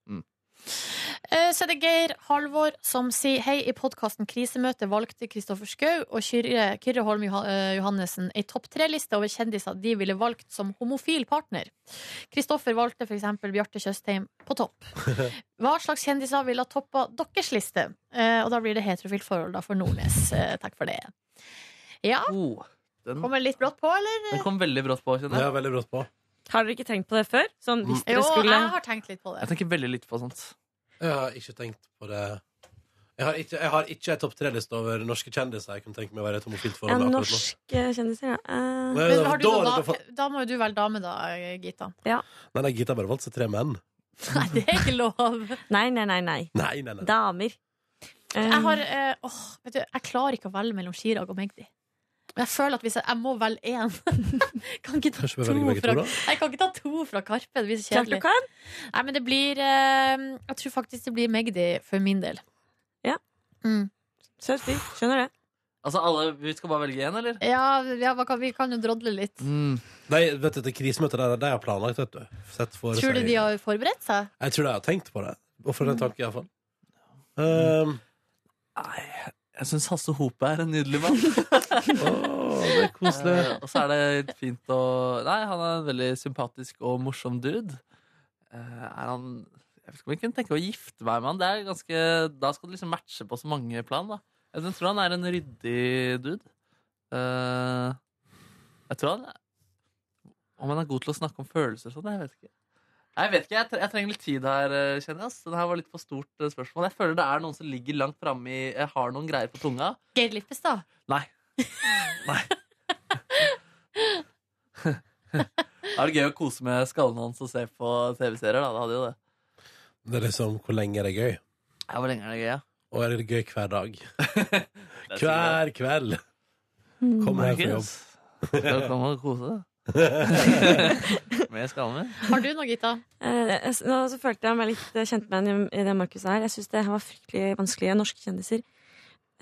Eh, Så er det Geir Halvor som sier Hei, i podkasten Krisemøte valgte Kristoffer Schou og Kyrre, Kyrre Holm Johan- eh, Johannessen ei topp tre-liste over kjendiser de ville valgt som homofil partner. Kristoffer valgte f.eks. Bjarte Tjøstheim på topp. Hva slags kjendiser ville ha toppa deres liste? Eh, Og da blir det heterofilt forhold da for Nordnes. Eh, Takk for det. Ja. Den, Kommer litt brått på, eller? den kom veldig brått på. kjenner jeg. Ja, veldig brått på. Har dere ikke tenkt på det før? Sånn, hvis dere Jo, skulle jeg har tenkt litt på det. Jeg tenker veldig litt på sånt. Jeg har ikke tenkt på det Jeg har ikke, jeg har ikke en topp tre-liste over norske kjendiser jeg kunne tenke meg å være i et homofilt ja, forhold med akkurat nå. Norske kjendiser, ja. Eh, Nei, Men har du noe da- da, da må jo du velge dame, da, Gita. Nei, nei, Gita har bare valgt seg tre menn. Nei, det er ikke lov. Nei, nei, nei. nei. Nei, nei, nei. Damer. Ehm, Jeg har eh, åh, vet du, jeg klarer ikke å velge mellom Chirag og Magdi. Men jeg føler at hvis jeg, jeg må velge én Kan ikke ta Kanskje vi to velger begge fra to, da? Jeg kan ikke ta to fra Karpe. Det blir så Klart du kjedelig. Nei, men det blir eh, Jeg tror faktisk det blir Magdi for min del. Ja. Mm. Søt fyr. Skjønner det. Altså, alle, Vi skal bare velge én, eller? Ja, ja hva kan, vi kan jo drodle litt. Mm. Nei, vet du, det krisemøtet der de har planlagt, vet du. Sett for Tror du seg de har forberedt seg? Jeg tror de har tenkt på det. Hvorfor den tanken, iallfall. Mm. Um, Jeg syns Hasse Hope er en nydelig mann. det er koselig. og så er det litt fint å Nei, han er en veldig sympatisk og morsom dude. Eh, er han Jeg vet ikke om jeg kunne tenke meg å gifte meg med han. Det er ganske, da skal du liksom matche på så mange plan, da. Jeg tror han er en ryddig dude. Eh, jeg tror han Om han er god til å snakke om følelser og sånn, jeg vet ikke. Nei, Jeg vet ikke, jeg, tre jeg trenger litt tid her, eh, kjenner jeg. ass. Det her var litt for stort eh, spørsmål. Jeg føler det er noen som ligger langt framme i Jeg har noen greier på tunga. Geir Lippestad? Nei. Nei. Da er det gøy å kose med skallen hans og se på TV-serier, da. Det hadde jo det. det er liksom hvor lenge er det gøy? Ja, hvor lenge er det gøy, ja? Og er det gøy hver dag? hver kveld. Mm. Kom her på jobb. Markus, skal du komme og kose deg? med skallen min? Har du noe, Gita? Eh, nå så følte jeg meg litt eh, kjent med henne i det Markus er. Jeg syns det her var fryktelig vanskelige norske kjendiser.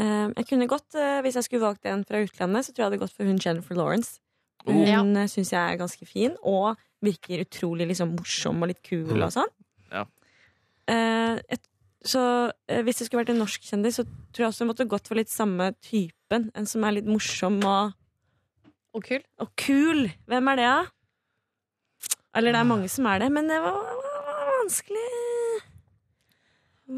Eh, jeg kunne godt, eh, Hvis jeg skulle valgt en fra utlandet, så tror jeg jeg hadde gått for hun Jennifer Lawrence. Oh. Hun Ja. uh, syns jeg er ganske fin, og virker utrolig liksom, morsom og litt kul og sånn. Ja. Eh, et, så eh, hvis det skulle vært en norsk kjendis, så tror jeg også jeg måtte gått for litt samme typen. En som er litt morsom og Og kul. Og kul! Hvem er det, da? Eller det er mange som er det, men det var, var, var vanskelig.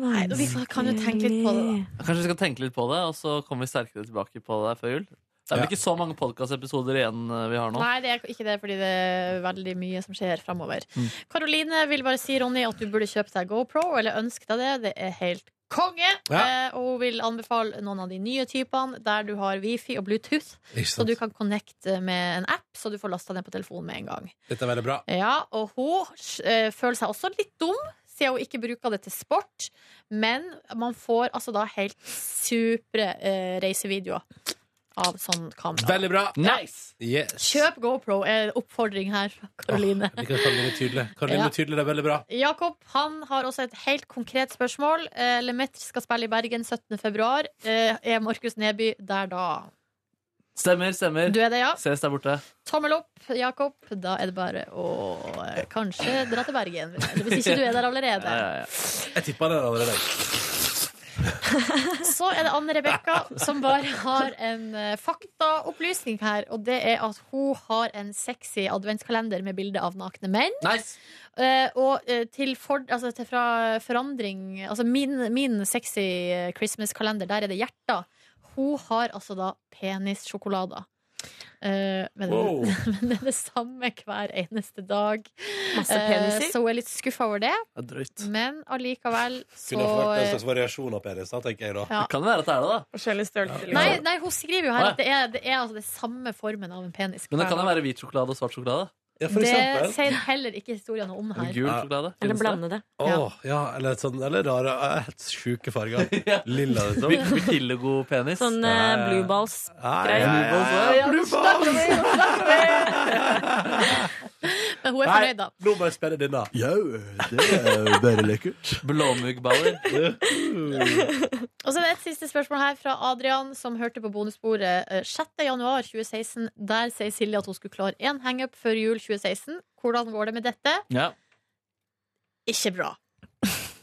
Nei, vi kan jo tenke litt på det, da. Kanskje vi skal tenke litt på det, og så kommer vi sterkere tilbake på det før jul. Det er vel Ja. ikke så mange podkastepisoder igjen eh, vi har nå. Nei, det er ikke det, fordi det er veldig mye som skjer framover. Mm. Karoline vil bare si, Ronny, at du burde kjøpe deg GoPro, eller ønske deg det. Det er helt konge! Ja. Eh, og hun vil anbefale noen av de nye typene, der du har wifi og Bluetooth. Ikke Så sant. du kan connecte med en app, så du får lasta den på telefonen med en gang. Dette er veldig bra. Ja, og hun eh, føler seg også litt dum, siden hun ikke bruker det til sport. Men man får altså da helt supre eh, reisevideoer av sånn kamera. Veldig bra. Nice. Yes. Kjøp GoPro, er en oppfordring her fra Karoline. Jeg liker at Karoline er tydelig. Karoline Ja. er tydelig, det er veldig bra. Jakob han har også et helt konkret spørsmål. Eh, Lemaitre skal spille i Bergen 17. februar. Eh, Er Markus Neby der da? Stemmer, stemmer. Du er det, ja. Ses der borte. Tommel opp, Jakob. Da er det bare å eh, kanskje dra til Bergen. Eller Hvis ikke du er der allerede. Jeg tippa det allerede. Så er det Anne Rebekka som bare har en eh, faktaopplysning her. Og det er at hun har en sexy adventskalender med bilde av nakne menn. Nice. Eh, og eh, til, for, altså, til fra forandring Altså min, min sexy eh, Christmas-kalender, der er det hjerter. Hun har altså da penissjokolader. Eh, men, Wow. men det er det samme hver eneste dag. Masse Eh, peniser. så hun er litt skuffa over det. Det er drøyt. Men allikevel så eh, Kunne ha vært en altså, slags variasjon av penis, da, tenker jeg da. Ja. Det kan være at det er det, da. Forskjellig størrelse. Nei, nei, hun skriver jo Å, her ja. at det er, det er altså det samme formen av en penis. Men det hver kan jo dag. være hvit sjokolade og svart sjokolade. det sier heller ikke historien noe om her. Eller gul sjokolade. Eller Finnes blande det. Åh, ja, eller, et sånn, eller rare eh, Helt sjuke farger. Lilla, liksom. Vir- Vitiligo penis. Sånn eh, blue balls. Ja, Greier. ja, ja, ja, ja. Blue balls! Men hun er Nei, fornøyd, da. nå må jeg spille denne. Det er jo bare lekkert. Blåmuggballer. Og så er det et siste spørsmål her fra Adrian, som hørte på bonussporet eh, 6. januar 2016. Der sier Silje at hun skulle klare én hangup før jul 2016. Hvordan går det med dette? Ja. Ikke bra.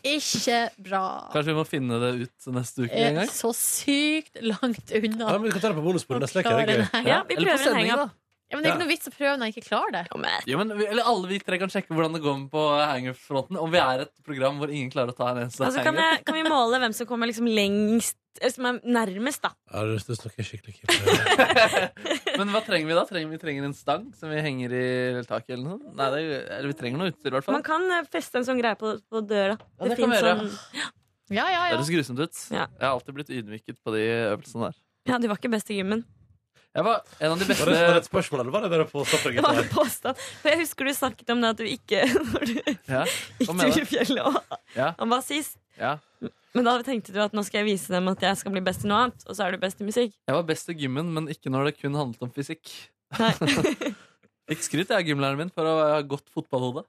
Ikke bra. Kanskje vi må finne det ut neste uke en Er gang? så sykt langt unna. Ja, men vi kan ta det på bonusbordet neste uke, det er Klarer gøy. det. Ja, Ja, vi eller på prøver en sending, hangup. da. Ja, men det er Ja. ikke noe vits å prøve når jeg ikke klarer det. Ja, men vi, eller alle vi tre kan sjekke hvordan det går med på hangup-fronten. Om vi er et program hvor ingen klarer å ta en eneste Altså, kan, jeg, hangup. kan vi måle hvem som kommer liksom lengst eh, Som er nærmest, da? Ja, det det snakker jeg skikkelig kjipt. Men hva trenger vi da? Trenger, vi trenger en stang som vi henger i taket eller noe sånt? Nei, det, er- eller vi trenger noe utstyr i hvert fall. Man kan eh, feste en sånn greie på, på døra. Ja, det kan vi finnes gjøre. sånn- Ja, ja, Det ja. høres grusomt ut. Jeg har alltid blitt ydmyket på de øvelsene der. ja, du var ikke best i gymmen. Jeg var en av de beste Var det- var det et spørsmål, eller var det bare på Det var en påstand. For jeg husker du snakket om det at du ikke Når du Ja. gikk Hva tur med i det? fjellet og Ja. han var sist. ja. Men da tenkte du at nå skal jeg vise dem at jeg skal bli best i noe annet, og så er du best i musikk. Jeg var best i gymmen, men ikke når det kun handlet om fysikk. Fikk skryt jeg av gymlæreren min for å ha godt fotballhode.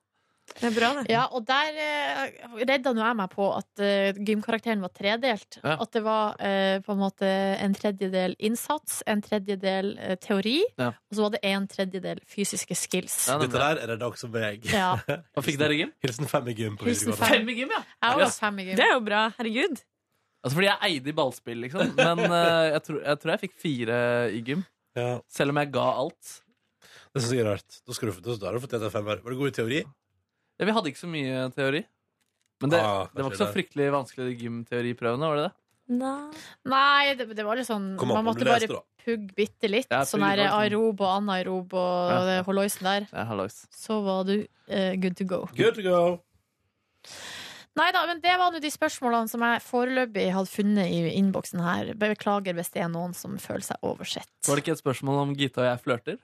Det er bra, det. Ja, og der eh, redda nå jeg meg på at eh, gymkarakteren var tredelt. Ja. At det var eh, på en måte en tredjedel innsats, en tredjedel eh, teori, Ja. og så var det en tredjedel fysiske skills. Dette der er det også meg. Ja. Hva fikk dere i gym? Hilsen fem i gym på Hilsen videregående. fem. Ja, Jeg var yes. fem i gym. Det er jo bra. Herregud. Altså fordi jeg eide i ballspill, liksom. Men eh, jeg, tror, jeg tror jeg fikk fire i gym. Selv om jeg ga alt. Det synes jeg er rart. Da, skal du, da, da har du fått en femmer. Var det god i teori? Ja, vi hadde ikke så mye teori. Men det, Ah, det kanskje var ikke så det. fryktelig vanskelig de gymteoriprøvene, var det det? Nei, det, det var litt sånn Kom an på Man om du måtte leste, bare da. pugge bitte litt. Ja, sånn pugge, der det var sånn- aerob og anaerob og Ja. det holloisen der. Ja, hallois. Så var du eh, good to go. Good to go. Nei da, men det var nå de spørsmålene som jeg foreløpig hadde funnet i innboksen her. Beklager hvis det er noen som føler seg oversett. Var det ikke et spørsmål om Gita og jeg flørter?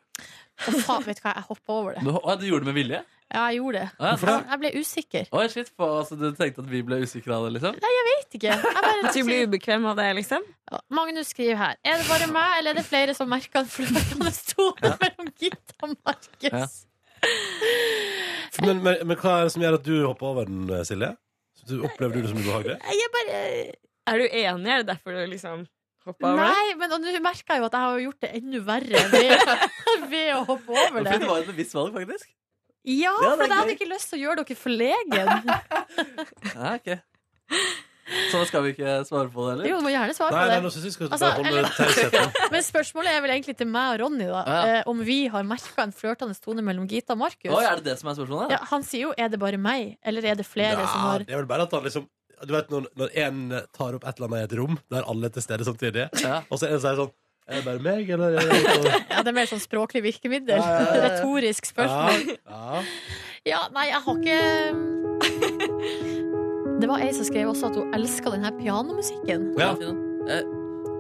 Å, faen, vet du hva, jeg hoppa over Du, det. å, du gjorde det med vilje? Ja, jeg gjorde det. Å, ja. Jeg, jeg ble usikker. Oi, shit, på, altså, Du tenkte at vi ble usikre av det, liksom? Nei, jeg vet ikke. Jeg bare, At du blir ubekvem av det, liksom? Ja, Magnus skriver her. Er det bare meg, eller er det flere som merker en flørtende tone mellom Gitta og Markus? Ja. Men, men, men hva er det som gjør at du hopper over den, eh, Silje? Så Du, opplevde du det som ubehagelig? Nei, Jeg bare Er du enig? Er det derfor du liksom hoppa over? Nei, men og nå merker jeg jo at jeg har gjort det enda verre ved, ved å hoppe over Fordi det det. var et bevisst valg, faktisk. Ja, Ja, for det er jeg hadde gøy. ikke lyst til å gjøre dere forlegen. Ja, ok Så da skal vi ikke svare på det, eller? Jo, du må gjerne svare på det. Altså, eller- Men spørsmålet er vel egentlig til meg og Ronny, da. Ja. Eh, om vi har merka en flørtende tone mellom Gita og Markus. Oi, er det det som er spørsmålet? Ja, han sier jo 'er det bare meg', eller 'er det flere som Ja, har det er vel bare at han liksom Du vet når, når en tar opp et eller annet i et rom der alle er til stede samtidig, og så er det sånn Er det bare meg, eller? Ja, det er mer sånn språklig Ja, virkemiddel. ja, ja. Retorisk Ja, spørsmål. ja. Ja, nei, jeg har ikke Det var ei som skrev også at hun elska den her pianomusikken. Ja. Jeg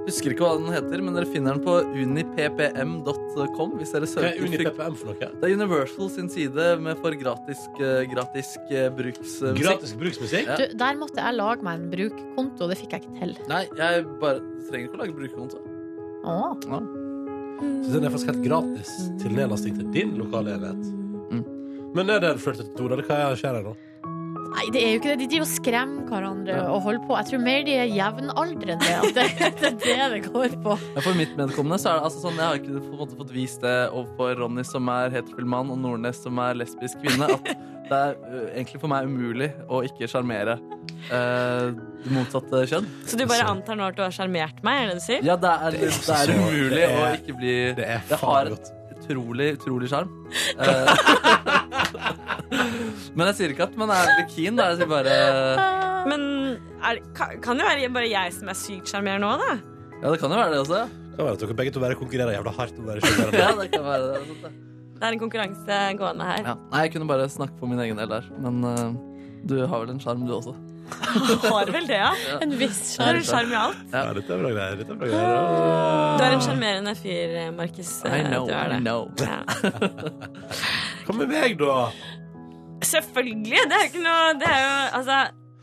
husker ikke hva den heter, men dere finner den på unippm.com. Hvis dere Hva søker er UniPPM for noe? Det er Universal sin side med for gratis, eh, gratis eh, bruksmusikk. Gratis bruksmusikk? Ja. Du, der måtte jeg lage meg en brukkonto, det fikk jeg ikke til. Nei, jeg bare trenger ikke å lage brukerkonto. Åh. Ja. Så den er faktisk helt gratis til nedlasting til din lokale enhet. Mm. Men er det en flørtete tone, eller hva skjer her nå? Nei, det er jo ikke det. De driver og skremmer hverandre og holder på. Jeg tror mer de er jevnaldrende. At det, det er det det går på. Ja, For mitt medkommende så er det altså sånn Jeg har ikke på en måte fått vist det overfor Ronny som er heterofil mann, og Nordnes som er lesbisk kvinne, at det er ø, egentlig for meg umulig å ikke sjarmere eh, det motsatte kjønn. Så du bare antar nå at du har sjarmert meg? Er det det du sier? Ja, det er, det er umulig det å er- ikke bli Det, faen har et utrolig, utrolig sjarm. Eh, men jeg sier ikke at man er litt keen. Da. Jeg sier bare Men er, det- kan, kan det være bare jeg som er sykt sjarmerende nå, da? Ja, det kan jo være det også. Kan være at dere begge to bare konkurrerer jævla hardt om å være sjarmerende. Ja, det kan være det. sant det. Det er en konkurranse gående her. Ja. Nei, jeg kunne bare snakke for min egen del der. Men eh, du har vel en sjarm, du også. Har vel det, ja? En viss sjarm. sjarm. Sjarm i alt. Ja, dette er bra greier. Dette er bra greier. Du er en sjarmerende fyr, Markus. Eh, I know, du er det. I know. Ja. Hva med meg, da? Selvfølgelig! Det er jo ikke noe Det er jo altså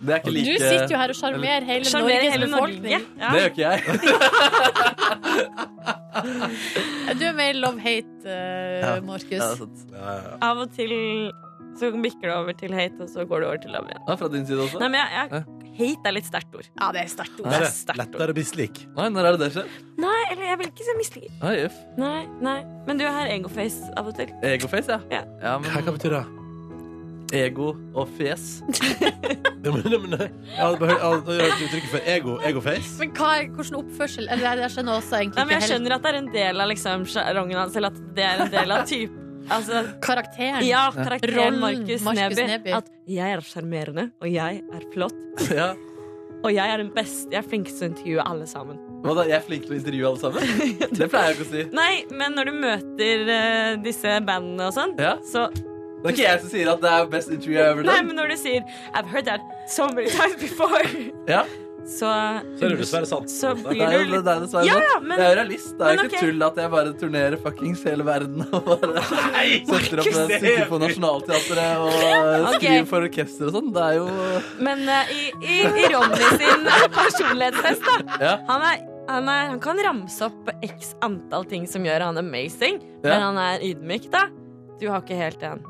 Det er ikke like Du sitter jo her og sjarmerer hele Sjarmerer Norges hele Norge, befolkning. ja. Det gjør ikke jeg. Du er mer love-hate, eh, Markus. altså. Av og til så bikker det over til hate, og så går det over til love igjen. Ja, fra din side også? Nei, men jeg, jeg Hate er litt sterkt ord. Ja, det er sterkt Nei, det er lettere mislik. Nei, når er det det skjer? Nei, eller jeg vil ikke si misliker. Oi, jøff. Nei, nei. Men du har egoface av og til. Egoface, ja. ja. men... Hva betyr det? Ego og fjes. Ja, men, men, jeg hadde behørt- jeg hadde hørt uttrykket for ego, egoface. Men hva er, hvordan oppførsel Eller jeg- jeg skjønner også egentlig Nei, men jeg ikke helt skjønner at det er en del av liksom sjarongen hans, eller at det er en del av typ altså, Karakteren. Ja, karakteren Rollen Markus Markus Neby. Neby. At jeg er sjarmerende, og jeg er flott, Ja. og jeg er den beste. Jeg er flinkest til å intervjue alle sammen. Hva da, jeg er flink til å intervjue alle sammen? Det pleier jeg ikke å si. Nei, men når du møter eh, disse bandene og sånn, Ja. så Det er ikke jeg som sier at det er best interview I've ever Nei, done. men når du sier I've heard that so many times before, Ja. så Så er det dessverre sant. Så blir det er jo du litt- det er dessverre Ja, sant. ja, men- jeg er realist. Det er jo men ikke ok. tull at jeg bare turnerer fuckings hele verden og bare setter opp Markus, en stykke på Nationaltheatret og eh, Ok. skriver for orkester og sånn. Det er jo Men eh, i, i, i Ronny sin personlighetstest, da Ja. han, er, han, er, han kan ramse opp x antall ting som gjør han amazing, Ja. men han er ydmyk, da. Du har ikke helt en.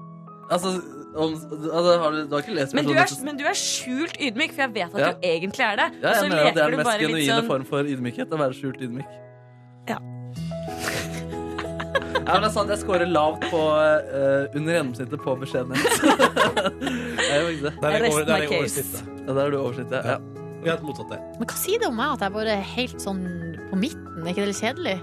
Altså, om, altså har du, du har ikke lest Men du, personen er, men du er skjult ydmyk, for jeg vet at Ja. du egentlig er det. Ja, og jeg så mener at det leker er du den mest bare litt genuine sånn form for ydmykhet. Å være skjult ydmyk. Ja. Ja, men det er sant, Jeg scorer lavt på eh, under gjennomsnittet på beskjedenhet. Jeg gjør faktisk det. Der er jeg over- der er jeg over snittet. Ja, der er du over snittet. Ja. Helt motsatt det. Men hva sier det om meg at jeg bare er helt sånn på midten? Er ikke det litt kjedelig?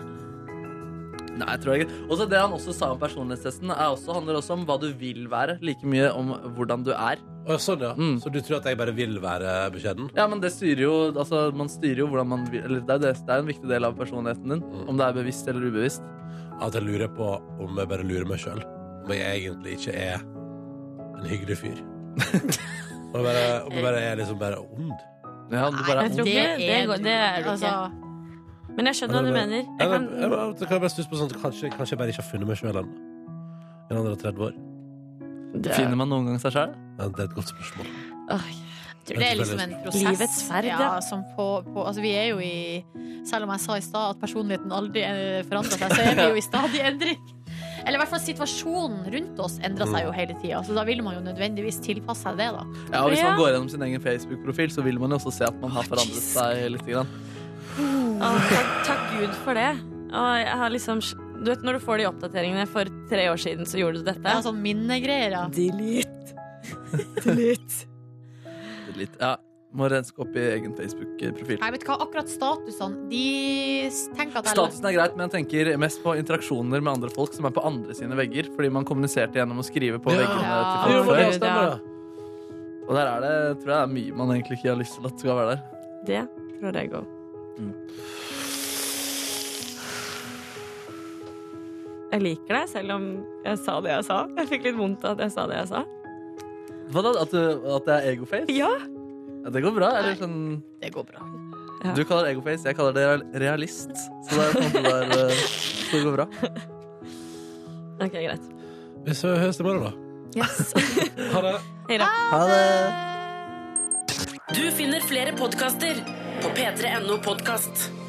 Nei, jeg tror ikke. Også det han også sa om personlighetstesten, er også, handler også om hva du vil være. Like mye om hvordan du er. sånn, ja. Så du tror at jeg bare vil være beskjeden? Ja, men det styrer jo altså, Man styrer jo hvordan man vil eller, det, er det, det er en viktig del av personligheten din. Om det er bevisst eller ubevisst. At jeg lurer på om jeg bare lurer meg sjøl. Om jeg egentlig ikke er en hyggelig fyr. Om jeg bare, om jeg bare er liksom bare ond. Ja, Nei, jeg tror ikke det, er går- du- det er du ikke. altså- Men jeg skjønner hva du mener. Jeg Jeg kan... kan, Jeg, jeg, kan jeg bare stusse på sånn at kanskje, kanskje jeg bare ikke har funnet meg sjøl ennå. I en alder av 30 år. Det er- Finner man noen gang seg sjøl? Ja, det er et godt spørsmål. Jeg tror det er liksom en prosess. Livets ferd, ja. ja. Som på, på, altså vi er jo i Selv om jeg sa i stad at personligheten aldri eh, forandrer seg, så er vi jo i stadig endring. Eller i hvert fall situasjonen rundt oss endrer seg jo hele tida, så da vil man jo nødvendigvis tilpasse seg det, da. Ja, og Hvis man går gjennom sin egen Facebook-profil, så vil man jo også se at man har forandret seg litt. Grann. Å, takk, takk Gud for det. Og jeg har liksom Du vet når du får de oppdateringene for tre år siden, så gjorde du dette? Ja, sånn minnegreier, ja. altså, Delete. Delete. Litt. Ja, Må renske opp i egen Facebook-profil. Nei, vet du hva, akkurat statusene De s- tenker at jeg Statusen er greit, men jeg tenker mest på interaksjoner med andre folk som er på andre sine vegger, fordi man kommuniserte gjennom å skrive på Ja. veggene Ja, til folk det før. stemmer, ja. Og der er det, tror jeg det er mye man egentlig ikke har lyst til at skal være der. Det tror jeg òg. Jeg liker deg, selv om jeg sa det jeg sa. Jeg fikk litt vondt av at jeg sa det jeg sa. Hva da? At, du, at det er egoface? Ja. ja det går bra. Eller sånn Det går bra. Ja. Du kaller det egoface, jeg kaller det real- realist. Så det er på en måte der eh, så det går bra. OK, greit. Vi så- høres i morgen, da. Yes. Ha det. Hei da. Ha det. Du finner flere podkaster på p3.no podkast.